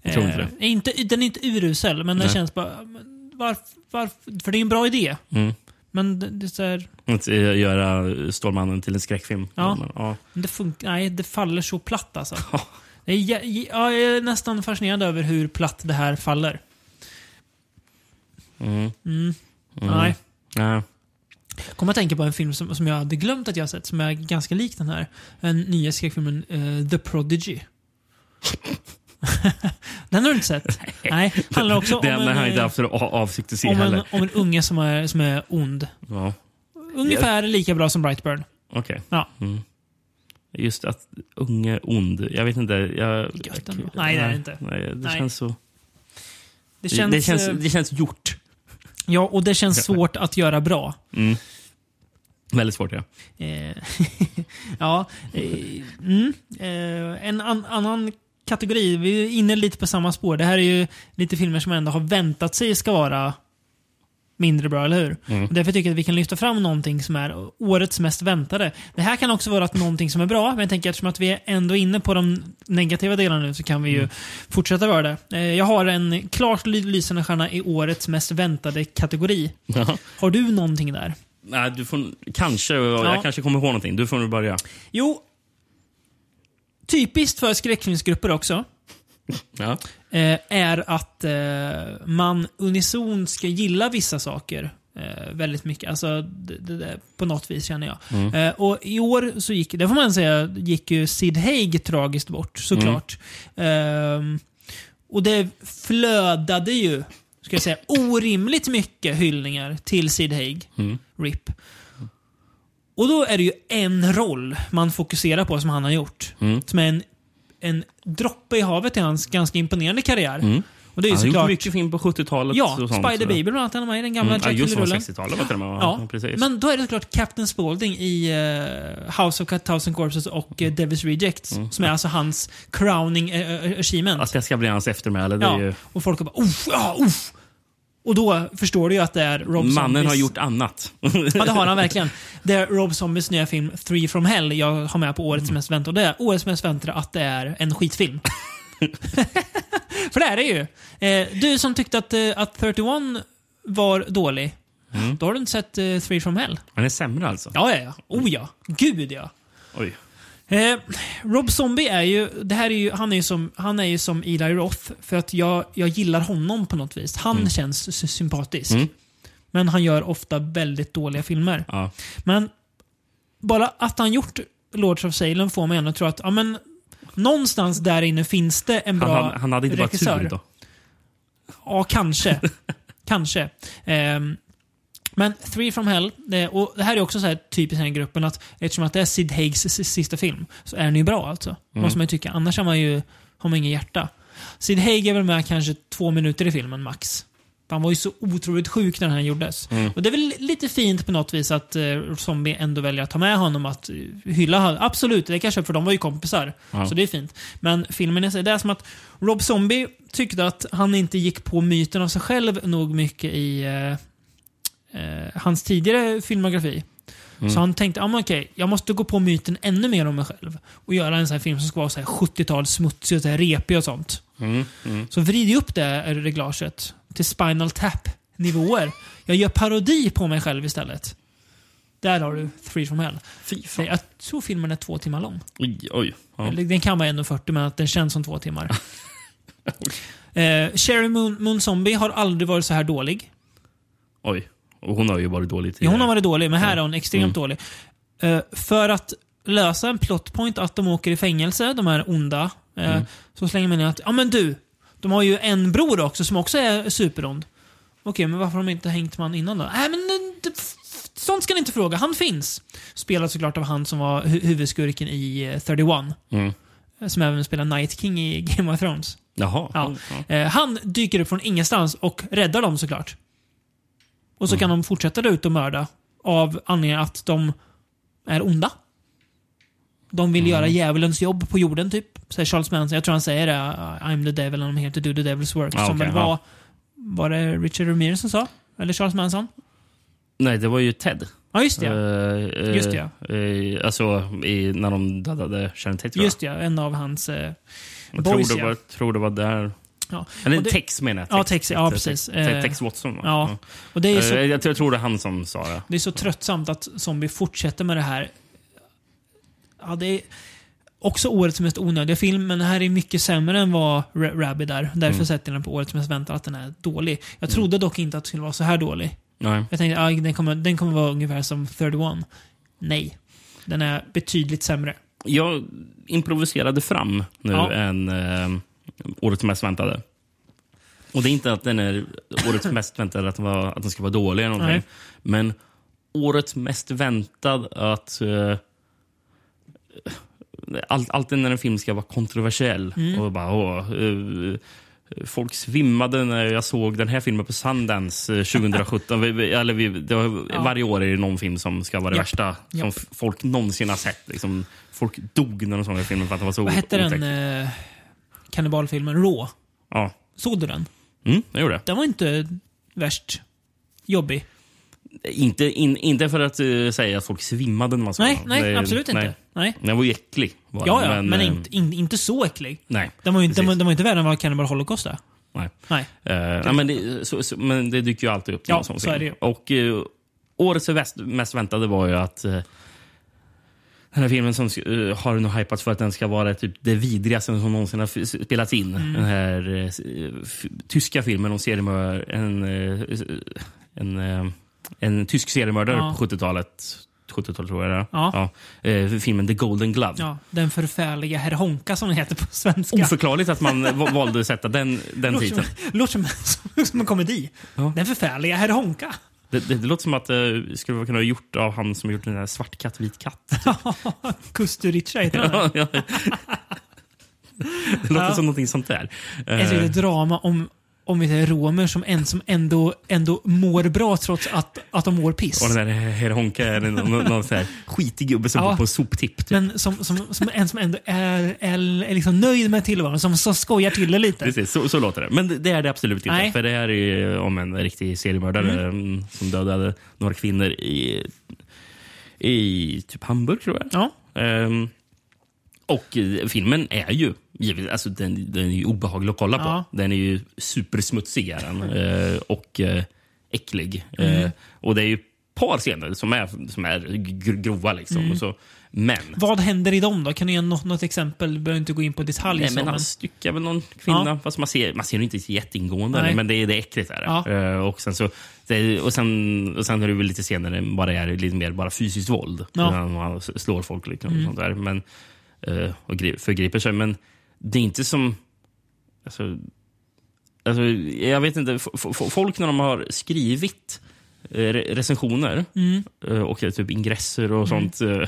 Jag tror inte det. Inte, den är inte urusel, men den Nej. känns bara... men Varf, varf, för det är en bra idé. Mm. Men det, det, är så här, Att eh, göra Stålmannen till en skräckfilm. Ja. Men, ja. det funkar... Nej, det faller så platt alltså. Ja. Jag, jag, jag är nästan fascinerad över hur platt det här faller. Mm. Mm. Nej. Ja. Kom att tänka på en film som, som jag hade glömt att jag sett, som är ganska lik den här. Den nya skräckfilmen eh, The Prodigy. [LAUGHS] den har du inte sett? Nej. Handlar också om Det enda en, han inte eh, haft för a- avsikt att se om, en, heller. om en unge som är, som är ond. Ja. Ungefär lika bra som Brightburn. Okej. Ja. Mm. Just att unge ond. Jag vet inte. Jag, Gött ändå. Nej, det är det inte. Nej, det, Nej. Känns så, Det det, känns, det, känns, eh, det känns gjort. ja, och det [LAUGHS] känns svårt att göra bra. Mm. Väldigt [LAUGHS] svårt, ja. Eh, ja. Eh, mm, eh, en an, annan kategori, vi är inne lite på samma spår. Det här är ju lite filmer som ändå har väntat sig ska vara mindre bra, eller hur? Och därför tycker jag att vi kan lyfta fram någonting som är årets mest väntade. Det här kan också vara att någonting som är bra, men jag tänker eftersom att vi är ändå inne på de negativa delarna nu så kan vi ju fortsätta vara det. Eh, jag har en klart ly- lysande stjärna i årets mest väntade kategori. Har du någonting där? Nej, du får, kanske, Jag kanske kommer ihåg någonting. Du får nu börja. Jo, typiskt för skräckfilmsgrupper också Ja. eh, är att eh, man unison ska gilla vissa saker eh, väldigt mycket. Alltså, det, det, det, på något vis känner jag. Eh, och i år så gick, det får man säga, gick ju Sid Haig tragiskt bort såklart. Ehm, och det flödade ju, ska jag säga, orimligt mycket hyllningar till Sid Haig. Mm. RIP. Och då är det ju en roll man fokuserar på som Mm. han har gjort. Som är en, en droppe i havet i hans ganska imponerande karriär. Och det är ju Mm. Han gjorde såklart... mycket film på 70-talet. Ja, och sånt, Spider Baby bland annat. Han var med i den gamla Mm, ja, Jack just det. Hill-rullen. 60-talet var det med. Ja, Ja, precis. men då är det såklart Captain Spaulding i eh, House of a Thousand Corpses och eh, Devil's Rejects. Mm. Som är alltså hans crowning eh, eh, achievement. Att det ska bli hans eftermäle, det är ja. ju... Och folk bara uff, ja, uff. Och då förstår du ju att det är Rob Mannen Zombies- har gjort annat. Ja, det har han verkligen. Det är Rob Zombies nya film Three from Hell jag har med på Mm. årets mest väntade. Och det är årets mest väntade att det är en [LAUGHS] skitfilm. För det är det ju. Eh, du som tyckte att, eh, att 31 var dålig, Mm. då har du inte sett eh, Three from Hell. [LAUGHS] Han är sämre alltså? Ja, ja, ja. Oh ja. Gud ja. Oj. Eh, Rob Zombie är ju, det här är ju, han är ju som, han är ju som Eli Roth för att jag, jag gillar honom på något vis. Mm. Han känns sy- sympatisk. Men han gör ofta väldigt dåliga filmer. Ja. Men bara att han gjort Lords of Salem får mig ändå att tro att, ja men någonstans där inne finns det en Han, bra han, han hade inte regissör. bara tur då. Ja, kanske. kanske. Ehm, men Three from Hell, eh, och det här är också så här typiskt i den här gruppen att eftersom att det är Sid Haigs s- sista film så är den ju bra alltså. Måste man ju tycka. Annars har man ju har man ingen hjärta. Sid Haig är väl med kanske två minuter i filmen max. Han var ju så otroligt sjuk när den här gjordes. Och det är väl lite fint på något vis att eh, Zombie ändå väljer att ta med honom att eh, hylla honom. Absolut, det kan jag köpa för de var ju kompisar. Ja. Så det är fint. Men filmen är, så- det är som att Rob Zombie tyckte att han inte gick på myten av sig själv nog mycket i eh, eh, hans tidigare filmografi. Så han tänkte, ah, men okej, jag måste gå på myten ännu mer om mig själv. Och göra en sån här film som ska vara så här 70-tal, smutsig och så här repig och sånt. Mm. Så vrider jag upp det här reglaget till Spinal Tap-nivåer. Jag gör parodi på mig själv istället. Där har du Three from Hell. Fy Så Jag tror filmen är två timmar lång. Oj, oj. Ja. Eller Den kan vara 1.40 men att den känns som två timmar. eh, Sherry Moon, Moon Zombie har aldrig varit så här dålig. oj. Och hon har ju varit dålig Ja, tidigare. hon har varit dålig, men här är hon extremt dålig. Eh, för att lösa en plotpoint att de åker i fängelse, de här onda, eh, så slänger man in att ja men du, de har ju en bror också som också är superond. Okej, men varför har de inte hängt man innan då? Nej, men eh, det, f- sånt ska ni inte fråga. Han finns. Spelad såklart av han som var hu huvudskurken i eh, 31. Mm. eh, Som även spelar Night King i Game of Thrones. Jaha. Ja. Ja. Ja. Eh, han dyker upp från ingenstans och räddar dem såklart. Och så kan Mm. de fortsätta ut och mörda av anledningen att de är onda. De vill Mm. göra djävulens jobb på jorden, typ. Säger Charles Manson. Jag tror han säger det. I'm the devil and I'm here to do the devil's work. Ja, som Ah, okej, väl ja. var... Var det Richard Ramirez som sa? Eller Charles Manson? Nej, det var ju Ted. Ja, just det. ja. Eh, eh, Just det, eh, alltså, i, när de dödade Sharon Tate, tror jag. Just det, ja. En av hans... Eh, jag boys, tror, det ja. var, tror det var där. ja. Eller Och det- Tex menar jag. Ja, Tex, ja, precis. Tex, Eh, Tex Watson, va? Ja. Och det är ju så Eh, Jag, tror- jag tror det är han som sa det. Det är så tröttsamt att Zombie fortsätter med det här. Ja, det är också årets mest onödiga film, men den här är mycket sämre än vad Ra- Rabbi där. Därför sätter jag den på årets mest väntade, att den är dålig. Jag trodde dock inte att den skulle vara så här dålig. Nej. Jag tänkte att den kommer, den kommer vara ungefär som 31. Nej. Den är betydligt sämre. Jag improviserade fram nu Ja. en eh, årets mest väntade. Och det är inte att den är [LAUGHS] årets mest väntade, att den, var, att den ska vara dålig eller någonting. Nej. Men årets mest väntad att... Eh, allt, alltid när en film ska vara kontroversiell. Mm. Och bara, åh, eh, folk svimmade när jag såg den här filmen på Sundance eh, 2017. vi, vi, eller vi, det var, Varje år är det någon film som ska vara det Japp. värsta som Japp. f- folk någonsin har sett. Liksom, folk dog när de såg den här filmen för att den var så Vad hette den otäck. eh, kannibalfilmen? Raw. Ja, Såg du den? mm, jag gjorde det. Den var inte värst jobbig. Inte, in, inte för att eh, säga att folk svimmade när man såg Nej, den. nej, Det- absolut inte. Nej. Den var ju äcklig. Var Ja, den, ja, men eh, inte, in, inte så äcklig. Nej, Den var ju inte, den var, precis. den var inte värre än vad Cannibal Holocaust är. nej. Nej. Eh, ja, men, det, så, så, men det dyker ju alltid upp. Ja, någon sån så är film. det Och eh, Årets väst, mest väntade var ju att eh, den här filmen som eh, har nog hypats för att den ska vara typ det vidrigaste som någonsin har f- spelats in. Mm. Den här eh, s- eh, f- tyska filmen om seriemördare. En, eh, s- en, eh, en tysk seriemördare Ja. på 70-talet. 70-talet tror jag det är. Ja. Eh, filmen The Golden Glove. Ja, den förfärliga Herr Honka som den heter på svenska. Oförklarligt [LAUGHS] att man va- valde att sätta den, Oh, den Låter som, titeln. låter som, [LAUGHS] som, som en komedi. Den förfärliga Herr Honka. Det, det, det låter som att det eh, skulle kunna ha gjort av han som gjort den där svart katt, vit katt. [LAUGHS] Kusturica heter den. det låter som någonting sånt där. Ett Eh, litet drama om om vi säger romer som, en, som ändå, ändå mår bra trots att, att de mår piss. Eh, Och den där Heronka är någon, någon, någon så här skitig gubbe som Ja. bor på en soptipp. Typ. Men som, som, som en som ändå är, är, är liksom nöjd med tillvaron, som, som skojar till det lite. Precis, så, så låter det. Men det- det är det absolut inte. Nej. För det här är ju om en riktig seriemördare mm. som dödade några kvinnor i, i typ Hamburg, tror jag. Ja. Ehm, och eh, filmen är ju givet, alltså den, den är ju obehaglig att kolla på. Ja. Den är ju supersmutsig är den, eh, och eh, äcklig. Eh, och det är ju ett par scener som är, som är gr- grova. Liksom, och så. Men Vad händer i dem då? Kan du ge något, något exempel? Du behöver inte gå in på detalj. Nej, så, men han styckar väl någon kvinna. Ja. Fast man ser, man ser det inte så jätteingående, Nej. men det, är- det är äckligt. Är det. Ja. Eh, och, sen så, det, och, sen, och sen är det väl lite senare bara är det lite mer bara fysiskt våld. Ja. Mm. När man s- slår folk liksom, och sånt där. Men, eh, och gri- förgriper sig. Men det är inte som... Alltså, alltså, jag vet inte. f- f- Folk när de har skrivit eh, re- recensioner Mm. eh, och eh, typ ingresser och sånt. eh,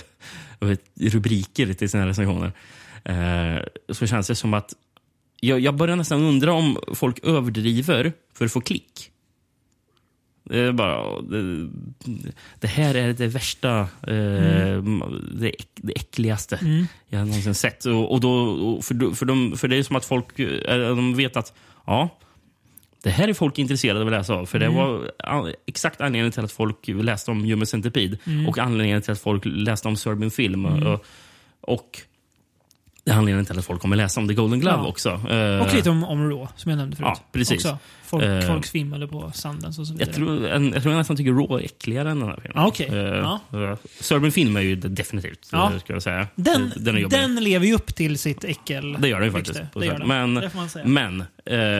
och vet, Rubriker till sina recensioner. eh, Så känns det som att jag, jag börjar nästan undra om folk överdriver för att få klick. Det är bara... Det, det här är det värsta, eh, det, äck, det äckligaste jag har någonsin sett. Och, och då, och för, då- för, de, för det är som att folk eh, de vet att ja, det här är folk intresserade av att läsa av. För det var an, exakt anledningen till att folk läste om Human Centipede och anledningen till att folk läste om Serbian Film. Och, och det är anledningen till att folk kommer läsa om The Golden Glove Ja. också. Eh, och lite om, om Raw, som jag nämnde förut. ja, precis. Också. Folk, Eh, folk svimmade på sanden och så vidare. Jag tror, en, jag tror jag nästan tycker Raw är äckligare än den här filmen. Ah, okej. Eh, Ja. eh, Serbian Film är ju det- definitivt, Ja. ja. ska jag säga. den, är den, jobbig. lever ju upp till sitt äckel. Det gör den ju faktiskt. rykte. på Det sätt. gör den. Men, det får man säga. men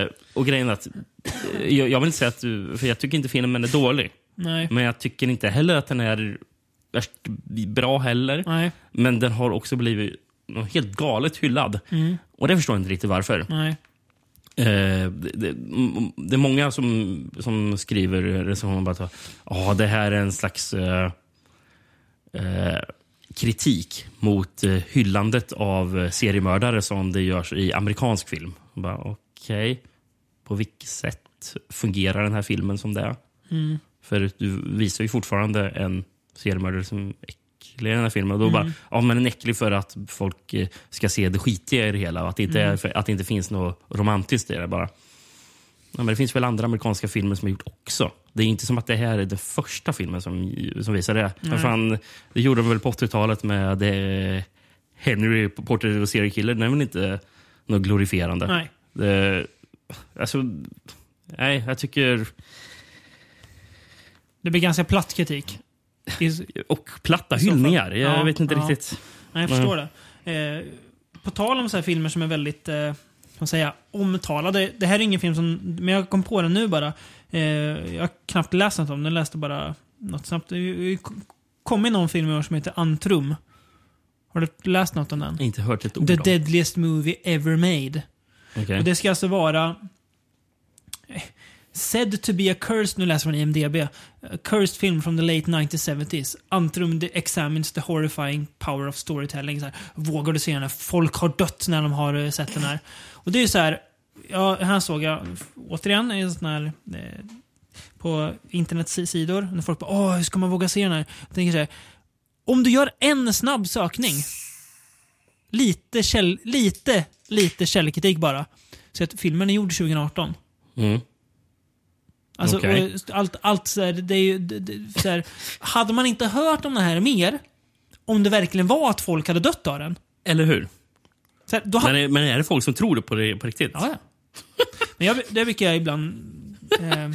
eh, och grejen är att, eh, jag, jag vill inte säga att, du- för jag tycker inte filmen är dålig. Nej. Men jag tycker inte heller att den är värst bra heller. Nej. Men den har också blivit något helt galet hyllad. Mm. Och det förstår jag inte riktigt varför. Nej. Eh, det, det, m- det är många som, som skriver recensioner bara att ah, det här är en slags eh, eh, kritik mot eh, hyllandet av eh, seriemördare som det görs i amerikansk film. Och bara, Okej, på vilket sätt fungerar den här filmen som det? är? För du visar ju fortfarande en seriemördare som är äcklig i den här filmen. Och då bara, ja men den är äcklig för att folk eh, ska se det skitiga i det hela. Och att, det inte är, för, att det inte finns något romantiskt i det bara. Ja, men det finns väl andra amerikanska filmer som har gjort också. Det är inte som att det här är den första filmen som, som visar det. Men fan, det gjorde de väl på 80-talet med eh, Henry Portrait of a Serial Killer. Den är väl inte något glorifierande? Nej. Det, Eh, alltså, nej, jag tycker... Det blir ganska platt [LAUGHS] kritik. I- Och platta så fall. hyllningar. Jag Ja, vet inte ja. riktigt. Nej, jag förstår det. Eh, på tal om så här filmer som är väldigt eh, vad ska man säga, omtalade. Det här är ingen film som... Men jag kom på den nu bara. Eh, jag har knappt läst något om den. Jag läste bara något snabbt. Det kom någon film i år som heter Antrum. Har du läst något om den? Inte hört ett ord The om. deadliest movie ever made. Okej. Och det ska alltså vara... eh, Said to be a cursed, nu läser man IMDB, a cursed film from the late 1970s. Antrum de- examines the horrifying power of storytelling. Så här, vågar du se den här? Folk har dött när de har eh, sett den här. Och det är ju så här, ja, här såg jag f- återigen en sån här eh, på internetsidor. När folk bara åh, hur ska man våga se den här? Jag tänker så här, om du gör en snabb sökning, lite, käll, lite, lite källkritik bara. Så att filmen är gjord 2018. Mm. Alltså, Okej. och allt, allt så här, det är ju, det, det, så här, hade man inte hört om det här mer, om det verkligen var att folk hade dött av den, Eller hur? så här, då hade Men är, men är det folk som tror det på, det, på riktigt? Ja, ja. Men jag, det brukar jag ibland... Eh,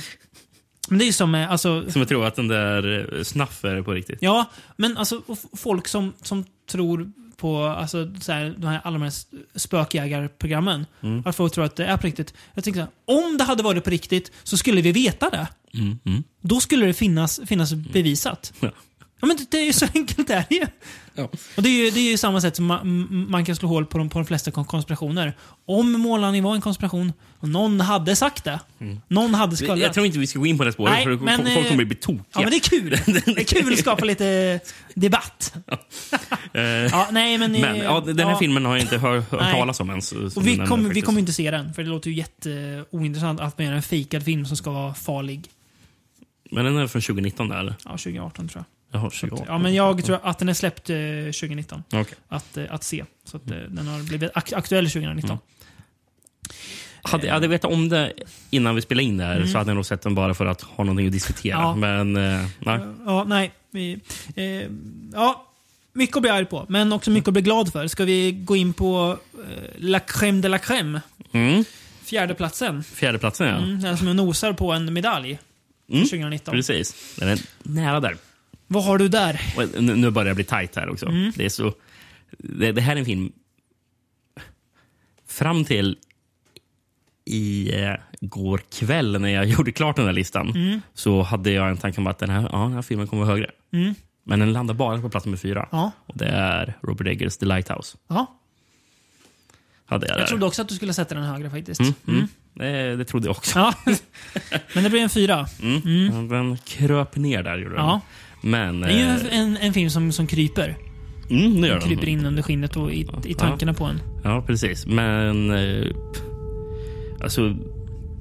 men det är ju som, eh, alltså... Som jag tror att den där eh, Snaff är på riktigt. Ja, men alltså och f- folk som, som tror på alltså, så här, de här, alla de här s- spökjägarprogrammen. Mm. Att folk tror att det är på riktigt. Jag tänker så här, om det hade varit på riktigt så skulle vi veta det. Mm, Då skulle det finnas, finnas bevisat. Ja. Ja, men det, det är ju så [LAUGHS] enkelt det är ju. Ja. Och det är ju, det är ju samma sätt som ma m- man kan slå hål på de, på de flesta kon- konspirationer. Om månlandningen var en konspiration, och någon hade sagt det. Någon hade skvallrat. Jag tror inte Mm. vi ska gå in på det spåret, Nej, för men, folk kommer eh, bli betokiga. Ja, men det är [LAUGHS] kul. Det är kul att skapa lite debatt. [LAUGHS] Ja, nej, men... eh, Men ja, den här ja. filmen har jag inte hört, hört Nej. talas om ens. som Och du vi, nämner, kommer, vi faktiskt. kommer inte se den, för det låter ju jätteointressant att man gör en fejkad film som ska vara farlig. Men den är från 2019 där eller? Ja, 2018 tror jag. Jaha, Så att, 2018. ja, men jag tror att den är släppt eh, 2019 Okej. att, eh, att se. Så att eh, Mm. den har blivit ak- aktuell 2019. Hade, hade jag vetat om det innan vi spelade in det här så hade jag nog sett den bara för att ha någonting att diskutera. Mm. Ja. Men eh, nej. Ja, nej. Vi, eh, ja, mycket att bli arg på, men också mycket att bli glad för. Ska vi gå in på eh, La Crème de la Crème? Mm. Fjärdeplatsen. Fjärdeplatsen ja. Mm, den som nosar på en medalj. Mm. 2019. Precis. Den är nära där. Vad har du där? Och nu nu börjar det bli tajt här också. Mm. Det, är så, det, det här är en film... Fram till i eh, går kväll när jag [LAUGHS] gjorde klart den här listan Mm. så hade jag en tanke om att den här, ja, den här filmen kommer vara högre. Men den landar bara på plats nummer fyra. Mm. Ja. Och det är Robert Eggers The Lighthouse. Ja, Hade jag jag där. trodde också att du skulle sätta den högre faktiskt. Mm. Det, det trodde jag också. [LAUGHS] Ja. Men det blir en fyra. Mm. Den kröp ner där. Gjorde den. Ja. Men... Det är eh, ju en, en film som, som kryper. mm, det gör den. Kryper in under skinnet och i, i tankarna på en. Ja, precis. Men... Eh, alltså...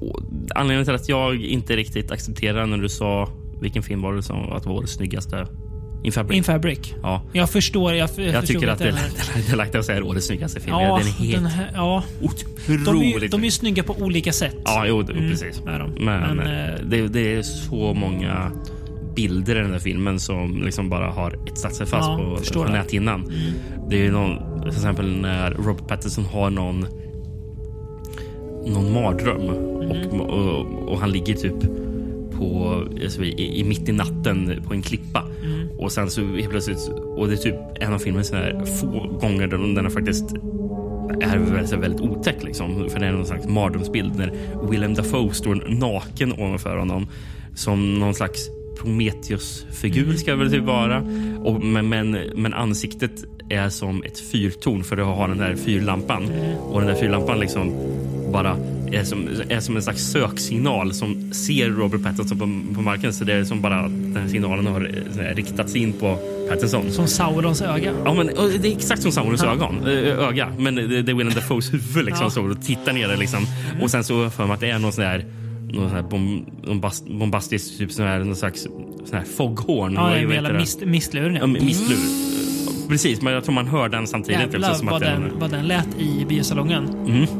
å- Anledningen till att jag inte riktigt accepterar när du sa vilken film var det som var vår snyggaste? In Fabric. In Fabric. ja. Jag förstår. Jag, f- Jag förstod tycker att inte [LAUGHS] det den här. är lagt att säga årets snyggaste film. Ja, den är helt den här, ja. De, är, ju- otroligt de är Mm. ju snygg. snygga på olika sätt. Ja, jo, det- precis. är de. Men, Men, eh, det, det är så många bilder i den här filmen som liksom bara har etsat sig fast Ja, på, förstår på det. Mm. näthinnan. Det är ju någon, till exempel när Robert Pattinson har någon någon mardröm Mm. och, och, och han ligger typ på, alltså, i, i mitt i natten på en klippa. Mm. Och sen så helt plötsligt, och det är typ en av filmens sån här få gånger där den har faktiskt är väldigt, väldigt otäck. Liksom. För det är någon slags mardrömsbild när Willem Dafoe står naken ovanför honom som någon slags Prometheus-figur ska det väl typ vara. Och, men, men, men ansiktet är som ett fyrtorn för det har den där fyrlampan. Och den där fyrlampan liksom bara är som, är som en slags söksignal som ser Robert Pattinson på, på marken. Så det är som bara att den här signalen har eh, så här riktats in på Pattinson. Som Saurons öga. Ja, men, och det är exakt som Saurons ögon, ö- öga. Men det, det är Willem Dafoes huvud liksom, Ja. så, och tittar ner där, liksom. Och sen så har jag för mig att det är någon sån där, någon sån här bom, bombast, bombastisk, typ sån här, någon slags sån här foghorn. Ja, Vad det är en heter jävla det? mist, mistlur nu. Ja, men misslur. Precis, men jag tror man hör den samtidigt. typ, Jävlar eftersom vad det är den, någon- vad den lät i biosalongen.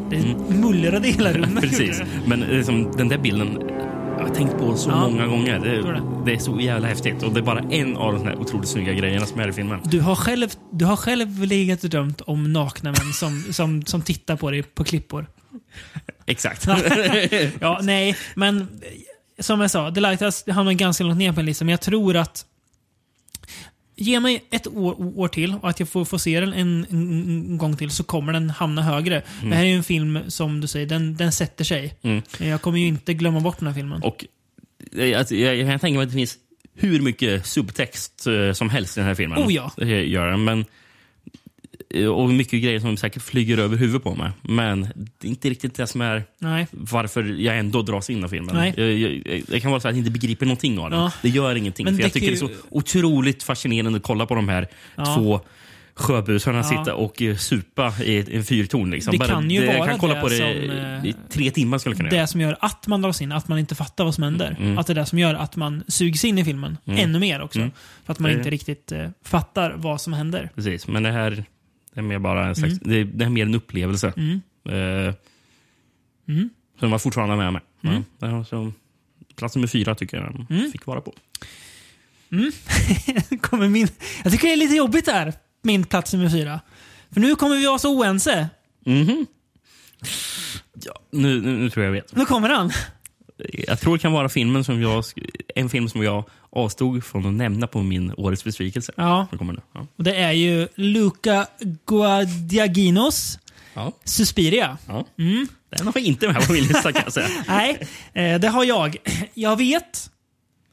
Det mullrade i hela [LAUGHS] rummet. [LAUGHS] Precis. Men liksom, den där bilden jag har tänkt på så Ja. många gånger. Tror Det, det. det är så jävla häftigt. Och det är bara en av de här otroligt snygga grejerna som är i filmen. Du har själv, du har själv legat och drömt om nakna män som, som, som tittar på dig på klippor. [LAUGHS] Exakt. [LAUGHS] Ja, nej, men eh, som jag sa, The Lighthouse hamnar ganska långt ner på en lista, men jag tror att Ge mig ett år, år till och att jag får, får se den en, en, en gång till så kommer den hamna högre. Det här är ju en film som du säger, den, den sätter sig. Jag kommer ju inte glömma bort den här filmen. Och eh, alltså, jag, jag tänker mig att det finns hur mycket subtext eh, som helst i den här filmen. Oh ja. Eh, Gör den, men, eh, och mycket grejer som säkert flyger över huvudet på mig. Men det är inte riktigt det som är Nej. varför jag ändå dras in i filmen. Nej. Jag, jag, det kan vara så att jag inte begriper någonting av den. Ja. Det gör ingenting. Men för jag det tycker det är kan så ju- otroligt fascinerande att kolla på de här två sjöbusarna sitta och eh, supa i en fyrtorn. Liksom. Det kan ju jag vara kan kolla det på det som, eh, i tre timmar. skulle jag kunna göra. Det som gör att man dras in, att man inte fattar vad som händer. Mm, Att det är det som gör att man sugs in i filmen ännu mer också. För att man Mm. Det är- inte riktigt eh, fattar vad som händer. [LAUGHS] Precis, men det här det är mer bara en slags, Mm. det, det är mer en upplevelse. Eh, Mm. Som var fortfarande med mig. Mm. Ja, så, plats nummer fyra tycker Mm. jag den fick vara på. kommer min... Jag tycker det är lite jobbigt där, min plats nummer fyra. För nu kommer vi vara så oense. Nu, nu, nu tror jag jag vet. Nu kommer han. Jag tror det kan vara filmen som jag, sk- en film som jag avstod från att nämna på min årets besvikelse. Ja, Det kommer nu. Ja. och det är ju Luca Guadaginos Ja. Suspiria. Ja. Mm. [LAUGHS] Den har jag inte med på min lista kan jag säga. Nej, eh, det har jag. Jag vet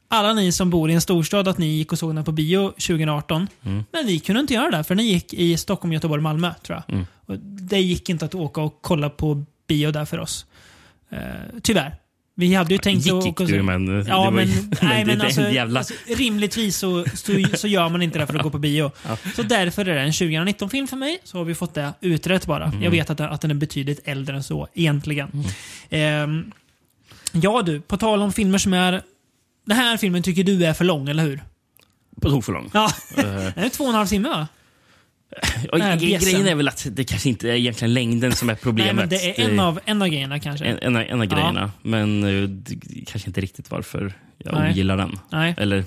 alla ni som bor i en storstad att ni gick och såg den på bio 2018. Mm. Men vi kunde inte göra det för den gick i Stockholm, Göteborg, Malmö tror jag. Mm. Och det gick inte att åka och kolla på bio där för oss. Eh, tyvärr. Vi hade ju tänkt gick att gick åka och du, se- [LAUGHS] men, eh, det Ja, var men, ju- nej, det- men det är alltså, en jävla- alltså, rimligtvis så, så, så gör man inte det för att gå på [LAUGHS] bio. Så därför är det en 2019-film för mig, så har vi fått det utrett bara. Mm. Jag vet att, att den är betydligt äldre än så, egentligen. Ehm, ja du, på tal om filmer som är... Den här filmen tycker du är för lång, eller hur? På tok för lång. [LAUGHS] Ja, den är två och en halv timme va? Och Nej, gre- bjässen. grejen är väl att det kanske inte är egentligen längden som är Nej, problemet. men det är en av, en av grejerna kanske. en, en, av- en av Ja. grejerna. Men eh, det- kanske inte riktigt varför jag Nej. ogillar den. Nej. Eller,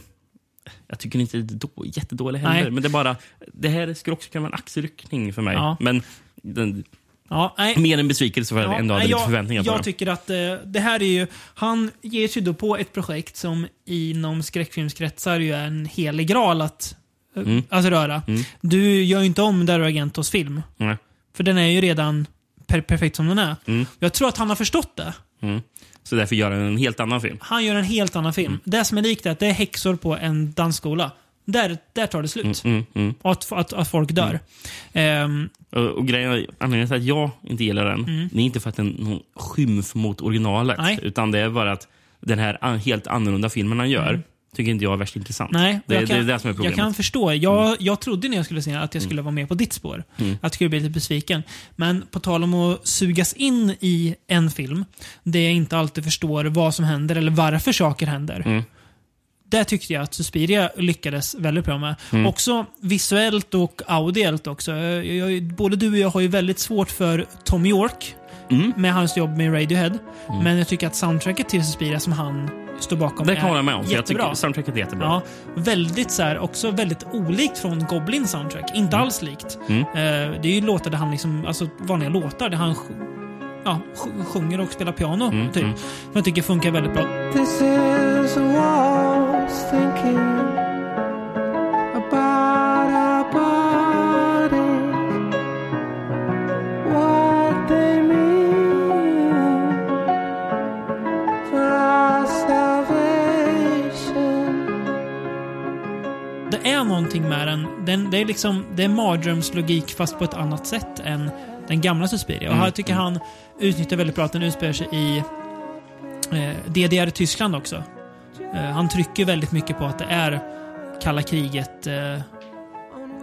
jag tycker inte det är då, jättedålig heller. Nej. Men det är bara, det här skulle också kunna vara en axelryckning för mig. Ja. Men den, Ja, nej. mer en besvikelse för att jag Ja, ändå hade nej, lite förväntningar på jag den. tycker att eh, det här är ju... Han ger sig då på ett projekt som inom skräckfilmskretsar ju är en helig graal att, eh, Mm. att röra. Du gör ju inte om Dario Argentos film. Nej. För den är ju redan per perfekt som den är. Jag tror att han har förstått det. Mm. Så därför gör den en helt annan film. Han gör en helt annan film. Mm. Det som är likt är att det är häxor på en dansskola. Där, där tar det slut. Mm, mm. Och att, att, att folk dör. Ehm, Och, och grejen, är- anledningen till att jag inte gillar den, det är inte för att den är någon skymf mot originalet. Mm. Nej. Utan det är bara att den här an, helt annorlunda filmen han gör, tycker inte jag är värst intressant. Mm. Nej, det, jag kan, det är det som är problemet. Mm. Jag kan förstå. Jag, jag trodde när jag skulle se den att jag skulle vara med på ditt spår. Att jag skulle bli lite besviken. Men på tal om att sugas in i en film, där jag inte alltid förstår vad som händer eller varför saker händer. Mm. Där tyckte jag att Suspiria lyckades väldigt bra med. Mm. Också visuellt och audiellt också. Jag, jag, både du och jag har ju väldigt svårt för Tom York Mm. med hans jobb med Radiohead. Men jag tycker att soundtracket till Suspiria som han står bakom Det är kan jag hålla med om. för Jag jättebra. tycker soundtracket är jättebra. Ja, väldigt så här, också väldigt olikt från Goblin soundtrack. Inte alls likt. Eh, det är ju låtar där han liksom, alltså vanliga låtar där han sj- ja, sj- sjunger och spelar piano, typ. Som jag tycker funkar väldigt bra. This is a waltz thinking about our bodies, what they mean for our salvation. Det är någonting med den. den det är liksom det är mardrömslogik fast på ett annat sätt än den gamla Suspiria. Och här tycker han utnyttjar väldigt bra att den utspelar sig i eh, DDR Tyskland också. Eh, han trycker väldigt mycket på att det är kalla kriget eh,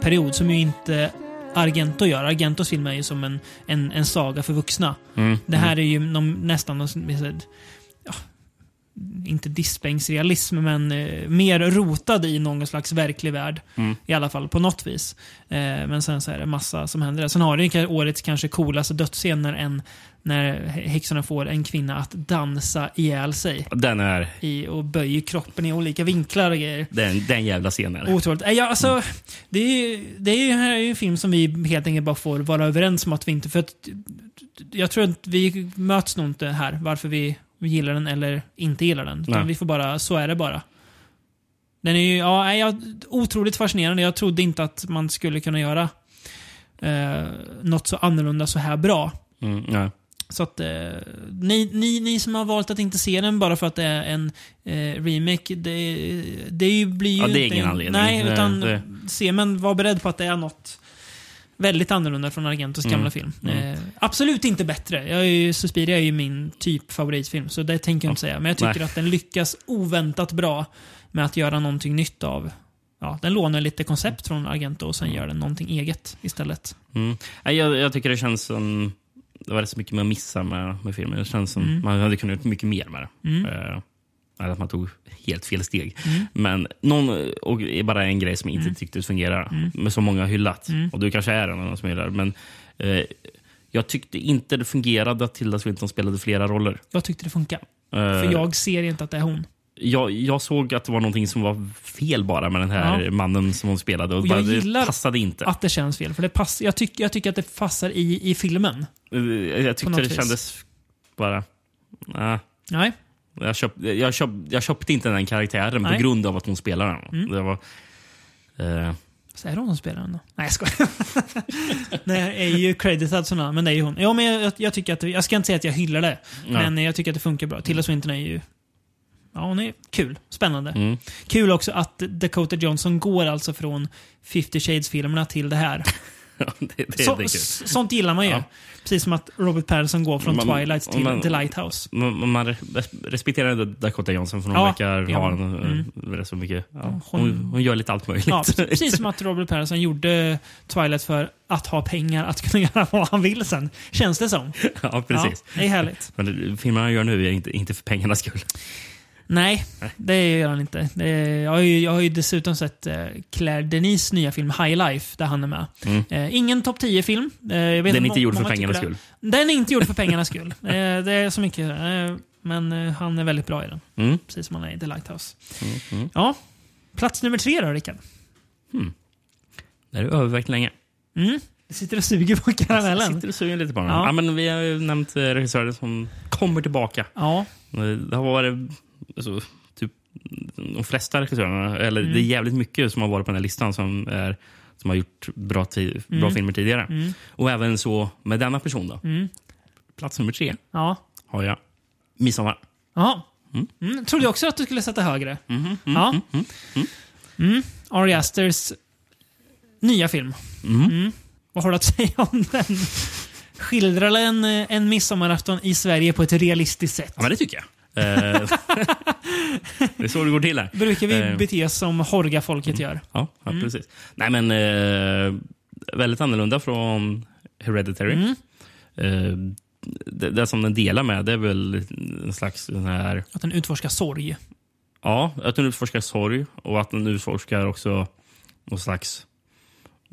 period som ju inte Argento gör. Argentos film är ju som en, en, en saga för vuxna. Mm. Det här är ju någon, nästan någon, sån- ja, inte diskbänksrealism, men eh, mer rotad i någon slags verklig värld. I alla fall på något vis. Eh, men sen så är det massa som händer. där. Sen har den ka- årets kanske coolaste dödsscen när, en, när häxorna får en kvinna att dansa ihjäl sig Den är, i, och böjer kroppen i olika vinklar och grejer. den, den jävla scenen. Otroligt. Nej, Ja, alltså, det, är, ju- det är ju här är ju en film som vi helt enkelt bara får vara överens om att vi inte... För att, jag tror att vi möts nog inte här, varför vi gillar den eller inte gillar den. Utan Nej. vi får bara, så är det bara. Den är ju ja, nej, jag- otroligt fascinerande. Jag trodde inte att man skulle kunna göra eh, något så annorlunda så här bra. Mm, ja. Så att eh, ni, ni, ni som har valt att inte se den bara för att det är en eh, remake, det, det är ju- blir ju Ja, det är inte ingen en, anledning. Nej, Nej, utan det- se, men var beredd på att det är något väldigt annorlunda från Argentos Mm. gamla film. Eh, absolut inte bättre. Jag är ju, Suspiria är ju min typ favoritfilm, så det tänker jag inte säga. Men jag tycker Nej. att den lyckas oväntat bra med att göra någonting nytt av Ja, den lånar lite koncept från Argento och sen gör den någonting eget istället. Mm. Nej, Jag, jag tycker det känns som... Det var rätt så mycket man missar med, med filmen. Det känns som Mm. man hade kunnat gjort mycket mer med det. Eh, eller att man tog helt fel steg. Mm. Men någon, och det är bara en grej som inte tycktes fungera, Mm. men som många har hyllat. Och du kanske är en av dem som hyllar. Men eh, jag tyckte inte det fungerade att Tilda Swinton spelade flera roller. Jag tyckte det funkar. Eh, För jag ser inte att det är hon. jag, jag såg att det var någonting som var fel bara med den här Ja. mannen som hon spelade. Och Och bara, jag gillar det passade inte. att det känns fel. För det pass, jag, tyck, jag tycker att det passar i, i filmen. Eh, jag tyckte något det vis. kändes bara... nej. Nej. Jag, köp, jag, köp, jag köpte inte den karaktären Nej. Mm. på grund av att hon spelar den. Det var, eh, [LAUGHS] Så är det hon som spelar den då? Nej, jag skojar. [LAUGHS] det är ju creditad sådana, men det är ju hon. Ja, men jag, jag tycker att, jag ska inte säga att jag hyllar det, men jag tycker att det funkar bra. Tilda Swinton är ju ja, hon är kul. Spännande. Mm. Kul också att Dakota Johnson går alltså från 50 Shades-filmerna till det [LAUGHS] här. Ja, det, det, Så, det är kul. s- sånt gillar man ju. Ja. Precis som att Robert Pattinson går från Man- Twilight till man- The Lighthouse. Man, man res- respekterar ändå Dakota Johnson för hon Ja, det verkar gör ha man. en, Mm. eh, rätt så mycket. Ja, Ja, hon, hon- hon, gör lite allt möjligt. Ja, [LAUGHS] precis- precis som att Robert Pattinson gjorde Twilight för att ha pengar att kunna [LAUGHS] göra vad han vill sen. Känns det som. Ja, precis. Ja, det är härligt. Men filmerna han gör nu är inte, inte för pengarnas skull. Nej, det gör han inte. Det är, jag, har ju, jag har ju dessutom sett eh, Claire Denis nya film High Life där han är med. Eh, ingen topp 10-film. Eh, jag vet Mm. Den är att inte må- gjord för många pengarnas tycker det. skull. Den är inte gjord för [LAUGHS] pengarnas skull. Eh, det är så mycket. Eh, men eh, han är väldigt bra i den. Mm. Precis som han är i The Lighthouse. Mm-hmm. Ja. Plats nummer tre då, Rickard. Det är övervägt länge. Mm. Sitter och suger på karamellen. Sitter och suger lite på honom. Ja. Ja. men vi har ju nämnt eh, regissörer som kommer tillbaka. Ja, Det har varit alltså, typ, de flesta regissörerna, eller det är jävligt mycket som har varit på den här listan som, är, som har gjort bra, ti- bra filmer tidigare. Och även så med denna person då. Plats nummer tre ja. har jag Midsommar. Jaha. Mm. Trodde jag också att du skulle sätta högre. ja. Mm. Ari Asters nya film. Mm. Vad har du att säga om den? Skildrar den eh, en midsommarafton i Sverige på ett realistiskt sätt? Ja, men det tycker jag. Eh, [LAUGHS] det är så det går till här. Brukar vi Eh, bete oss som Horga-folket gör? Ja, ja precis. Nej, men eh, väldigt annorlunda från Hereditary. Eh, det, det som den delar med det är väl en slags den här, Att den utforskar sorg? ja, att den utforskar sorg och att den utforskar också någon slags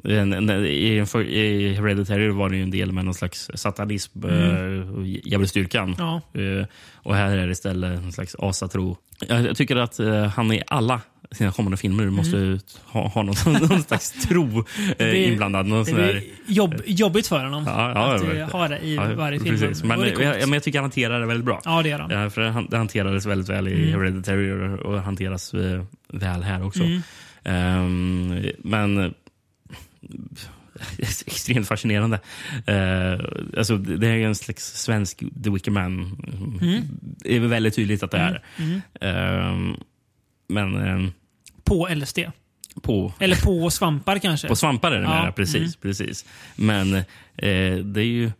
en, en, i, en för- I Hereditary var det ju en del med någon slags satanism eh, och dj- djävulsdyrkan. Mm. Ja. Eh, och här är det istället en slags asatro. Jag, jag tycker att eh, han i alla sina kommande filmer Mm. måste ut- ha, ha någon, [LAUGHS] någon slags tro eh, Det- inblandad. Någon Det sån där, är jobb, jobbigt för honom Ja, ja, att eh, verkligen. ha det i Ja, varje film. precis. Men, Och det är eh, jag, coolt. men jag tycker han hanterar det väldigt bra. ja, det gör han. Eh, för det han, det hanterades väldigt väl i Hereditary och, och hanteras eh, väl här också. Ehm, men [LAUGHS] eh, extremt fascinerande. Eh, alltså, det det är ju en slags svensk The Wicker Man. Det är väl väldigt tydligt att det är. Ehm, men eh, På LSD. på Eller på svampar kanske. på svampar är det Ja, mera, precis. mm. precis. Men eh, det är ju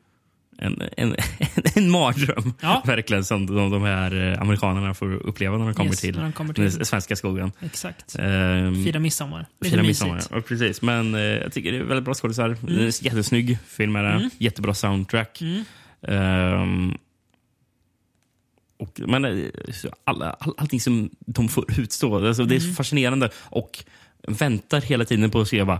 en, en, [LAUGHS] en mardröm Ja. verkligen som de, de här eh, amerikanerna får uppleva när de kommer Yes, till när de kommer den till- svenska skogen. Exakt. Ehm, Eh, Fira midsommar. Lite Fira mysigt. Mm. midsommar. Ja, precis. Men eh, jag tycker det är väldigt bra skådisar. Det är en Jättesnygg film är det. Jättebra soundtrack. Mm. Ehm, och, men eh, så alla, all, allting som de får utstå, alltså, det är Mm. så fascinerande. Och väntar hela tiden på att se vad,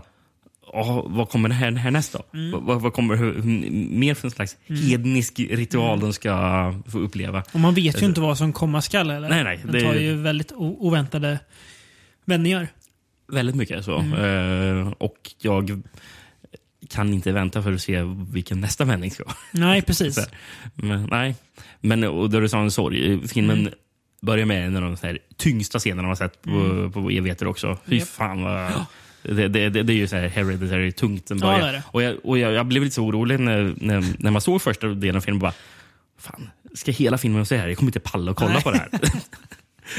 oh, vad kommer det här härnäst då? Mm. Vad- Vad, vad kommer hur, m- mer för en slags hednisk Mm. ritual de ska få uppleva? Och man vet ju inte vad som komma skall. Eller? Nej, nej, Den det- tar ju väldigt o- oväntade vändningar. Väldigt mycket så. Mm. Eh, och jag kan inte vänta för att se vilken nästa vändning ska vara. Nej, precis. Så här. Men, nej. Men och då du sa en sorg. eh, Filmen Mm. börjar med en av de så här tyngsta scenerna man sett på, på evigheter också. Fy Mm. Japp. fan vad... Det, det, det, det är ju så här hereditary tungt. Den Ja, början. det är det. Och, jag, och jag, jag blev lite så orolig när, när, när man såg första delen av filmen. Bara, fan, ska hela filmen vara så här? Jag kommer inte palla och kolla Nej. [LAUGHS] på det här. [LAUGHS]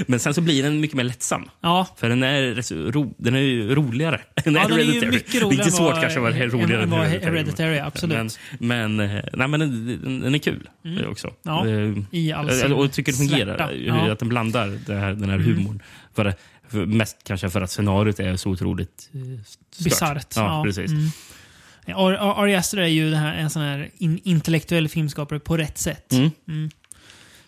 Men sen så blir den mycket mer lättsam. Ja. För den är, rätt så ro, den är ju roligare. [LAUGHS] Den Ja, den är ju Hereditary. mycket roligare Lite svårt än vad- kanske att vara än- roligare än vad Hereditary, men- Hereditary, absolut. Mm. Men, men, eh, nej, men den, den- den är kul eh, också. Ja, Eh, i all eh, sin Och jag tycker det fungerar. svärta. hur- Ja. Mm. Att den blandar det här, den här humorn. För, för, mest kanske för att scenariot är så otroligt eh, stört. Bisarrt. Ja, Ja, precis. mm. Ari- Ari Ari Aster är ju den här, en sån här in, intellektuell filmskapare på rätt sätt. Mm.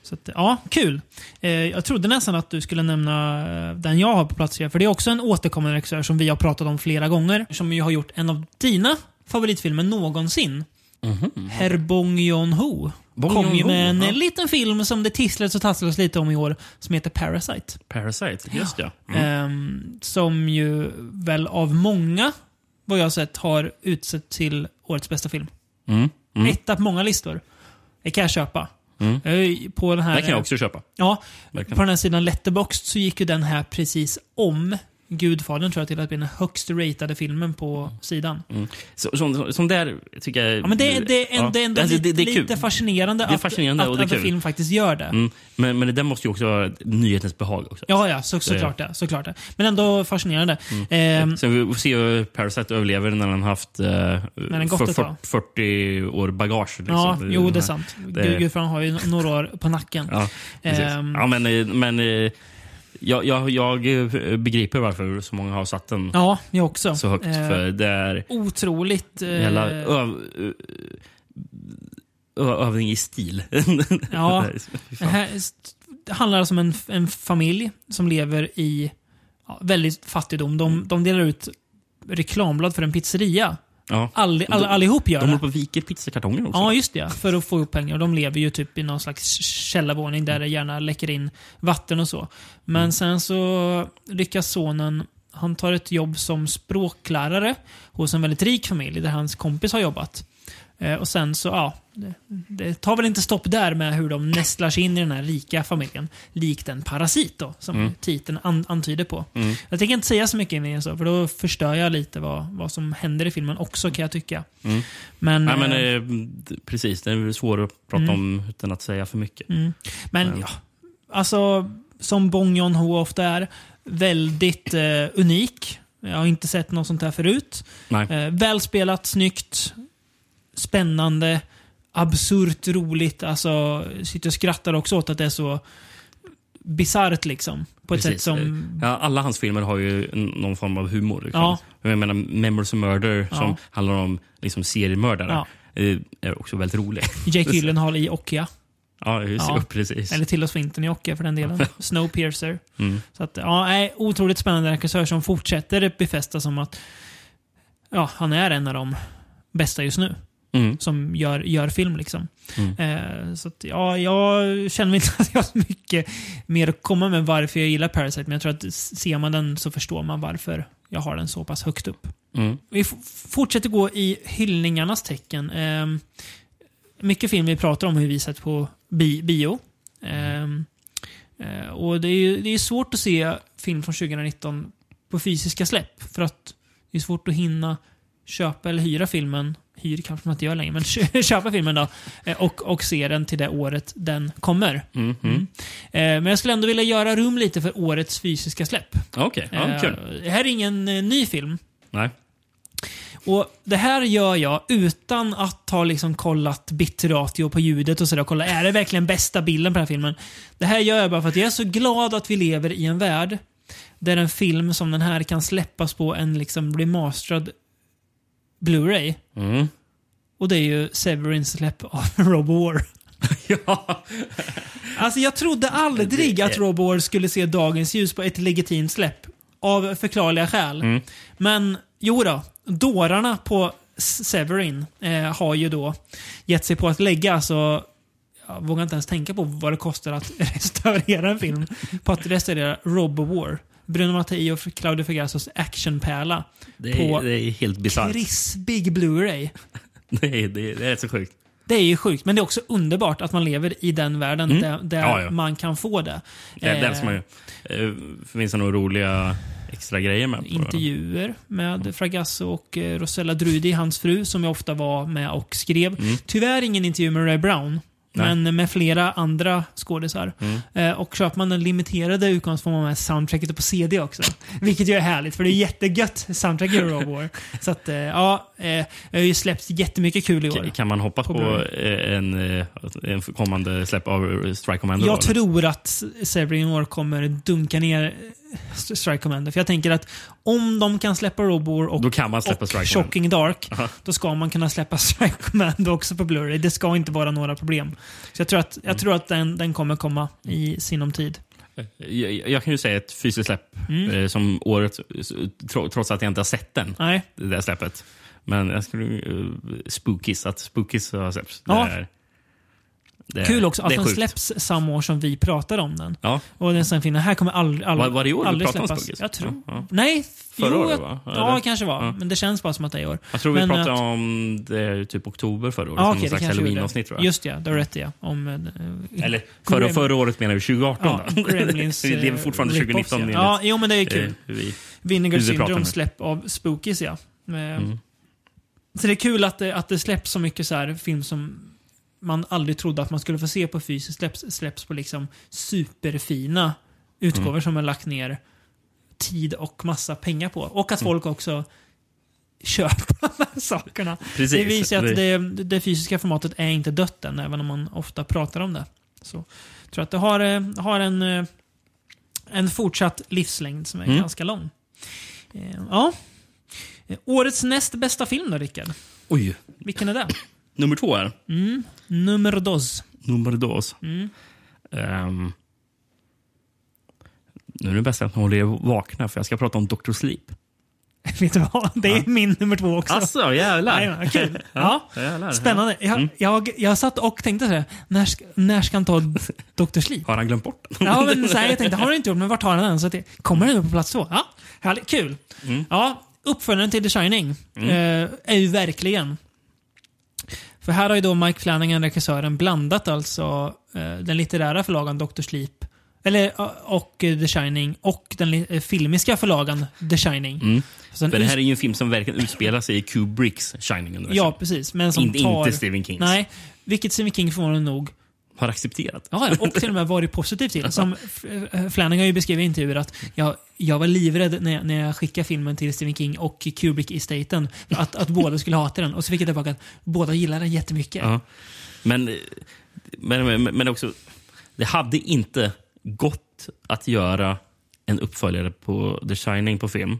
Så att, ja, kul. Eh, jag trodde nästan att du skulle nämna eh, den jag har på plats här, för det är också en återkommande regissör som vi har pratat om flera gånger. Som ju har gjort en av dina favoritfilmer någonsin. Mhm. Herr Bong Joon-Ho. Bong Kom ju Joon-ho, med en ja. liten film som det tisslades och tasslades lite om i år, som heter Parasite. Parasite, just ja. Mm. Ehm, som ju väl av många, vad jag har sett, har utsett till årets bästa film. Mm. Mm. Etta på många listor. Det kan jag köpa. Jag är ju På den här, Den kan jag också köpa. Ja, Verkligen. på den här sidan Letterboxd så gick ju den här precis om Gudfadern tror jag till att bli den högst ratade filmen på Mm. sidan. Så, som, som där tycker jag... Ja, men det, det, är, Ja. det är ändå Alltså, lite, det- det är kul. lite fascinerande, Det är fascinerande att, och att, det är att en kul. film faktiskt gör det. Mm. Men, men det där måste ju också vara nyhetens behag också. Ja, ja, så, såklart, det, såklart det. Men ändå fascinerande. Mm. Ehm, Sen vi får se hur Parasite överlever när han haft eh, den gått fyr- ett tag. 40 år bagage. Liksom. ja, jo, det är här- sant. det- Gud, Gud, för han har ju några år på nacken. Ja, precis. Ehm. ja, men, eh, men eh, jag, jag, jag eh, begriper varför så många har satt den Ja, jag också. så högt. Ehm, För det är Otroligt... eh, hela öv, ö, ö, övning i stil. [LAUGHS] Ja. Fy Det fan. här st- det handlar alltså om en, en familj som lever i ja, väldigt fattigdom. De, de delar ut reklamblad för en pizzeria. ja. All, all, De- allihop gör De håller det. på och viker pizzakartonger också. Ja, just det. För att få upp pengar. Och de lever ju typ i någon slags källarvåning där det gärna läcker in vatten och så. Men Mm. sen så lyckas sonen, han tar ett jobb som språklärare hos en väldigt rik familj där hans kompis har jobbat. Eh, och sen så, ja, det, det tar väl inte stopp där med hur de nästlar sig in i den här rika familjen. Likt en parasit då, som Mm. titeln an, antyder på. Jag tänker inte säga så mycket innan jag så, för då förstör jag lite vad, vad som händer i filmen också kan jag tycka. Men, Mm. Nej, men, eh, mm. eh, d- precis, det är svårt att prata om utan att säga för mycket. Men ja, alltså som Bong Joon-ho ofta är, väldigt eh, unik. Jag har inte sett något sånt här förut. Nej. Eh, välspelat, snyggt, spännande, absurt roligt. Alltså, jag sitter och skrattar också åt att det är så bisarrt liksom. På ett sätt Precis. som... ja, alla hans filmer har ju en- någon form av humor. Liksom. Ja. Jag menar, Memories of Murder Ja. som handlar om liksom, seriemördare eh, är också väldigt rolig. [LAUGHS] Jake Gyllenhaal i Okja. ja, just, Ja. ja. precis. Mm. Eller till och Swinton i Okja för den delen. Snowpiercer. Så att, ja, nej, otroligt spännande regissör som fortsätter befästa som att ja, han är en av de bästa just nu. Mm. Som gör, gör film liksom. Eh, så att, ja, jag känner mig inte [LAUGHS] att jag har så mycket mer att komma med varför jag gillar Parasite. Men jag tror att ser man den så förstår man varför jag har den så pass högt upp. Mm. Vi f- fortsätter gå i hyllningarnas tecken. Ehm, mycket film vi pratar om hur vi sett på bi bio. Ehm, eh, och det är, ju, det är svårt att se film från 2019 på fysiska släpp. För att det är svårt att hinna köpa eller hyra filmen. Hyr kanske man inte gör längre, men [LAUGHS] kö- köpa filmen då. eh, Och, och se den till det året den kommer. Mm. Mm. Mm. Eh, Men jag skulle ändå vilja göra rum lite för årets fysiska släpp. Okej, ja, kul. Eh, Det här är ingen eh, ny film. Nej. Och Det här gör jag utan att ha liksom kollat bitratio på ljudet och sådär. och Kolla, är det verkligen bästa bilden på den här filmen? Det här gör jag bara för att jag är så glad att vi lever i en värld där en film som den här kan släppas på en liksom remasterad Blu-ray. Mm. Och det är ju Severins släpp av [LAUGHS] Rob War. [LAUGHS] ja. Alltså jag trodde aldrig Det är- att Rob War skulle se dagens ljus på ett legitimt släpp. Av förklarliga skäl. Mm. Men jo då, dårarna på S- Severin eh, har ju då gett sig på att lägga alltså jag vågar inte ens tänka på vad det kostar att [LAUGHS] restaurera en film. På att restaurera Robowar. Bruno Mattei och Claudio Fagasos actionpärla. Det, På är, det är helt bisarrt. [LAUGHS] Krispig Blu-ray. Det, är- det är det är så sjukt. Det är ju sjukt, men det är också underbart att man lever i den världen där, där Mm. Ja, ja. man kan få det. Det, det älskar man ju. Eh, Finns det några roliga extra grejer med? på det? intervjuer Mm. med Fragasso och eh, Rosella Drudi, hans fru, som jag ofta var med och skrev. Tyvärr ingen intervju med Ray Brown. Mm. Nej. Mm. Men med flera andra skådisar. Eh, och köper man den limiterade utgåvan så får man med soundtracket på CD [LAUGHS] också. Vilket ju är härligt, för det är jättegött soundtrack i Rob [LAUGHS] War. Så att, eh, ja, eh, jag har ju släppt jättemycket kul i år. K- Kan man hoppas På på, eh, en, eh, en kommande släpp av eh, Strike Commando? Jag då, eller? tror att Severin War kommer dunka ner eh, St- Strike Commander. För jag tänker att om de kan släppa Robor och, Då kan man släppa och Strike Commando. Shocking Dark, då ska man kunna släppa [LAUGHS] Strike Command också på Blu-ray. Det ska inte vara några problem. Så jag tror att, Mm. jag tror att den, den kommer komma i sinom tid. Mm. Jag, jag kan ju säga ett fysiskt släpp eh, som året, tro, trots att jag inte har sett den. Nej. Det där släppet. eh, Men jag skulle... Uh, spookies, att Spookies har släppts. Ja. Det är, Det är- Kul också att eh, det är den sjukt. släpps samma år som vi pratar om den. Ja. Och den sen finner, här kommer aldrig, aldrig, Var- var det i år vi aldrig pratade om släppas. Spookies? Jag tror... Ja, ja. Nej, Förra jo, året, jag- va? Eller? Ja, kanske var. Ja. Men det känns bara som att det är i år. Jag tror vi Men pratade att- om det typ oktober förra året. Ja, som okej, någon det slags kanske vi Halloween-avsnitt tror gjorde. jag. Just det, ja. det har du rätt i, ja. Om, eh, Eller förra, Gremlin- förra året menar du 2018 ja, [LAUGHS] då? Gremlins, Vi lever eh, fortfarande rip-offs, 2019 enligt, Ja. ja, jo men det är kul. eh, hur vi, Vinegar hur vi pratar Syndrome nu. släpp av Spookies ja. Eh, Mm. Så det är kul att det, att det släpps så mycket så här film som man aldrig trodde att man skulle få se på fysiskt släpps, släpps på liksom superfina utgåvor Mm. som har lagt ner tid och massa pengar på. Och Mm. att folk också köper [LAUGHS] de här sakerna. Precis. Det visar att Det- det, det fysiska formatet är inte dött än, även om man ofta pratar om det. Så jag tror att det har, eh, har en, eh, en fortsatt livslängd som är ganska lång. Eh, Ja. Eh, Årets näst bästa film då, Rickard? Oj, Vilken är det? nummer två här. Nummer dos. [LAUGHS] Nummer dos. Ehm, nu är det bäst att ni håller er vakna för jag ska prata om Dr. Sleep. Vet du vad? Det är min nummer två också. Alltså, jävlar. Jajamän, kul. Ja. jävlar. Spännande. Jag, jag, jag satt och tänkte så här, när, ska- när ska han ta Dr. Sleep? Har han glömt bort den? Ja, men så här, jag tänkte, har du inte gjort, men vart har den än? Så att det, kommer den upp på plats två? Ja, härligt, kul. Mm. Ja, uppföljaren till The Shining eh, är ju verkligen... För här har ju då Mike Flanagan, regissören, blandat alltså eh, den litterära förlagan Dr. Sleep eller, eh, och eh, The Shining och den li- eh, filmiska förlagan The Shining. Så den Mm. För det här är ju en film som verkligen utspelar sig i Kubricks Shining-universum. Ja, precis. Men som Inte- tar... inte Stephen Kings. Nej, vilket Stephen King förvånande nog Har accepterat. Ja, ja, och till och med varit positiv till. Som F- eh, Flanagan har ju beskrivit i intervjuer att jag, jag var livrädd när jag, när jag skickade filmen till Stephen King och Kubrick-estaten. Att, att båda skulle hata den. Och så fick jag tillbaka att båda gillade den jättemycket. Ja. Men, men, men, men också, det hade inte gått att göra en uppföljare på The Shining på film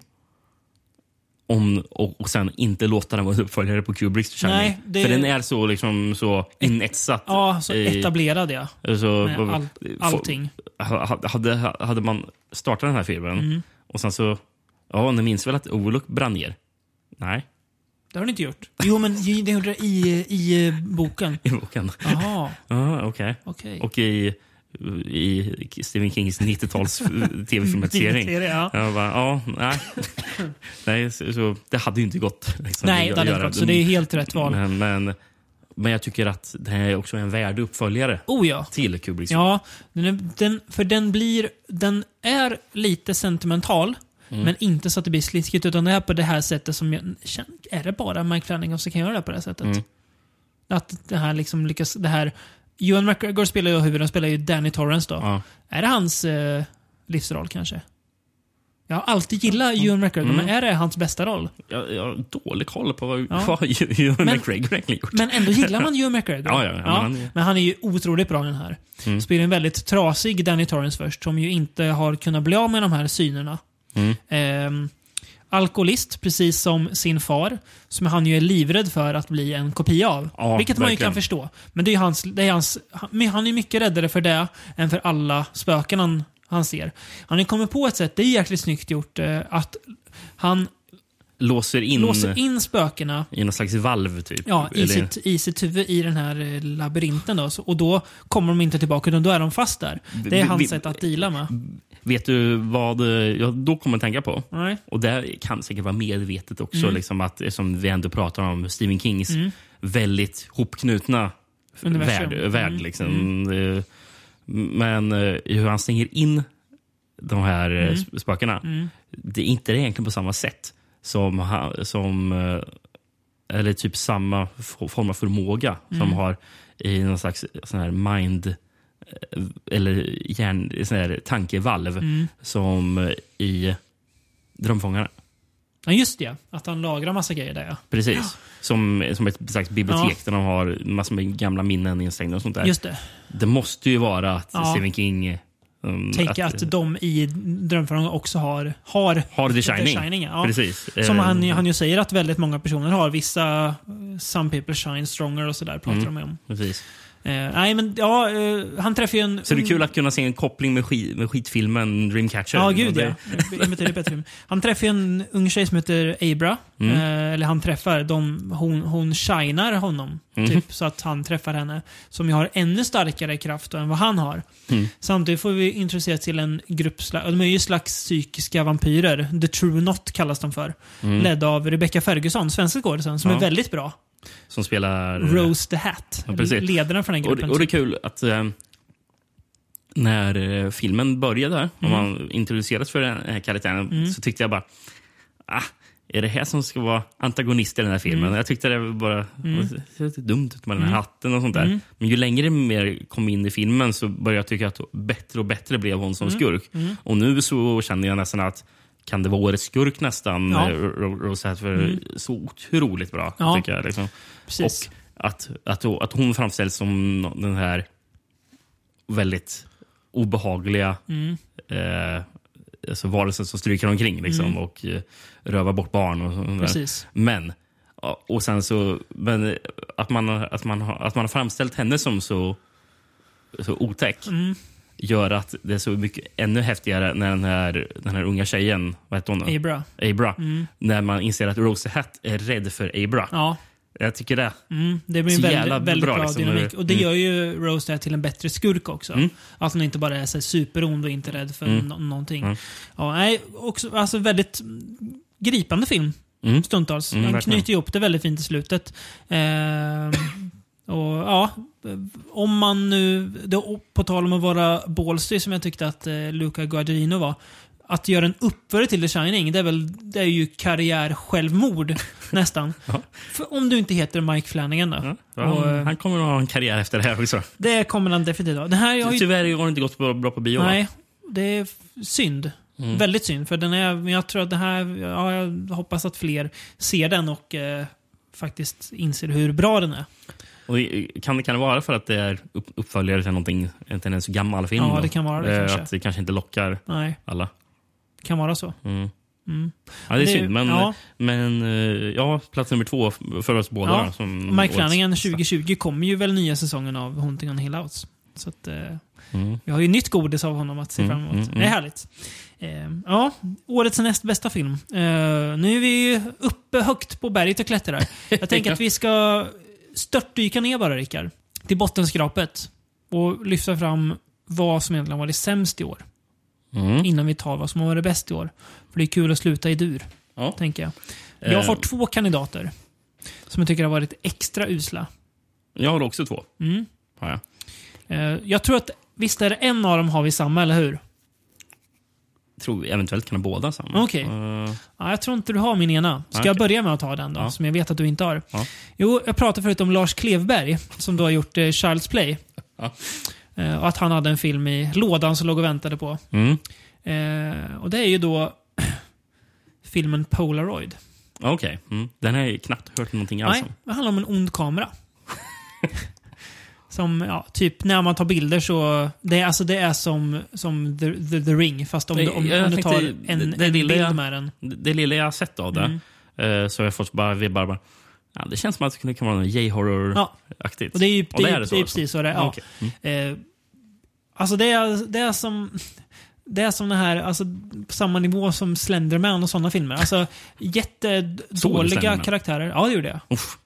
om, och, och sen inte låta den vara en uppföljare på Kubricks The Shining. Nej, det- För den är så, liksom, så inetsat. Ja, så i- etablerade jag. så, Med all, allting. Alltså, Ha- Hade, hade man startat den här filmen Mm. och sen så... Ja, ni minns väl att Olok brann ner? Nej, [LAUGHS] Det har du inte gjort. Jo, men ju- det gjorde det i, i eh, boken. i boken. Jaha, Ja, okej. okej. Och i, i Stephen [LAUGHS] Kings 90-tals tv-filmatisering. Är det, ja. Jag bara, ja, nej. [LAUGHS] nej så, så, det hade ju inte gått. Liksom, Nej, att det hade inte göra. gått. Så det är helt rätt val. Men, men, men jag tycker att det här är också en värdig uppföljare Oh ja. till Kubricks. Ja, den, är- den, för den blir, den är lite sentimental. Men inte så att det blir sliskigt, utan det är på det här sättet som jag... känner- Är det bara Mike Flanagan som kan göra det på det här sättet? Att det här liksom lyckas... Det här, Ewan McGregor spelar ju huvuden, spelar ju Danny Torrance då. Ja. Är det hans eh, livsroll kanske? Jag har alltid gillat Ewan McGregor, men är det hans bästa roll? Jag, jag har dålig koll på vad, Ja. vad Ewan Men- McGregor egentligen gjort. Men ändå gillar man Ewan McGregor. [LAUGHS] Ja, ja, ja, men han är- Mm. men han är ju otroligt bra i den här. Spelar en väldigt trasig Danny Torrance först, som ju inte har kunnat bli av med de här synerna. Mm. Ehm, alkoholist, precis som sin far, som han ju är livrädd för att bli en kopia av. Ja, vilket man ju verkligen. kan förstå. Men det är ju hans, det är hans, han, men han är ju mycket räddare för det än för alla spöken han, han ser. Han har ju kommit på ett sätt, det är jäkligt snyggt gjort, eh, att Mm. han Låser in, låser in spökena i någon slags valv typ. Ja, i Eller- sitt, i sitt huvud i den här eh, labyrinten. Då, så, och då kommer de inte tillbaka, utan då är de fast där. Det är vi- vi- hans sätt att deala med. Vet du vad eh, jag då kommer att tänka på? Nej. Och det kan säkert vara medvetet också, liksom att, som vi ändå pratar om Stephen Kings väldigt hopknutna Universum. värld. värld liksom. Eh, Men eh, hur han stänger in de här eh, sp- spökena, det är inte egentligen på samma sätt som, ha- som eh, eller typ samma f- form av förmåga som har i någon slags eh, sån här mind eh, eller hjärn, sån här tankevalv som eh, i Drömfångarna. Ja, just det. Att han lagrar massa grejer där, ja. Precis. Som, som ett slags bibliotek där de har massor med gamla minnen instängda och sånt där. Just det. Det måste ju vara att Ja. Stephen King um, Tänk att, de i Drömfångarna också har, har, har The Shining. ja. Precis. Som Eh, han, ju- han ju säger Mm. att väldigt många personer har. Vissa, eh, some people shine stronger och sådär pratar de om. Precis. Eh, nej, men ja, eh, han träffar ju en... Så det är kul att kunna se en koppling med, skit, med skitfilmen Dreamcatcher. Ja, gud det, ja. Imiterar bättre film. Han träffar ju en ung tjej som heter Abra. Mm. Eh, eller han träffar, de, hon, hon shinar honom. Mm. Typ, så att han träffar henne. Som ju har ännu starkare kraft då än vad han har. Mm. Samtidigt får vi introduceras till en grupp, sla- de är ju slags psykiska vampyrer. The True Not kallas de för. Ledda av Rebecca Ferguson, svensk skådisen, som Mm. Ja. är väldigt bra. Som spelar... Rose the Hat. Ja, precis. ledaren för den Och, det- gruppen. typ. och det är kul att eh, när eh, filmen började, och Mm. man introducerades för den här karaktären, så tyckte jag bara... Ah, är det här som ska vara antagonist i den här filmen? Mm. Jag tyckte det var bara det ser lite dumt ut med den här hatten och sånt där. Mm. Men ju längre mer kom in i filmen så började jag tycka att bättre och bättre blev hon Mm. som skurk. Och nu så känner jag nästan att kan det vara årets skurk nästan, eh, Ja. Mm. ja. Rosette? För så otroligt bra, Ja. tycker jag. Liksom. Precis. Och att, att, att hon framställs som nå- den här väldigt obehagliga Mm. eh, alltså varelsen som stryker omkring liksom, och eh, rövar bort barn. Och sånt där. Mm. Precis. Men, ja, och sen så, men eh, att, man, att, man, har- att man har framställt henne som så, så otäck Mm. gör att det är så mycket ännu häftigare när den här, den här unga tjejen, vad heter hon? då? Abra. Mm. Abra. När man inser att Rosie Hatt är rädd för Abra. Ja. Jag tycker det. Mm, det blir en Så väldigt, jävla väldigt bra, bra, liksom. dynamik. Och det Mm. gör ju Rose där till en bättre skurk också. Att hon inte bara är så här superond och inte rädd för Mm. nå- någonting. Ja, nej, också, alltså väldigt mm, gripande film Mm. stundtals. Mm, Han verkligen. knyter ihop det väldigt fint i slutet. Ehm, och ja, om man nu, det, och på tal om att vara Ballsty som jag tyckte att eh, Luca Guadagnino var. Att göra en uppföljare till The Shining, det är, väl, det är ju [LAUGHS] karriär-självmord nästan. För om du inte heter Mike Flanagan då. Ja, Och, han, eh, han kommer att ha en karriär efter det här också. det kommer han definitivt ha. Den här har ju... Tyvärr har det typ inte gått bra, bra på bio. va? Nej, det är f- synd. Mm. Väldigt synd. För den är, men jag tror att det här, ja, jag hoppas att fler ser den och eh, faktiskt inser hur bra den är. Och i- kan, det- kan det vara för att det är upp- uppföljare till någonting, inte en så gammal film? Ja, då? det kan vara det, Eh, kanske. Att det kanske inte lockar Nej, alla. Mm. kan vara så. Ja, det är Mm. Det- synd, men, ja. men eh, ja, plats nummer två f- för oss båda. Ja, då, som Mike årets- Flanagan 2020 kommer ju väl nya säsongen av Hunting on Hill House. Så att, eh, Mm. vi har ju nytt godis av honom att se fram emot. Det är härligt. Eh, ja, årets näst bästa film. Eh, nu är vi ju uppe högt på berget och klättrar. [LAUGHS] Jag tänker att vi ska störtdyka ner bara, Rickard. Till bottenskrapet. Och lyfta fram vad som egentligen var det sämst i år. Mm. Innan vi tar vad som var det bäst i år. För det är kul att sluta i dur Ja. tänker jag. Jag har Eh. två kandidater som jag tycker har varit extra usla. Jag har också två. Mm. Har jag. Eh, Jag tror att, visst är det en av dem har vi samma, eller hur? Tror eventuellt kan ha båda samma. Okej. Eh, Ja, jag tror inte du har min ena. Ska Okej. jag börja med att ta den då? Ja. Som jag vet att du inte har. Ja. Jo, jag pratade förut om Lars Klevberg som då har gjort eh, Child's Play. Ja. Eh, och att han hade en film i lådan som låg och väntade på. mm. Eh, och det är ju då [CLEARS THROAT] filmen Polaroid. Okej. Mm. Den har jag knappt hört någonting alls om. Nej, det handlar om en ond kamera. [LAUGHS] som, ja, typ när man tar bilder så... Det är, alltså, det är som, som the, the, the ring, fast om, du- om, Jag om du tänkte- tar det- en, det en lilla bild jag- med den. det det lilla jag har sett av det, Mm. eh, så har jag fått bara vibbar. Bara, ja, det känns som att det kan vara något Ja. J-horror-aktigt. Och det är ju det, är, så det är alltså? precis så det är. Ja. Okej. Eh, alltså det är, det är som... Det är som det här, alltså på samma nivå som Slenderman och sådana filmer. [LAUGHS] Alltså jättedåliga Slenderman? karaktärer. Ja, det gjorde jag. Uff.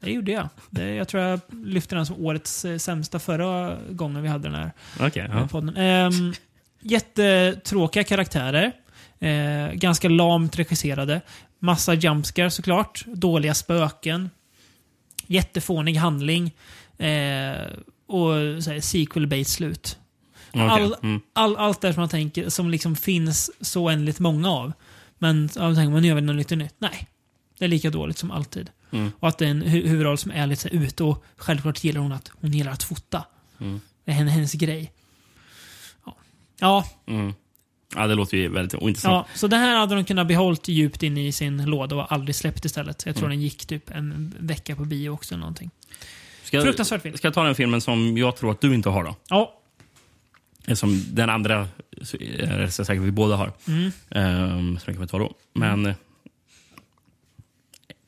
Det gjorde jag. Det, jag tror jag lyfte den som årets eh, sämsta förra gången vi hade den här. Okej, ja. podden. Ehm, jättetråkiga karaktärer. Eh, ganska lamt regisserade. Massa jumpscare såklart. Dåliga spöken. Jättefånig handling. Eh, och så här, sequel-based slut. Okej, All, mm. all, allt det som man tänker, som liksom finns så oändligt många av. Men ja, då tänker man, nu gör vi något lite nytt. Nej. Det är lika dåligt som alltid. Och att det är en hu huvudroll som är lite så här ute och självklart gillar hon att hon gillar att fota. Det är hennes, hennes grej. Ja. Ja, mm. ja, det låter ju väldigt ointressant. ja, så det här hade de kunnat behållit djupt in i sin låda och aldrig släppt istället. Jag tror den gick typ en vecka på bio också eller någonting. Ska jag- fruktansvärt film. Ska jag ta den filmen som jag tror att du inte har då? Ja, Som den andra, så är det så säkert vi båda har. Mm. Ehm, som jag kan ta då. Men eh,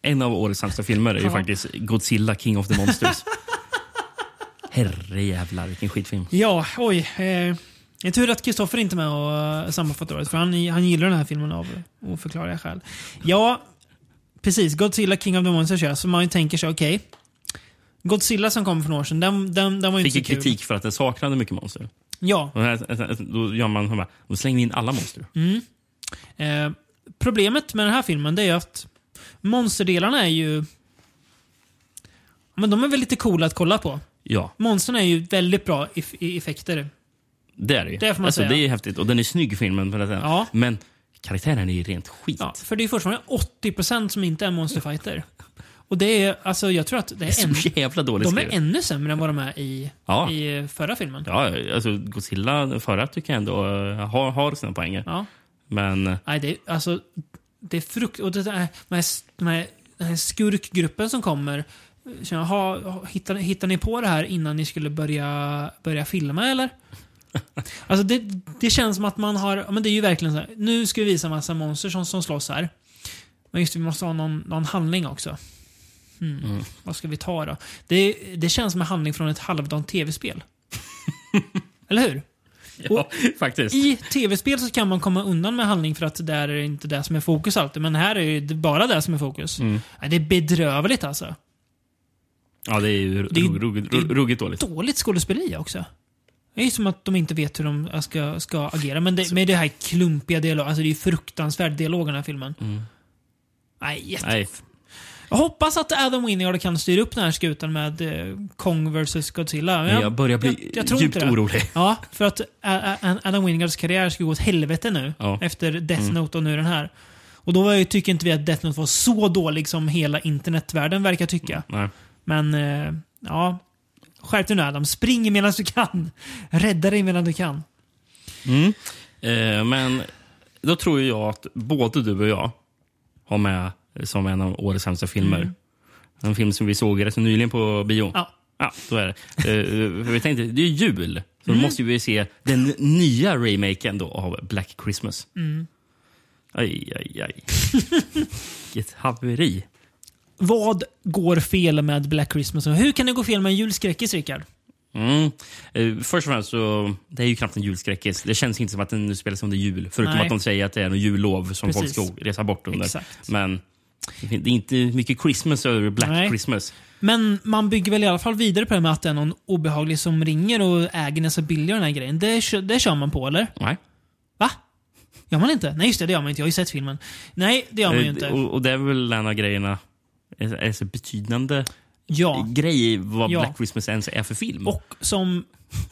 en av årets sämsta filmer är ju Ja. [LAUGHS] faktiskt Godzilla King of the Monsters. Herrejävlar, vilken skitfilm. Ja, oj. Eh, det är tur att Kristoffer inte är med och eh, sammanfattar året, för han, han gillar den här filmen av oförklarliga skäl. Ja, precis. Godzilla King of the Monsters, ja. Så man tänker sig, okej. Godzilla som kom för några år sedan, den, den, den var ju Fick inte så ju kul. kritik för att den saknade mycket monster. Ja. Och här, då gör man bara, då slänger vi in alla monster. Mm. Eh, problemet med den här filmen det är ju att monsterdelarna är ju... Men de är väl lite coola att kolla på. Ja, Monstren är ju väldigt bra i, i effekter. det är det ju. Det får man alltså, säga. det är häftigt. Och den är snygg filmen. På det sättet. Ja. Men karaktären är ju rent skit. Ja, för det är fortfarande 80% som inte är monsterfighter. Och det är, alltså jag tror att det Det är är en, så jävla dåligt de är skrivet. ännu sämre än vad de är i, Ja. i förra filmen. Ja, alltså Godzilla, den förra tycker jag ändå eh, har, har sina poänger. Ja. Men eh, Nej, det är, alltså, det är frukt... Och det där, de här, de här, den här skurkgruppen som kommer. Känner, jag, ha, ha, hittar, hittar ni på det här innan ni skulle börja, börja filma eller? Alltså det, det känns som att man har, ja, men det är ju verkligen så här, nu ska vi visa massa monster som, som slåss här. Men just det, vi måste ha någon, någon handling också. Hmm, Vad ska vi ta då? Det, det känns som en handling från ett halvdant tv-spel. eller hur? ja, faktiskt. I tv-spel så kan man komma undan med handling för att där är det inte det som är fokus alltid. Men här är ju det bara det som är fokus. Mm. Ja, Det är bedrövligt alltså. Ja, det är ju Det är- ruggigt rugg, det är- dåligt. Dåligt skådespeleri också. Det är ju som att de inte vet hur de ska, ska agera. Men det, med det här klumpiga dialogen, alltså det är ju fruktansvärd dialog i den här filmen. Nej, jätte... Mm. Nej, Jag hoppas att Adam Wingard kan styra upp den här skutan med eh, Kong vs Godzilla. Men jag, börjar bli jag- jag tror djupt inte det. orolig. Ja, för att Ä- Ä- Adam Wingards karriär skulle gå åt helvete nu. Ja. Efter Death Note och nu den här. Och då var jag, tycker inte vi att Death Note var så dålig som hela internetvärlden verkar tycka. Nej. Men, eh, ja. Skärp dig nu Adam. Spring medan du kan. Rädda dig medan du kan. Eh, men då tror ju jag att både du och jag har med som en av årets sämsta filmer. En film som vi såg rätt nyligen på bio. Mm. Ja. Ja, så är det. Eh, för vi tänkte, det är ju jul. Så Mm. då måste vi se den nya remaken då av Black Christmas. Mm. Aj, [LAUGHS] aj, aj. Vilket haveri. Vad går fel med Black Christmas? Och Hur kan det gå fel med en julskräckis, Rickard? Mm. Eh, först och främst, så, det är ju knappt en julskräckis. Det känns inte som att den spelas under jul. Förutom Nej. att de säger att det är en jullov som Precis. folk ska resa bort under. Exakt. Men det är inte mycket Christmas över Black Nej. Christmas. Men man bygger väl i alla fall vidare på det med att det är någon obehaglig som ringer och äger nästan bilder och den här grejen. Det, kö- det kör man på, eller? Nej. Va? Gör man inte? Nej, just det. Det gör man inte. Jag har ju sett filmen. Nej, det gör man ju Eh, inte. Och, och det är väl en av grejerna, är, är så betydande Ja. grej i vad Ja. Black Christmas ens är för film. Och som...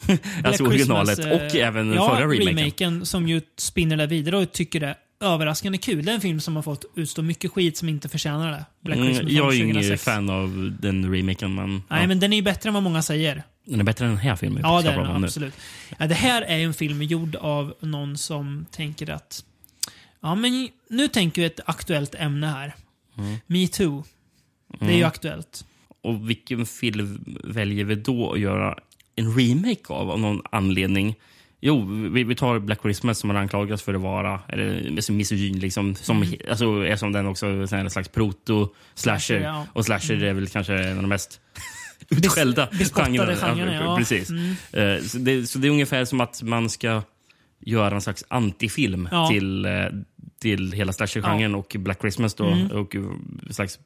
Black alltså originalet Christmas, eh, och även den ja, förra remaken. som ju spinner det vidare och tycker det är överraskande kul. Det är en film som har fått utstå mycket skit som inte förtjänar det. Black Mm, Christmas jag är från ju ingen 2006. fan av den remaken, men, Nej, ja. men den är ju bättre än vad många säger. den är bättre än den här filmen. vi Ja, ska det är prata om den. nu. Absolut. Ja, det här är ju en film gjord av någon som tänker att... Ja, men nu tänker vi ett aktuellt ämne här. Mm. Me too. Det är ju aktuellt. Och vilken film väljer vi då att göra en remake av av någon anledning? Jo, vi, vi tar Black Christmas som man anklagas för att vara, eller alltså misogyn liksom, Mm. som, alltså, är som den också är en slags proto-slasher. Ja. Mm. Och slasher är väl kanske en av de mest [LAUGHS] utskällda bespottade genrerna, ja. Mm. Precis. Eh, Så, det, så det är ungefär som att man ska göra en slags antifilm Ja. till, eh, till hela slasher-genren och Black Christmas då. Mm. Och eh, slags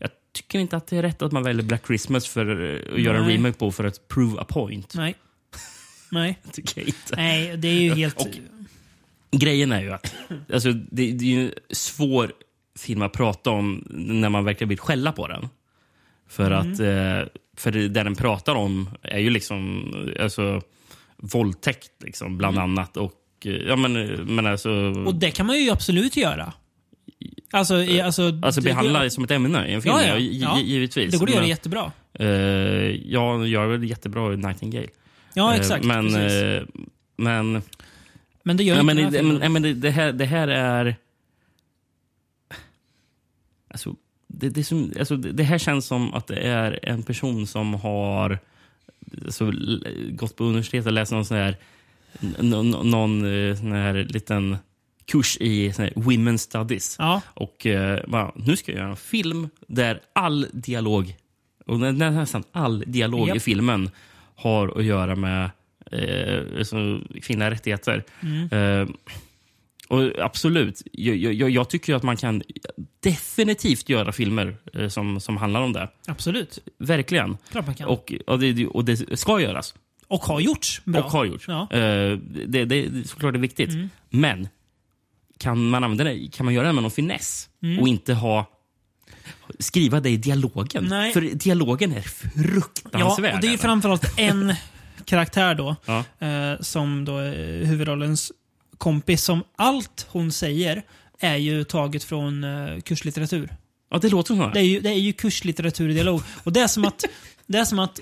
jag tycker inte att det är rätt att man väljer Black Christmas för eh, att göra en Nej. remake på för att prove a point. Nej. Nej. Tycker jag inte. Nej, det [LAUGHS] är ju helt... Och- Grejen är ju att alltså, det, det är ju en svår film att prata om när man verkligen vill skälla på den. För Mm. att eh, för det det den pratar om är ju liksom eh, alltså, våldtäkt, liksom, bland annat. Och, eh, ja, men, eh, men alltså, Mm. Och det kan man ju absolut göra. Alltså, i, alltså, alltså det- behandla det som ett ämne i en film, Ja, ja, ja. gi- Ja. givetvis. Det går att göra Men, jättebra. eh, jag gör väl jättebra i Nightingale. Ja, Eh, exakt. Men, precis. eh, men, men det gör ja, inte men, den här det, filmen. men, ja, men det, det, här, det här är... Alltså, det, det, är som, alltså, det, det här känns som att det är en person som har alltså, l- gått på universitet och läst någon sån här, n- n- någon eh, sån här liten kurs i sån här women studies. Ja. Och eh, bara, nu ska jag göra en film där all dialog, och nä- nä- nästan all dialog Japp. i filmen har att göra med eh, alltså, kvinnliga rättigheter. Eh, och absolut, jag, jag, jag tycker att man kan definitivt göra filmer eh, som, som handlar om det. Absolut. Verkligen. Klart man kan. Och, Och, och, det, och det ska göras. har gjorts bra. Och har gjorts. Ja. Mm. Eh, det, det är såklart det är viktigt. Men kan man, använda det, kan man göra det med någon finess Mm. och inte ha skriva det i dialogen? Nej. För dialogen är Ja, och fruktansvärd. det är ju [LAUGHS] framförallt en karaktär då. Ja. Eh, som då är huvudrollens kompis. Som allt hon säger är ju taget från eh, kurslitteratur. ja, det låter så. Det är ju, det är ju kurslitteratur i dialog. Och det är som att, det är som att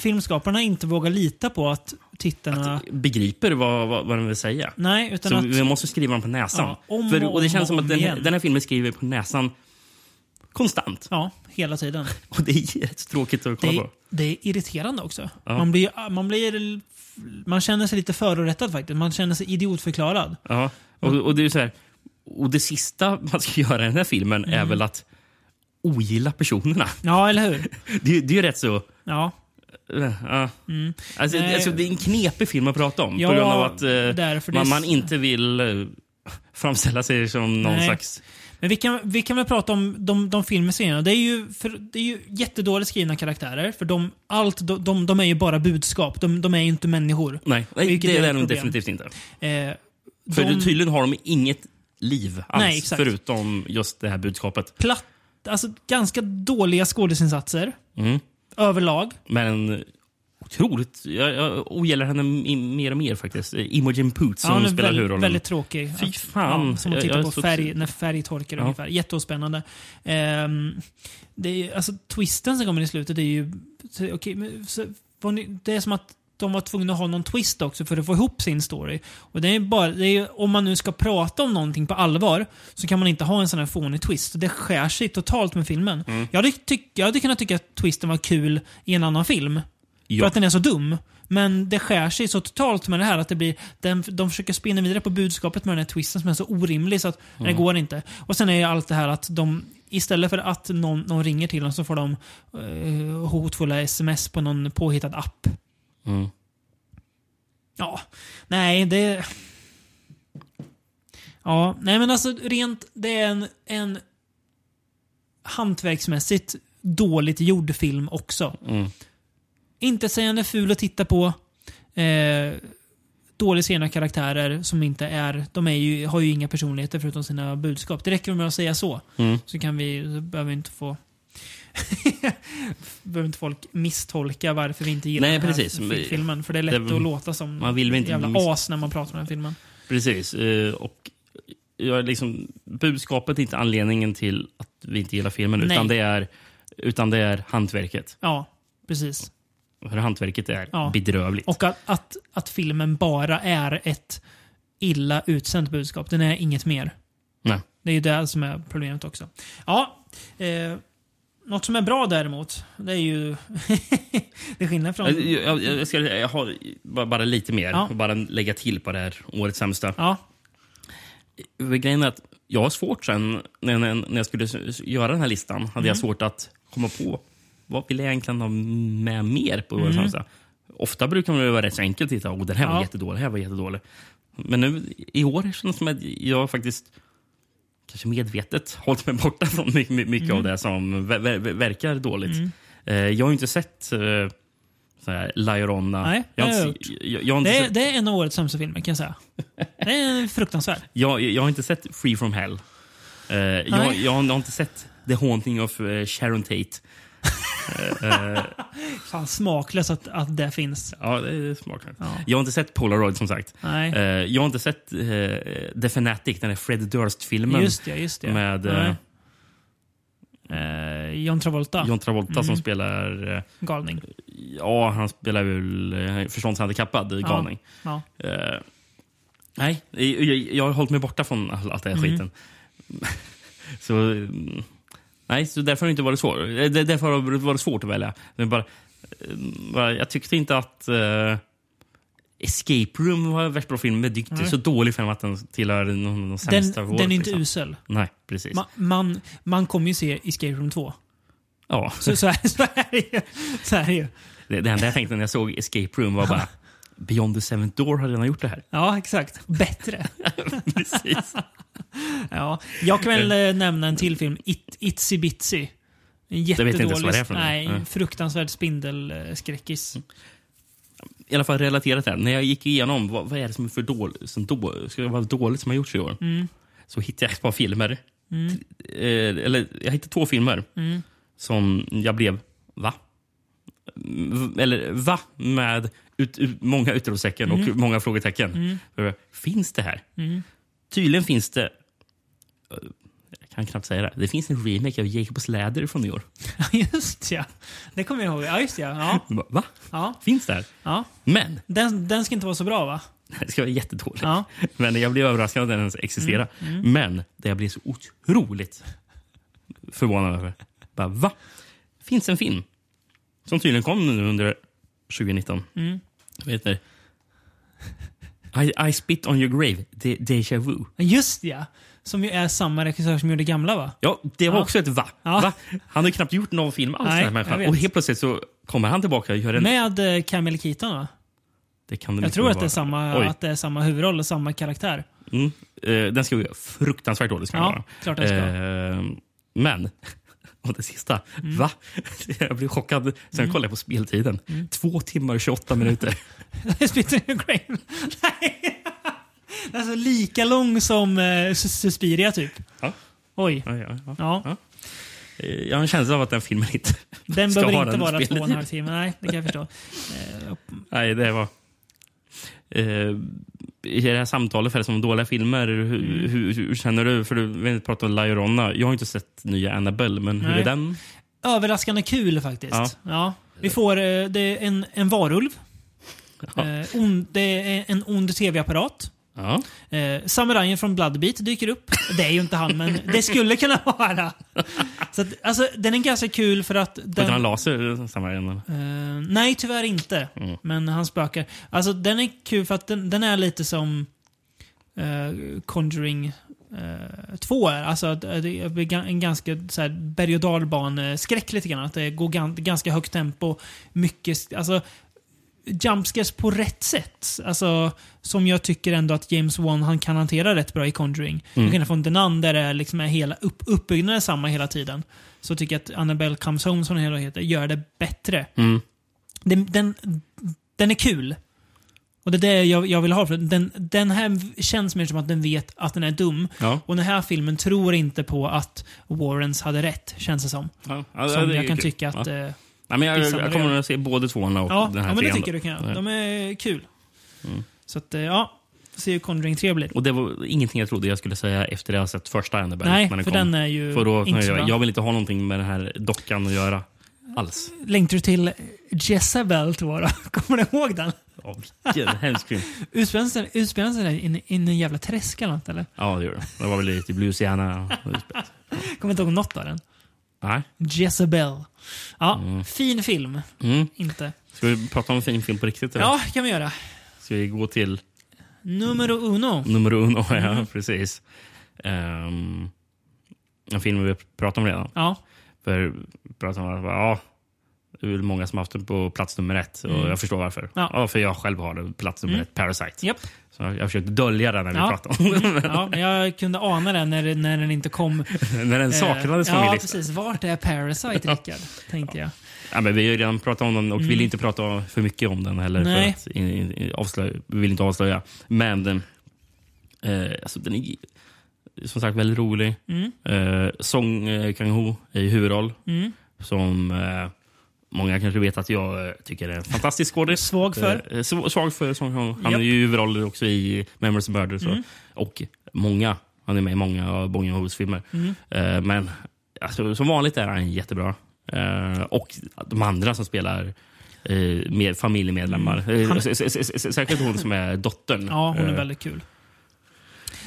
filmskaparna inte vågar lita på att tittarna... Begriper vad, vad, vad den vill säga. nej, utan Så att... vi måste skriva den på näsan. Ja, om För, och och det om känns som och att om den, här- igen. den här filmen skriver på näsan konstant. Ja, hela tiden. Och det är jättetråkigt att kolla Det, på. det är irriterande också. Ja. Man, blir, man, blir, man känner sig lite förorättad faktiskt. Man känner sig idiotförklarad. Ja, och, och det är ju så här. Och det sista man ska [LAUGHS] göra i den här filmen är Mm. väl att ogilla personerna. Ja, eller hur? Det, är- det är ju rätt så... eh, Ja, ja. alltså, Mm. Nej. alltså, det är en knepig film att prata om Ja, på grund av att eh, därför det är man, s- man inte vill eh, framställa sig som någon Nej. slags... Men vi kan, vi kan väl prata om de, de filmer serierna. Det är, ju för, det är ju jättedåligt skrivna karaktärer. För de, allt, de, de, de är ju bara budskap. De, de är ju inte människor. Nej, nej Vilket det är ett är det nog problem. definitivt inte. Eh, För de tydligen har de inget liv alls, Nej, exakt. förutom just det här budskapet. platt, alltså ganska dåliga skådisinsatser. Mm. Överlag. Men otroligt... Jag, jag ogillar henne i- mer och mer faktiskt. Imogen Poots som hon är spelar väl- huvudrollen. Väldigt tråkig. Fy Att- fan. Ja, som att Jag- titta jag på är så- färg, när färg torkar Ja. ungefär. Jätteospännande. Ehm, det är, ju- alltså, twisten som kommer i slutet är ju... så- okej, men, så, var ni, det är som att de var tvungna att ha någon twist också för att få ihop sin story. Och det är bara, det är, ju- om man nu ska prata om någonting på allvar så kan man inte ha en sån här fånig twist. Det skär sig totalt med filmen. Mm. Jag, hade tyck, jag hade kunnat tycka att twisten var kul i en annan film. För Ja. att den är så dum. Men det skär sig så totalt med det här att det blir, den, de försöker spinna vidare på budskapet med den här twisten som är så orimlig så att det Mm. går inte. Och sen är ju allt det här att de, istället för att någon, någon ringer till dem så får de eh, hotfulla sms på någon påhittad app. Mm. Ja, nej det... Ja, nej men alltså rent, det är en, en hantverksmässigt dåligt gjord film också. Mm. Inte sägande ful att titta på. Eh, dåligt skrivna karaktärer som inte är... De är ju, har ju inga personligheter förutom sina budskap. Det räcker med att säga så. Mm. Så kan vi... Så behöver vi inte få... [LAUGHS] behöver inte folk misstolka varför vi inte gillar Nej, den precis. här filmen. För det är lätt Det- att låta som man vill väl inte jävla miss- as när man pratar om den här filmen. Precis. eh, Och jag är liksom, budskapet är inte anledningen till att vi inte gillar filmen, Nej. utan det, är, utan det är hantverket. Ja, precis. För hantverket är Ja. bedrövligt. Och att, att, att filmen bara är ett illa utsänt budskap. Den är inget mer. Nej. Det är ju det som är problemet också. Ja, eh, något som är bra däremot, det är ju... [LAUGHS] det är skillnad Jag, från... jag, jag, ska, jag har bara, bara lite mer, Ja. bara lägga till på det här årets sämsta. Ja, Grejen är att jag har svårt sen, när, när, när jag skulle s- göra den här listan, hade Mm. jag svårt att komma på vad vill jag egentligen ha med mer på årets sämsta. Ofta brukar man ju vara rätt så enkelt att titta, oh, den här var Mm. Ja. jättedålig, den här var jättedålig. Men nu i år känns det som att jag faktiskt kanske medvetet hållit mig borta från mycket, mycket Mm. av det som ver, ver, ver- verkar dåligt. Eh, jag har ju inte sett eh, sån här La Llorona. Nej, jag har det har inte, se- jag, jag, har inte det är, sett, det är en av årets sämsta filmer kan jag säga. Det är fruktansvärt. jag, jag har inte sett Free from Hell. Eh, jag, jag, har, jag har inte sett The Haunting of eh, Sharon Tate. Fan, smaklöst att, att det finns. Ja, det är smart. Jag har inte sett Polaroid som sagt. Nej. Eh, jag har inte sett eh, The Fanatic, den där Fred Durst-filmen. Just det, just det. Med eh, Nej. Eh, John Travolta, John Travolta Mm. som spelar eh, galning. Ja, han spelar väl eh, förståndshandikappad eh, galning. Ja. Eh, nej, jag, jag har hållit mig borta från all- allt det Mm. här skiten. [LAUGHS] så, mm, nej, så därför har det inte varit svårt. Eh, det- Därför har det varit svårt att välja. Men bara, eh, bara, jag tyckte inte att eh, Escape Room var en värst bra film. Men det är Nej. så dålig film att den tillhör någon av de Den, sämsta av den året, är inte liksom. usel. Nej, precis. Man, man, man kommer ju se Escape Room 2. ja. Så, så, är, så är det ju. Så är det ju. [LAUGHS] Det, det enda jag tänkte när jag såg Escape Room [LAUGHS] var bara Beyond the Seventh Door har redan gjort det här. Ja, exakt. Bättre. [LAUGHS] Precis. Ja. Jag kan väl eh, nämna en till film, It, Itsy Bitsy. En vet jättedålig, inte ens vad det är för något. nej, Mm. en fruktansvärd spindelskräckis. I alla fall relaterat till det. här. När jag gick igenom vad, vad är det som är för dåligt som, då, ska det vara dåligt som har gjorts i år. Så hittade jag ett par filmer. T- Eh, eller jag hittade två filmer som jag blev va? Mm, v- Eller va? Med ut, ut, många utropstecken och många frågetecken. För, Finns det här? Tydligen finns det... eh, Jag kan knappt säga det. här. Det finns en remake av Jacobs läder från i år. just [LAUGHS] ja. Det kommer jag ihåg. Ja, just ja. Ja. Va? ja. Finns det här? ja. Men Den, den ska inte vara så bra va? Det ska vara jättedåligt. Ja. Mm, Men jag blev överraskad att den ens existerade. Men det jag blev så otroligt förvånad över. Bara, va? Finns en film som tydligen kom nu under 2019. Mm. Vad heter I, I spit on your grave, De, Deja vu. Just ja. Som ju är samma regissör som gjorde gamla va? Ja, det var Ja. också ett va. Ja. va? Han har ju knappt gjort någon film alls. Nej, den här jag människan. vet. Och helt plötsligt så kommer han tillbaka och gör en... Med eh, Camille Keaton va? det kan Jag mycket tror väl att det, är vara. samma, Oj. att det är samma huvudroll och samma karaktär. Mm. Eh, den ska ju fruktansvärt dålig. Ska den Ja, vara. klart den ska. Eh, men, [LAUGHS] och det sista. Mm. Va? [LAUGHS] Jag blev chockad. Sen kollade jag på speltiden. Mm. Två timmar och 28 minuter. Spitting your grave. Nej! [LAUGHS] Alltså lika lång som eh, Sus- Suspiria typ. Ja. Oj. ja, ja, ja. [LAUGHS] Ja. Eh, Jag har en känsla av att den filmen inte Den ska behöver ha inte den vara två och en halv speltiden. timme. Nej, det kan jag förstå. Nej, det var... Eh, I det här samtalet för det som dåliga filmer, hur, Mm. hur, hur känner du? För du vill inte prata om La Llorona. Jag har inte sett nya Annabelle, men hur Nej. är den? Överraskande kul faktiskt. Ja. Ja. Vi får eh, det är en, en varulv. Eh, on, det är en ond tv-apparat. Ja. Eh, samurajen från Bloodbeat dyker upp. Det är ju inte han, men det skulle kunna vara. Så att, alltså, den är ganska kul för att... Den... Den, Han laser samma igen. Eh, nej, tyvärr inte. Men han spökar. Alltså den är kul för att den, den är lite som eh, Conjuring eh, 2 är. Alltså att, eh, det är ga- en ganska så här, berg och dalbaneskräck lite grann. Att det går gan, ganska högt tempo. Mycket, sk- alltså jumpscares på rätt sätt. Alltså, som jag tycker ändå att James Wan han kan hantera rätt bra i Conjuring. Till skillnad från Denan där det är liksom är hela upp, uppbyggnaden är samma hela tiden. Så tycker jag att Annabelle Comes Home, som den hela heter, gör det bättre. Mm. Den, den, den är kul. Och det är det jag, jag vill ha. För den, den här känns mer som att den vet att den är dum. Ja. Och den här filmen tror inte på att Warrens hade rätt, känns det som. Ja, ja, Som det är jag ju kan kul. tycka Ja. att... eh, Nej, men jag, I jag, samma kommer del. nog att se både tvåan och Ja, den här ja men det trean tycker då. jag du kan göra. Ja. Mm. De är kul. Så att, eh, ja. Se hur Conjuring 3 blir. Och det var ingenting jag trodde jag skulle säga efter det jag sett första Annabelle. Nej, när för kom. den är ju för då, inte så bra. jag, jag vill inte ha någonting med den här dockan att göra alls. Längtar du till Jezebel 2 då? [LAUGHS] Kommer du ihåg den? Ja, [LAUGHS] vilken hemsk film. Utspelar sig- utspelar sig den i en- i en jävla träsk eller något eller? Ja, det gör det. Det var väl typ lite Louisiana. Kommer inte ihåg något av den. Nej. Jezebel. Ja, fin film. Mm. Inte. Ska vi prata om en fin film på riktigt? Eller? Ja, kan vi göra. Ska vi gå till Numero uno. nummer uno? [LAUGHS] Ja, Mm. precis. Ehm, en film vi pratade om redan. Ja, För pratade om att ja, det är väl många som haft den på plats nummer ett. Och Jag förstår varför. Ja. Mm. Ja. Mm. för jag själv har den på plats nummer ett, Parasite. japp. Så jag jag försökte dölja den när vi Ja. pratade om den. Ja, men jag kunde ana den när, när den inte kom. När den saknades Eh, från min Ja, lista. precis. Vart är Parasite, Rickard? Tänkte jag. Ja, men vi har ju redan pratat om den och vill inte prata för mycket om den heller. Mm. Nej. För att in, in, in, avslöja, vi vill inte avslöja. Men den, eh, alltså, den är som sagt väldigt rolig. Mm. Eh, Song eh, Kang-ho är i huvudroll. Som eh, många kanske vet att jag eh, tycker är en fantastisk skådis. Svag för. Eh, sv- Svag för Song Kang-ho. Han Japp. Mm. är ju i huvudroller också i Memories of Murder. Så. Och många. Han är med i många av Bong Joon-hos filmer. Mm. Eh, men alltså, som vanligt är han jättebra. Eh, och de andra som spelar eh, med familjemedlemmar. Eh, s- s- s- s- Särskilt hon som är dottern. Mm. Ja, hon är Eh, väldigt kul.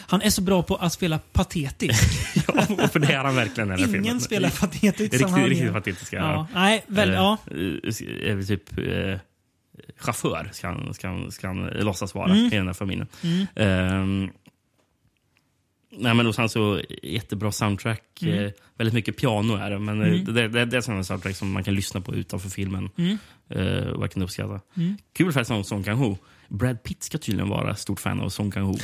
Han är så bra på att spela patetisk. ja, [LAUGHS] för det är han verkligen i den här filmen. Ingen spelar patetiskt Riktigt, som han riktigt gör. patetiska. Ja. Nej, väl, Eh, ja. eh, s- är vi typ eh, chaufför, ska Mm. han, ska han, ska han eh, låtsas vara i den här familjen. Ehm, Nej, men och sen så jättebra soundtrack. Mm. Eh, väldigt mycket piano är det, men eh, det, det, det är sådana soundtrack som man kan lyssna på utanför filmen. Mm. Eh, och jag kan uppskatta. Kul för som Song Kang-Ho. Brad Pitt ska tydligen vara stort fan av [LAUGHS] Song Kang-Ho.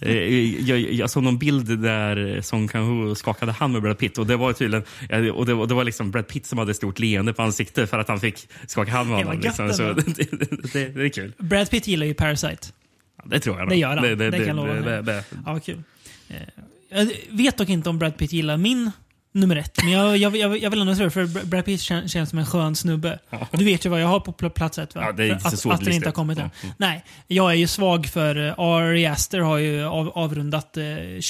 eh, jag, jag, jag såg någon bild där eh, Song Kang-Ho skakade hand med Brad Pitt och det var tydligen eh, och det, var- det var liksom Brad Pitt som hade ett stort leende på ansiktet för att han fick skaka hand med Det var honom. gött Liksom. Så, ändå. [LAUGHS] det, det, det, det är kul. Brad Pitt gillar ju Parasite. Ja, Det tror jag. nog. Det gör han. Det, Det kan jag lova det, mig. det, det, Ja, vad kul. Eh, Jag vet dock inte om Brad Pitt gillar min nummer ett, men jag, jag, jag, jag vill ändå tro det, för Br- Brad Pitt kän, känns som en skön snubbe. Du vet ju vad jag har på pl- plats ett, va? Ja, det är För inte så att, svårt att den att inte lista har kommit ut. än. Ja, mm. Nej, jag är ju svag för eh, Ari Aster har ju av, avrundat eh,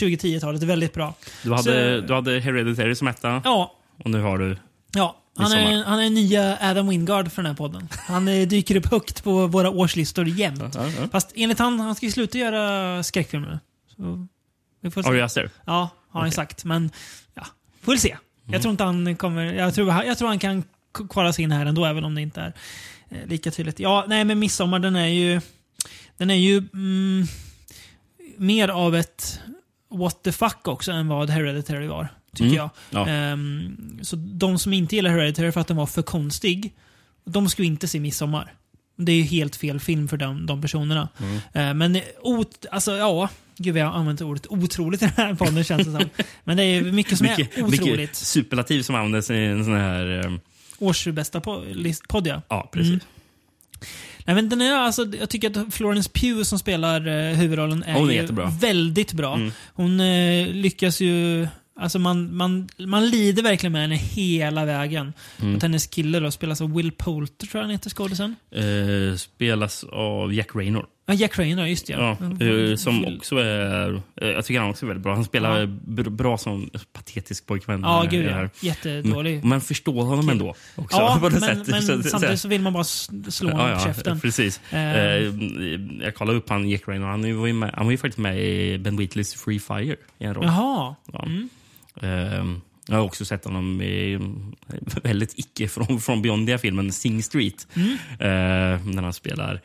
2010-talet väldigt bra. Du hade, Så- du hade Hereditary som etta Ja, och nu har du... ja. Han är, Midsommar. han är nya Adam Wingard för den här podden. Han eh, dyker upp högt på våra årslistor jämt. Ja, ja. Fast enligt han, han ska ju sluta göra skräckfilmer nu. Så vi får se. Ari Aster? Ja, har han Okej. Mm. sagt. Men ja, får väl se. Jag tror inte han kommer... Jag tror, jag tror han kan k- kvala sig in här ändå, även om det inte är eh, lika tydligt. Ja, nej men Midsommar den är ju... Den är ju mm, mer av ett what the fuck också än vad Hereditary var, tycker Mm. jag. Ja. Ehm, så de som inte gillar Hereditary för att den var för konstig, de ska ju inte se Midsommar. Det är ju helt fel film för de, de personerna. Mm. Eh, Men ot, alltså ja, gud vad jag har använt ordet otroligt i den här podden känns det [LAUGHS] som. Men det är mycket som Mycket- är mycket otroligt. superlativ som användes i en sån här... ehm, Årsbästa po- list- podd ja. Ja, precis. Mm. Nej, men den är, alltså, jag tycker att Florence Pugh som spelar eh, huvudrollen är, Hon är ju jättebra. Mm. väldigt bra. Hon eh, lyckas ju... Alltså man, man, man lider verkligen med henne hela vägen. Mm. Att hennes kille då spelas av Will Poulter, tror jag han heter, skådisen. Eh, spelas av Jack Raynor. Ja, Mm. Jack Rayner, just det. Ja, eh, som också är... eh, jag tycker han också är väldigt bra. Han spelar Ja. br- bra som patetisk pojkvän. Ja, i gud det ja. här. Mm. Jättedålig. Men man förstår honom ändå. Också, ja, [LAUGHS] på men, det sättet. men Så- så- samtidigt så vill man bara s- slå honom på käften. Precis. Eh. Eh, jag kollade upp han Jack Raynor. Han var ju, med, han var ju faktiskt med i Ben Wheatleys Free Fire i en roll. Jaha. Ja. Mm. Ehm, jag har också sett honom i mm, väldigt icke från, från Beyondia-filmen Sing Street. Mm. Ehm, när han spelar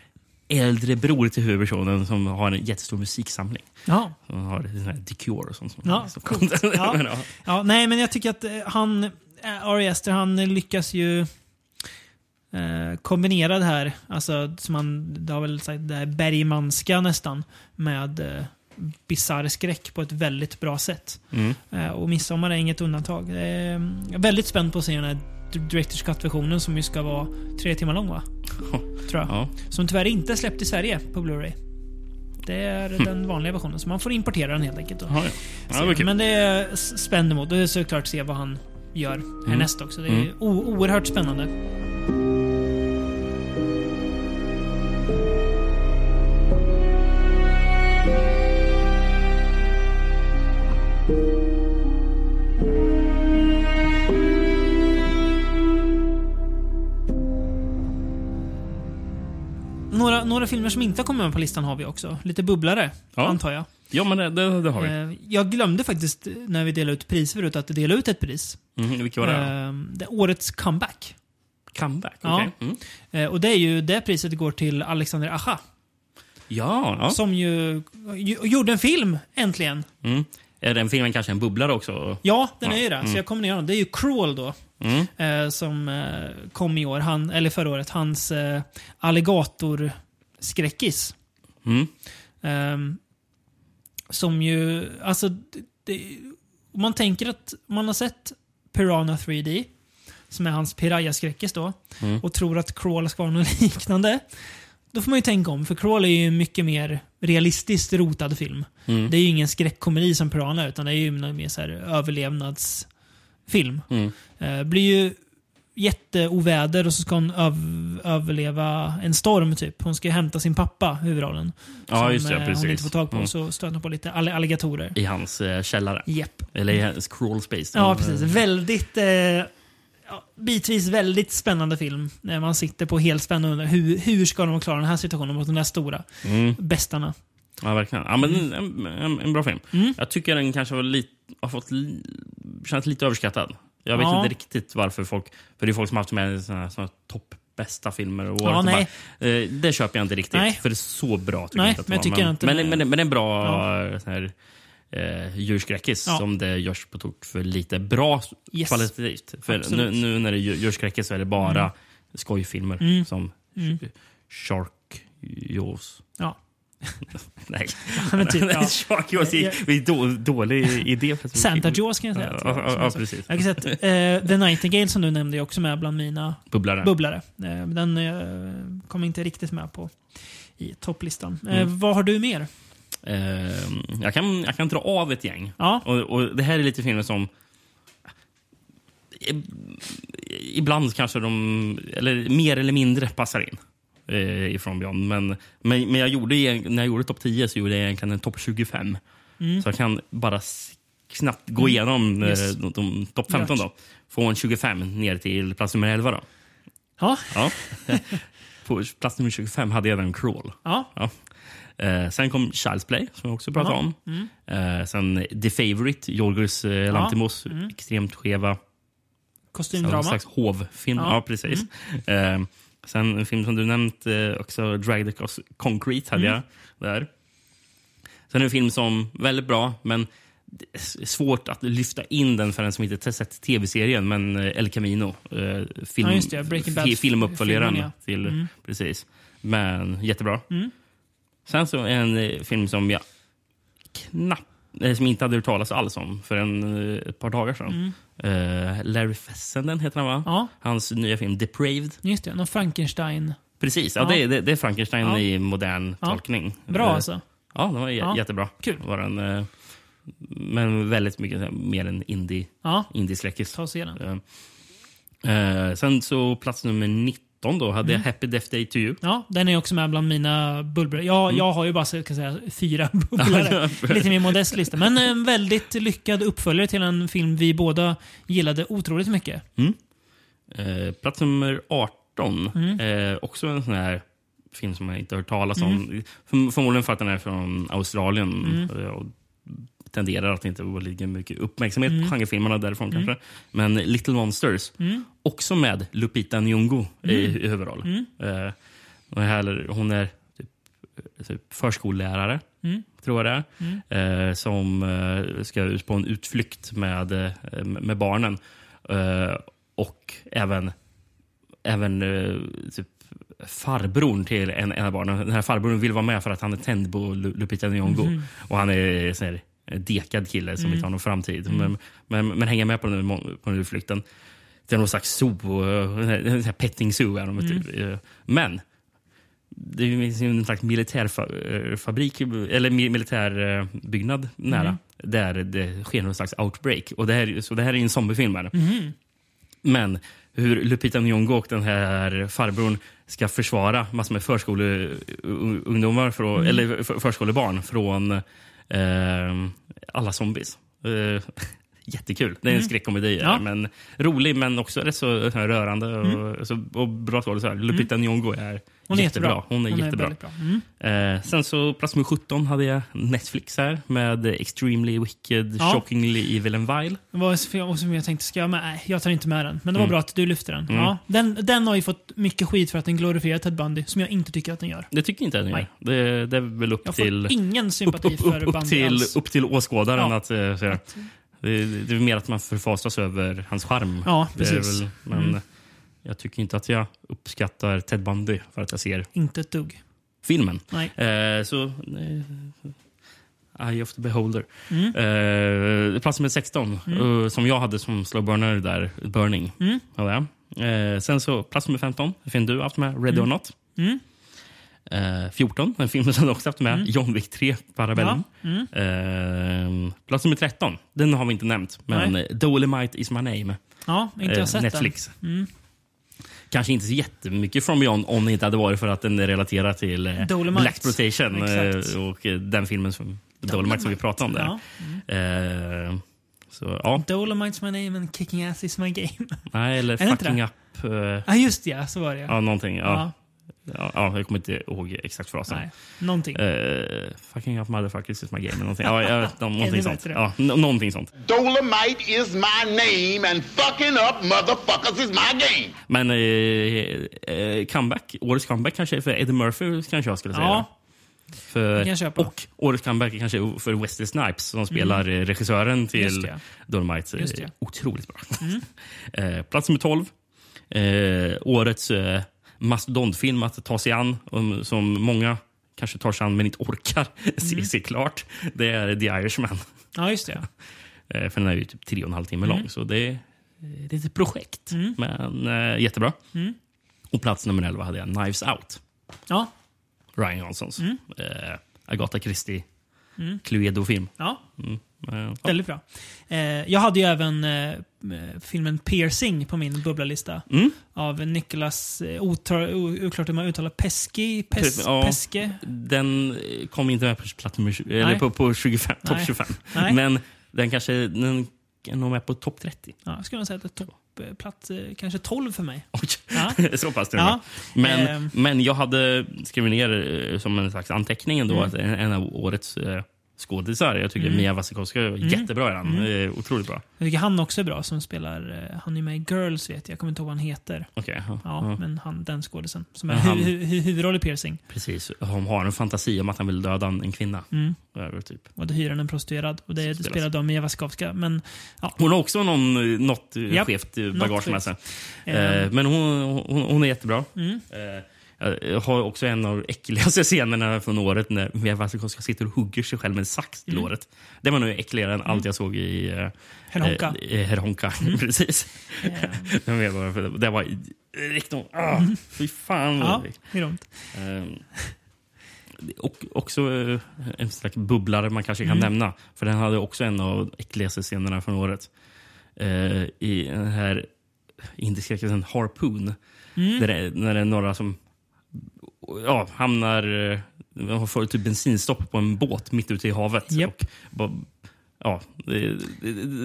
äldre bror till huvudpersonen som har en jättestor musiksamling. Jaha. Han har sån här The Cure och sånt. Som Ja, som- coolt. Ja. [LAUGHS] Men, ja. Ja, nej, men jag tycker att eh, han, eh, Ari Aster, han lyckas ju eh, kombinera det här, alltså som han, det har väl sagt, det här Bergmanska nästan, med eh, bisarr skräck på ett väldigt bra sätt. Mm. Eh, och Midsommar är inget undantag. Eh, jag är väldigt spänd på att se den här Directors Cut-versionen som ju ska vara tre timmar lång [LAUGHS] va? Tror jag. Ja. Som tyvärr inte är släppt i Sverige på Blu-ray. Det är [LAUGHS] den vanliga versionen, så man får importera den helt enkelt. då. Ja, ja. Ja, det var kul. Men det är s- spännande mot. Det är såklart se vad han gör Mm. härnäst också. Det är o- oerhört spännande. Några, några filmer som inte har kommit med på listan har vi också. Lite bubblare, Ja. antar jag. ja, men det, det, det har vi. Eh, Jag glömde faktiskt eh, när vi delade ut priser förut att dela ut ett pris. Mm, vilka var det? Eh, det är årets comeback. Comeback? ja. okej. Mm. Eh, Och det är ju det priset går till Alexander Aja. Ja, ja. Som ju, ju gjorde en film äntligen. Mm. Är den filmen kanske en bubblare också? Ja, den är ju det. Mm. Så jag kommer ner honom. Det är ju Crawl då. Eh, som eh, kom i år, han, eller förra året. Hans eh, alligatorskräckis. Mm. Ehm, som ju, alltså, det, det, om man tänker att man har sett Piranha 3D, som är hans Piraya-skräckis då, och tror att Crawl ska vara något [LAUGHS] liknande. Då får man ju tänka om, för Crawl är ju en mycket mer realistiskt rotad film. Det är ju ingen skräckkomedi som Piranha, utan det är ju en mer så här överlevnadsfilm. Mm. Eh, blir ju jätteoväder och så ska hon öv- överleva en storm typ. Hon ska ju hämta sin pappa, huvudrollen. Ja, just det, eh, precis. hon inte får tag på. Mm. Så stöter hon på lite all- alligatorer. I hans eh, källare? Jepp. Eller i hans crawl space? Ja, precis. Väldigt... Eh, ja, bitvis väldigt spännande film. När man sitter på helspänn och undrar hur, hur ska de klara den här situationen mot de där stora Mm. bästarna. Ja, verkligen. Ja, men en, en, en bra film. Mm. Jag tycker den kanske var lite, har fått li, känns lite överskattad. Jag vet Ja. inte riktigt varför folk... För det är folk som har haft med såna, här- såna här toppbästa filmer och året. Ja, och nej. Bara, eh, det köper jag inte riktigt, Nej. för det är så bra. Tycker Nej, jag inte att det men jag var. tycker men, inte men, det. men, men det är en bra... eh, Sån här, eh, djurskräckis Ja. som det görs på tok för lite bra Yes. kvalitativt. För nu, Absolut. Mm. nu när det är djur- djurskräckis så är det bara skojfilmer som Sh- Shark Jaws. Ja. [LAUGHS] Nej, Men [LAUGHS] typ, ja. Shark Jaws Ja. är är då, dålig idé. för- Santa Jaws kan jag säga. Ja, ja, ja, precis. Jag kan säga att eh, The Nightingale som du nämnde är också med bland mina Bubblare. bubblare. Eh, den eh, kom inte riktigt med på i topplistan. Eh, Mm. vad har du mer? Eh, jag, kan, jag kan dra av ett gäng. Ja. Och, och Det här är lite filmer som... eh, Ibland kanske de, eller mer eller mindre, passar in eh, ifrån Beyond. Men, men, men jag gjorde, eg- när jag gjorde topp 10 så gjorde jag egentligen en topp 25. Så jag kan bara s- snabbt gå igenom Mm. eh, Yes. de, de topp 15. Då. Från 25 ner till plats nummer 11. Då. Ja. Ja. [LAUGHS] På plats nummer 25 hade jag den Crawl. Ja. Ja. Eh, sen kom Child's Play, som jag också pratade om. Mm. Eh, sen The Favourite, Jorgos eh, Lanthimos extremt skeva någon Kostymdrama. slags hovfilm. Ja. Mm. Ja. precis. Eh, sen en film som du nämnt, eh, också Dragged Across Concrete hade Mm. jag där. Sen en film som väldigt bra, men det är s- svårt att lyfta in den för den som inte t- sett tv-serien, men eh, El Camino. eh, Film, Ja, just det, Breaking Bad- fi- filmuppföljaren filmen, ja. Mm. till... Precis. Men jättebra. Sen så en eh, film som jag knappt eh, som inte hade hört talas alls om för en, eh, ett par dagar sedan. Eh, Larry Fessenden heter han, va? Mm. Ja. Hans nya film Depraved. Just det, någon Frankenstein. Precis, ja, Ja. Det, är- det, det är Frankenstein Ja. i modern Ja. tolkning. Bra Eh, alltså. Ja, den var j- Ja. jättebra. Kul. Var den, eh, men väldigt mycket så här, mer en indie, Ja, indie-skräckis. ta oss igenom. Eh, eh, sen så plats nummer 19 då hade jag Mm. Happy Death Day to You. Ja, den är också med bland mina bubblor. Jag, Mm. jag har ju bara så, kan jag säga, fyra [LAUGHS] bubblare. Lite mer modest lista. Men en väldigt lyckad uppföljare till en film vi båda gillade otroligt mycket. Eh, plats nummer 18. Eh, också en sån här film som jag inte har hört talas om. Förm- Förmodligen för att den är från Australien. eh, Och tenderar att inte vara lika mycket uppmärksamhet på genrefilmerna därifrån. kanske. Men Little Monsters, också med Lupita Nyong'o i, i huvudroll. Eh, och här, hon är typ, typ förskollärare, tror jag det är, eh, som eh, ska ut på en utflykt med, eh, med barnen. Eh, och även, även eh, typ farbrorn till en, en av barnen. Den här farbrorn vill vara med för att han är tänd på Lu- Lupita Nyong'o. Och han är sån här, en dekad kille som inte har någon framtid. Men, men, men hänger med på den, här- på den här flykten. Det är någon slags zoo, eh, den här- den här petting zoo. Är de, typ. Eh, Men det finns ju en slags militärfabrik, eller mi- militärbyggnad nära. Där det sker någon slags outbreak. Och det här, är ju- så det här är ju en zombiefilm. Här. Men hur Lupita Nyong'o och den här farbrorn ska försvara massor med förskoleungdomar, från, Mm. eller för- förskolebarn från eh, alla zombies. Eh, [LAUGHS] jättekul. Det är en skräckkomedi, Mm. Ja. men rolig men också rätt så så här rörande och, så, och bra skådisar. Lupita Nyong'o är Mm. Hon är jättebra. jättebra. Hon är jättebra. väldigt bra. Mm. Eh, sen så plats nummer 17 hade jag Netflix här med Extremely Wicked, Ja. Shockingly Evil and Vile. Det var så- för jag- och som jag tänkte, ska jag med? Nej, jag tar inte med den. Mm. Men det var bra att du lyfte den. Ja, den. Den har ju fått mycket skit för att den glorifierar Ted Bundy, som jag inte tycker att den gör. Det tycker inte jag den gör. Nej. Det, det är väl upp Jag får till... ingen upp, sympati upp, upp, för [LAUGHS] upp, Bundy till, alls. upp till åskådaren. Ja. Att, eh, så, det, det är mer att man förfasas över hans charm. Ja, Det är precis. Mm. väl- men jag tycker inte att jag uppskattar Ted Bundy för att jag ser Inte ett dugg. filmen. Nej. Eh, så... Eh, Eye of the beholder. Mm. Eh, plats nummer 16, eh, som jag hade som slow burner där. Burning. Mm. Ja, det. är. Eh, sen så plats nummer 15, en film du haft med, Mm. Ready or not. Eh, 14, en film som du också haft med, Mm. John Wick 3, Parabellum. Eh, plats nummer 13, den har vi inte nämnt, men Mm. Nej. eh, Dolomite is my name. Ja, inte Eh, jag sett Mm. Netflix. Kanske inte så jättemycket från Beyond om det inte hade varit för att den relaterar till eh, Dolomite. Black Exploitation Exakt. eh, och eh, den filmen som Dolomite, som vi pratade om där. Eh, så, ja. den. Dolomite's my name and kicking ass is my game. [LAUGHS] Nej, eller det inte Fucking det? Up. Eh, Ja, just det. ja, Så var det ja. ja, någonting. ja. Ja. Ja. Ja, jag kommer inte ihåg exakt frasen. Nej, någonting. Eh, fucking up motherfuckers is my game. eller Någonting, ja, jag vet, [LAUGHS] nå- Ännu någonting sånt. bättre. Ja, n- någonting sånt. Dolomite is my name, and fucking up motherfuckers is my game. Men eh, eh, comeback, årets comeback kanske är för Eddie Murphy, kanske jag skulle säga. Ja. Det kan För, jag köpa. och årets comeback är kanske för Wesley Snipes som spelar eh, regissören Just till det. Dolomite. Just det. Mm. Otroligt bra. [LAUGHS] Eh, Plats nummer 12. Eh, årets eh, mastodontfilm att ta sig an, om, som många kanske tar sig an men inte orkar [LAUGHS] Mm. se, se klart. Det är The Irishman. Ja, just det. Eh, För den är ju typ tre och en halv timme Mm. lång. Så det är eh, det är ett projekt. Men eh, jättebra. Mm. Och plats nummer 11 hade jag Knives Out. Ja, Ryan Johnsons Mm. eh, Agatha Christie Cluedo-film. ja. Mm. Eh, ja. Väldigt bra. Eh, jag hade ju även eh, filmen Piercing på min bubblalista. Mm. Av Nicholas, eh, otar, o, oklart hur man uttalar, Pesky, pes, Ja. Peske. Den eh, kom inte med på plats nummer, tjugo- Nej. eller på, på 25, topp Nej. 25. Nej. Men den kanske den är nog med på topp 30. Ja, jag skulle nog säga att det är toppplats, eh, kanske 12 för mig. [LAUGHS] Oj. Ja. [LAUGHS] Så pass till och Ja. med. Men, Ehm. men jag hade skrivit ner eh, som en slags anteckning ändå Mm. att en, en av årets eh, skådisar, jag tycker Mia Wasikowska är Mm. jättebra i den. Eh, Otroligt bra. Jag tycker han också är bra som spelar, eh, han är med i Girls vet jag, jag kommer inte ihåg vad han heter. Okej, ja, Ja, ja. men han, den skådisen. Som är Mm. Men han- hu, hu, hu, huvudroll i Piercing. Precis. Han har en fantasi om att han vill döda en en kvinna. Mm. Över, typ. Och då hyr han en prostituerad. Och det Spelas. spelar de Mia Wasikowska. Men ja, Hon har också någon, eh, något eh, Japp, skevt eh, något bagage med skevt. Mm. sig. Ehm. Eh, Men hon, hon, hon är jättebra. Eh, Jag har också en av de äckligaste [LAUGHS] scenerna från året när Mia Wasikowska sitter och hugger sig själv med en sax till året. Det var nog äckligare än allt jag såg i eh, Mm. Herr Honka. Mm. Eh. eh, Herr Honka, [LAUGHS] precis. Men jag bara- för [LAUGHS] det- det var i- riktigt... Ah, Fy fan. Mm. vad ja, äckligt. det är dumt. Ehm, Och också eh, en slags bubblare man kanske kan Mm. nämna. För den hade också en av de äckligaste scenerna från året. Eh, I den här indiska klassen Harpoon. Mm. Där det, när det är några som ja, hamnar... eh, De får typ bensinstopp på en båt mitt ute i havet. Japp. Och bara, ja, det,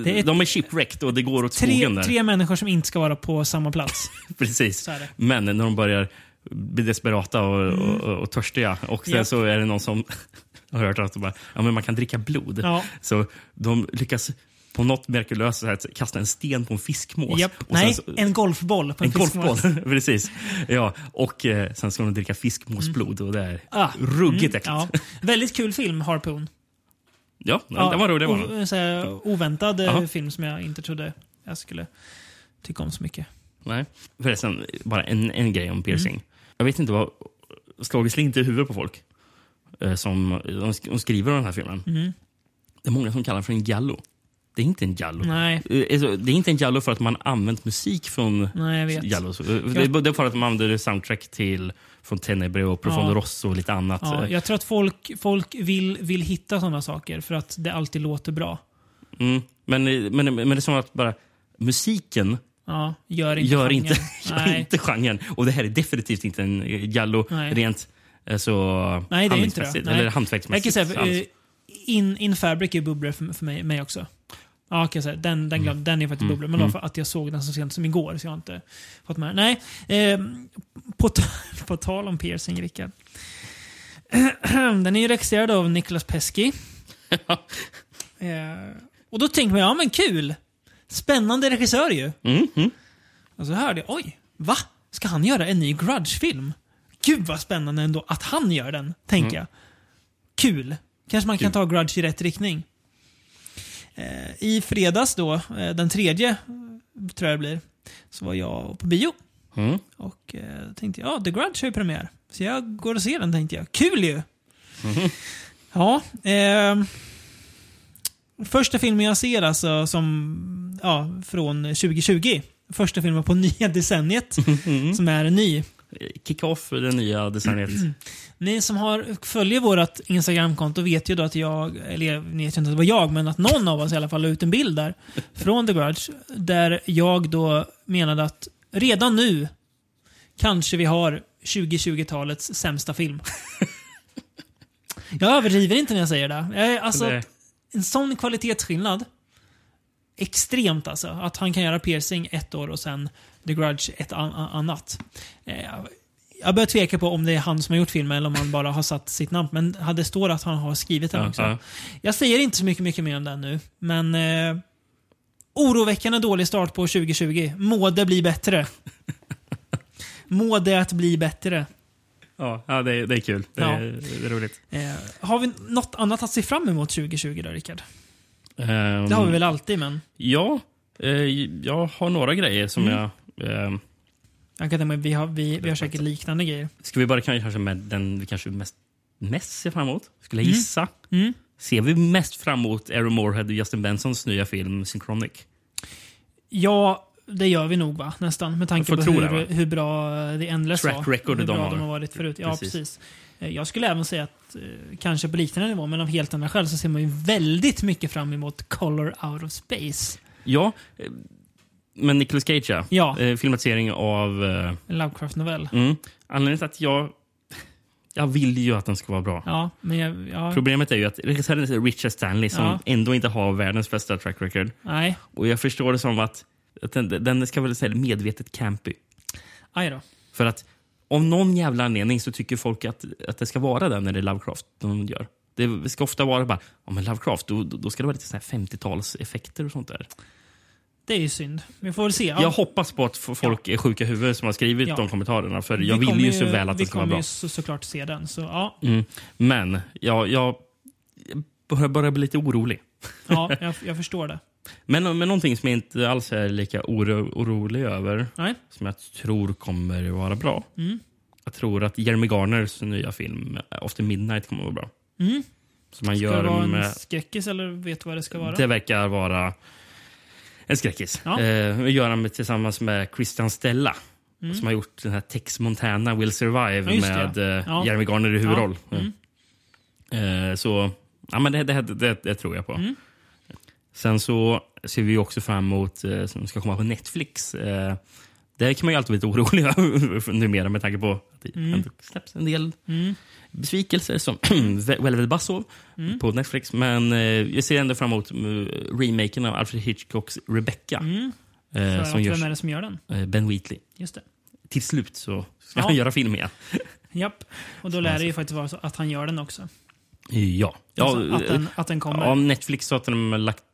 Det är- de är shipwrecked och det går åt skogen Tre, där. tre människor som inte ska vara på samma plats. Precis. Så är det. Mm. Men när de börjar bli desperata och, och, och törstiga och sen Japp. så är det någon som [LAUGHS] har hört att de bara, ja, men man kan dricka blod. Ja. Så de lyckas på något mirakulöst sätt kasta en sten på en fiskmås. Japp. [LAUGHS] Och sen Nej, så, en golfboll på en, en fiskmås. [LAUGHS] golfboll. [LAUGHS] Precis. Ja, och eh, sen ska de dricka fiskmåsblod och det är Ah, ruggigt äckligt. Ja. Väldigt kul film, Harpoon. Ja, ja, det var roligt. Det var o- den. en sån här oväntad eh, Aha. film som jag inte trodde jag skulle tycka om så mycket. Nej. Förresten, bara en, en grej om piercing. Jag vet inte vad... Slagit slint i huvudet på folk eh, som de sk- de skriver om den här filmen. Mm. Det är många som kallar den för en gallo. Det är inte en gallo. Nej. Eh, alltså, Det är inte en gallo för att man använt musik från Nej, jag vet. gallos. Eh, Det är- det är för att man använder soundtrack till från Tenebre och Profondo Ja. Rosso och lite annat. Ja, Eh, jag tror att folk, folk vill, vill hitta sådana saker för att det alltid låter bra. Mm. Men, eh, men, men det är som att bara musiken Ja, gör inte gör genren. inte, [LAUGHS] gör Nej. inte genren. Och det här är definitivt inte en eh, Gallo Nej. rent eh, så Nej, det är inte det. handlingsmässigt. Eller alltså. Jag kan hantverksmässigt. säga, alls. eh, in, in Fabric är bubblor för, för mig, mig också. Ja, kan jag säga. Den, den, glöm, den är faktiskt bubblor, men det var för att jag såg den så sent som igår, så jag har inte fått med den. Nej, eh, på, ta- [LAUGHS] på tal om piercing, Rickard. [CLEARS THROAT] den är ju regisserad av Nicholas Pesky. eh, och då tänkte man, ja men kul! Spännande regissör ju. Och så hörde jag, oj, va? Ska han göra en ny Grudge-film? Gud vad spännande ändå att han gör den, tänker jag. Kul! Kanske man kan ta Grudge i rätt riktning. Eh, I fredags då, eh, den tredje, eh, tror jag det blir, så var jag på bio. Mm. Och eh, då tänkte jag, ja, The Grudge har ju premiär. Så jag går och ser den, tänkte jag. Kul ju! Ja, ehm, Första filmen jag ser alltså som, ja, från 2020. Första filmen på [LAUGHS] nya decenniet som är ny. Kick-off, det nya designet. [CLEARS THROAT] Ni som har, följer vårt Instagramkonto vet ju då att jag, eller ni vet ju inte att det var jag, men att någon av oss i alla fall la ut en bild där från The Grudge. Där jag då menade att redan nu kanske vi har 2020-talets sämsta film. jag överdriver inte när jag säger det. Jag är, alltså, Nej. en sån kvalitetsskillnad. Extremt alltså. Att han kan göra piercing ett år och sen The Grudge ett an- an- annat. Eh, jag börjar tveka på om det är han som har gjort filmen eller om han bara har satt sitt namn. Men hade- det står att han har skrivit den Ja, också. ja. Jag säger inte så mycket, mycket mer om den nu, men eh, oroväckande dålig start på [LAUGHS] 2020. Må det bli bättre. Må det att bli bättre. Ja, ja det, är- det är kul. Det är, det är roligt. Eh, har vi något annat att se fram emot 2020 då, Rickard? Ehm, Det har vi väl alltid, men Ja, eh, jag har några grejer som Mm. jag... ehm, jag kan tänka mig, vi har, vi, vi har säkert liknande grejer. ska vi bara kanske med den vi kanske mest, mest ser fram emot? Skulle Mm. jag gissa. Ser vi mest fram emot Aaron Moorhead och Justin Bensons nya film Synchronic? Ja, det gör vi nog va? Nästan. Med tanke Jag på får tro det, hur, va? hur bra eh, The Endless Track var. record hur de bra har. de har varit förut. Ja, Precis. precis. Eh, Jag skulle även säga att, eh, kanske på liknande nivå, men av helt andra skäl, så ser man ju väldigt mycket fram emot Color Out of Space. Ja, eh, men Nicolas Cage ja. Ja. Eh, filmatisering av... Eh, En Lovecraft-novell. mm. Anledningen till att jag... [LAUGHS] Jag vill ju att den ska vara bra. Ja, men jag, ja, Problemet är ju att regissören är Richard Stanley som Ja. ändå inte har världens bästa track record. nej. Och jag förstår det som att, att den, den ska väl säga medvetet campy. Aj då. För att av någon jävla anledning så tycker folk att, att det ska vara den när det är Lovecraft de gör. Det ska ofta vara bara, ja men Lovecraft, då, då ska det vara lite såna här 50-talseffekter och sånt där. Det är ju synd. Vi får väl se. Jag hoppas på att f- folk är sjuka huvuden som har skrivit Ja. de kommentarerna. För Vi jag vill kommer ju så väl att Vi det ska vara kommer bra. ju så, såklart se den. Så ja, Mm. Men jag, jag börjar, börjar bli lite orolig. ja jag, jag förstår det. Men, men någonting som jag inte alls är lika oro, orolig över, Nej. som jag tror kommer vara bra. Mm. Jag tror att Jeremy Garners nya film After Midnight kommer att vara bra. Som man Mm. Ska det gör vara en med, skräckis eller vet du vad det ska vara? det verkar vara en skräckis. Ja. Eh, vi gör han med, tillsammans med Christian Stella. Som har gjort den här Tex Montana Will Survive Mm. Ja, just det, med ja. eh, Ja. Mm. Jeremy Garner i huvudroll. Eh, så ja, men det, det, det, det tror jag på. Mm. Sen så ser vi också fram emot, eh, som ska komma på Netflix. Eh, där kan man ju alltid bli lite orolig för [LAUGHS] numera med tanke på att det Mm. ändå släpps en del besvikelser som [CLEARS THROAT] Velvet Buzzsaw Mm. på Netflix. Men eh, jag ser ändå fram emot eh, remaken av Alfred Hitchcocks Rebecca. Mm. Eh, För som att vem är görs det som gör den? eh, Ben Wheatley. Just det. Till slut så ska Ja. han göra film igen. Japp. Och då lär det ju faktiskt vara så att han gör den också. Ja. ja eh, Alltså, att, den, att den kommer. Ja, Netflix sa att de har lagt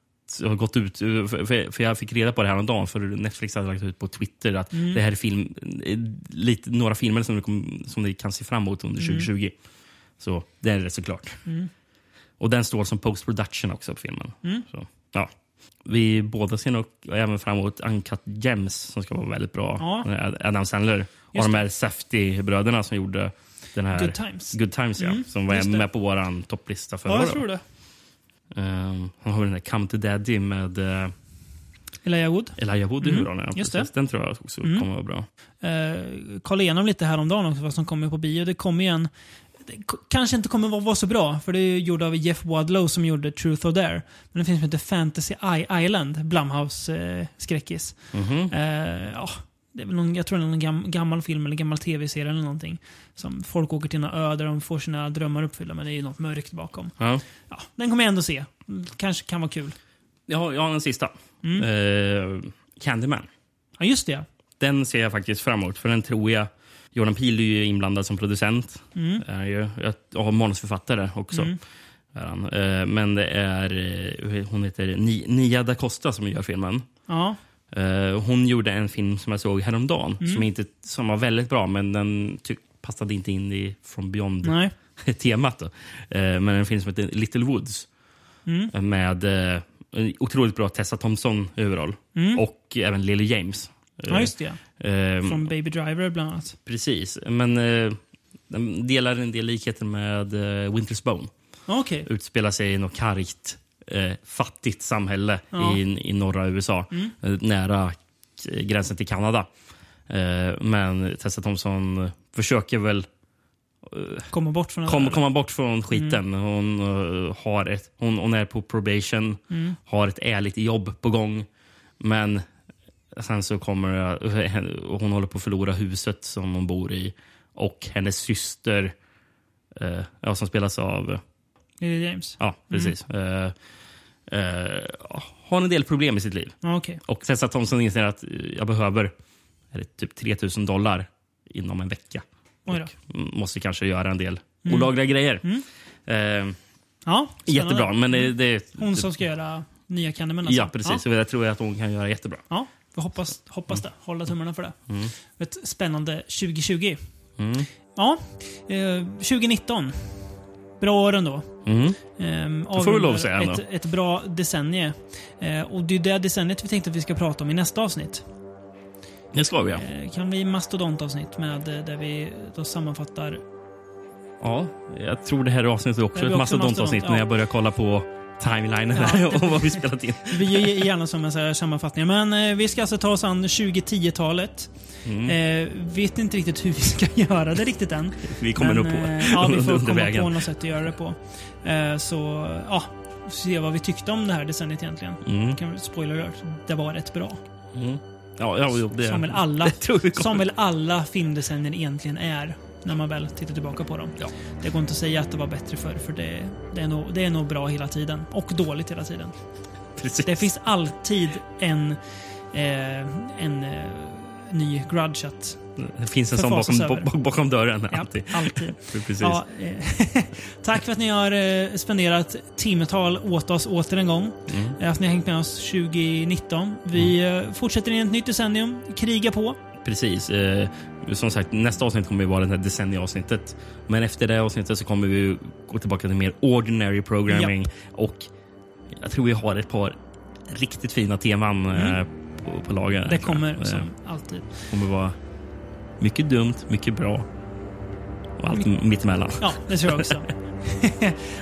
har gått ut, för, för- för jag fick reda på det här om dagen för Netflix hade lagt ut på Twitter att Mm. det här är film, eh, lite, några filmer som, det kom, som ni kan se fram emot under Mm. 2020. Så det är det såklart. Och den står som post production också på filmen. Mm. Så, ja. Vi båda ser nog även fram emot Uncut Gems som ska vara väldigt bra. Ja. Ad- Adam Sandler och de här Safdie-bröderna som gjorde den här Good Times. Mm. Good Times ja, som just var det. med på vår topplista förra ja, jag året. tror det. Ehm, han har väl den där Come to Daddy med uh, Elijah Wood. Elijah Wood i huvudrollen. ja, Mm, just Mm. precis. Den tror jag också kommer vara bra. Eh, kolla igenom lite häromdagen också vad som kommer på bio. Det kommer ju en... Det k- kanske inte kommer vara, vara så bra, för det är ju gjord av Jeff Wadlow som gjorde Truth or Dare. Men det finns som heter Fantasy I- Island, Blumhouse-skräckis. Mhm. Eh, ja, det är väl någon, jag tror det är någon gam, gammal film eller gammal tv-serie eller någonting. Som folk åker till en ö där de får sina drömmar uppfyllda, men det är ju något mörkt bakom. Ja. Ja, den kommer jag ändå se. Kanske kan vara kul. Jag, har, jag har en sista. Mm. Ehm, Candyman. Ja, just det. Den ser jag faktiskt fram emot, för den tror jag... Jordan Peele är ju inblandad som producent. Mm. Är ju, jag, jag har manusförfattare också. Är han. Ehm, men det är... eh, Hon heter Ni, Nia da Costa som gör filmen. Ja, Eh, hon gjorde en film som jag såg häromdagen Mm. som, inte, som var väldigt bra, men den ty- passade inte in i From Beyond. nej. [LAUGHS] temat. Då. Eh, Men en film som heter Little Woods. Mm. Med eh, en otroligt bra Tessa Thompson i huvudroll. Och även Lily James. Mm. Ja, just det. Ehm, Från Baby Driver bland annat. Precis. Men eh, den delar en del likheter med eh, Winter's Bone. Okej. Utspelar sig i något kargt, eh, fattigt samhälle Ja. Mm. i, i norra USA. Eh, nära k- gränsen till Kanada. Eh, men Tessa Thompson försöker väl Komma bort från det Kom, där. komma bort från skiten. Hon, eh, har ett, hon, hon är på probation, har ett ärligt jobb på gång. Men sen så kommer jag- [LAUGHS] och hon håller på att förlora huset som hon bor i. Och hennes syster, eh, ja, som spelas av... Lily James? Ja, precis. Eh, eh, har en del problem i sitt liv. Ja, okej. Och Tessa Thompson inser att eh, jag behöver är det typ 3000 dollar inom en vecka. Oj då. M- Måste kanske göra en del olagliga grejer. Eh, Ja, spännande. Mm. jättebra, men det, det, Hon som ska göra nya Candyman alltså. Ja, precis. Ja, Och jag tror att hon kan göra jättebra. ja. Mm. Vi hoppas, hoppas det. Hålla tummarna för det. Ett spännande 2020. Ja, eh, 2019. Bra år ändå. Mm. Ehm, Det får vi lov att avrundar säga ändå. ett, ett bra decennium. Eh, och det är det decenniet vi tänkte att vi ska prata om i nästa avsnitt. Det ska vi, ja. Eh, kan vi mastodontavsnitt med eh, där vi då sammanfattar ja. Jag tror det här avsnittet är Det också blir ett också mastodontavsnitt mastodont, ja. när jag börjar kolla på timelinen Ja. där [LAUGHS] och vad vi spelat in. Vi ger gärna som en så här sammanfattning. Men eh, vi ska alltså ta oss an 2010-talet. Mm. Eh, vet inte riktigt hur vi ska [LAUGHS] göra det riktigt än. Vi kommer Men, nog på eh, Ja, [LAUGHS] vi får under komma vägen. på något sätt att göra det på. Eh, så, ja. Se vad vi tyckte om det här decenniet egentligen. Mm. Kan vi spoiler alert, det var rätt bra. Ja, ja, jo, det, Som väl alla, [LAUGHS] det tror vi kommer. som väl alla filmdecennier egentligen är. När man väl tittar tillbaka på dem. Ja. Det går inte att säga att det var bättre förr, för det, det, är nog, det är nog bra hela tiden. Och dåligt hela tiden. Precis. Det finns alltid en, eh, en eh, ny grudge att... Det finns en sån bakom, förfasas över. bak- bakom dörren. Ja, alltid. alltid. [LAUGHS] Precis. Ja, eh, [LAUGHS] tack för att ni har eh, spenderat timmetal åt oss åter en gång. Mm. Eh, Att ni har hängt med oss 2019. Vi eh, fortsätter in i ett nytt decennium. Kriga på. Precis. Eh, som sagt, nästa avsnitt kommer ju vara det här decennieavsnittet. Men efter det avsnittet så kommer vi ju gå tillbaka till mer ordinary programming. Och jag tror vi har ett par riktigt fina teman eh, på, på lager. Mm. Det kommer Det som alltid. kommer vara mycket dumt, mycket bra och allt mittemellan. Ja, det tror jag också.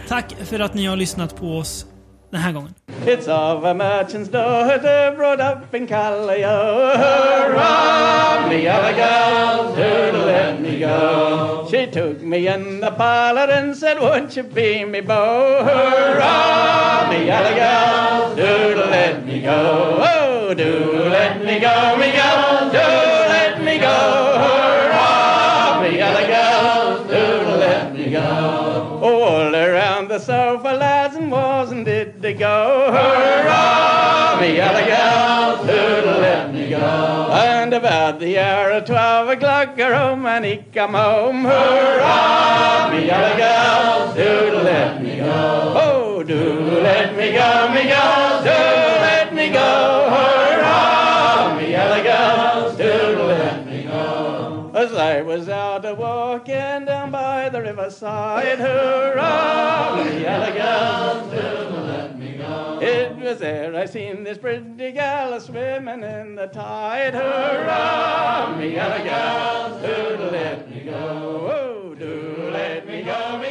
tack för att ni har lyssnat på oss den här gången. It's of a merchant's daughter brought up in Callio. Hurrah, me other girls, who'd let me go? She took me in the parlor and said, won't you be me beau? Hurrah, me other girls, who'd let me go? Oh, do let me go, me girls, do let me go. Hurrah, me other girls, do let me go. All around the sofa, lads and was and did they go? Hurrah! Me other gals, who'd let me go? And about the hour of twelve o'clock, a Romani come home. Hurrah! Me other gals, who'd let me go? Oh, do let me go, me gals, do let me go. Hurrah! Me other gals, who'd let me go? As I was out a walking down by the riverside, hurrah! Me other gals, it was there I seen this pretty gal a swimming in the tide. Hurrah! Me and a gal, do let me go. Oh, do let me go,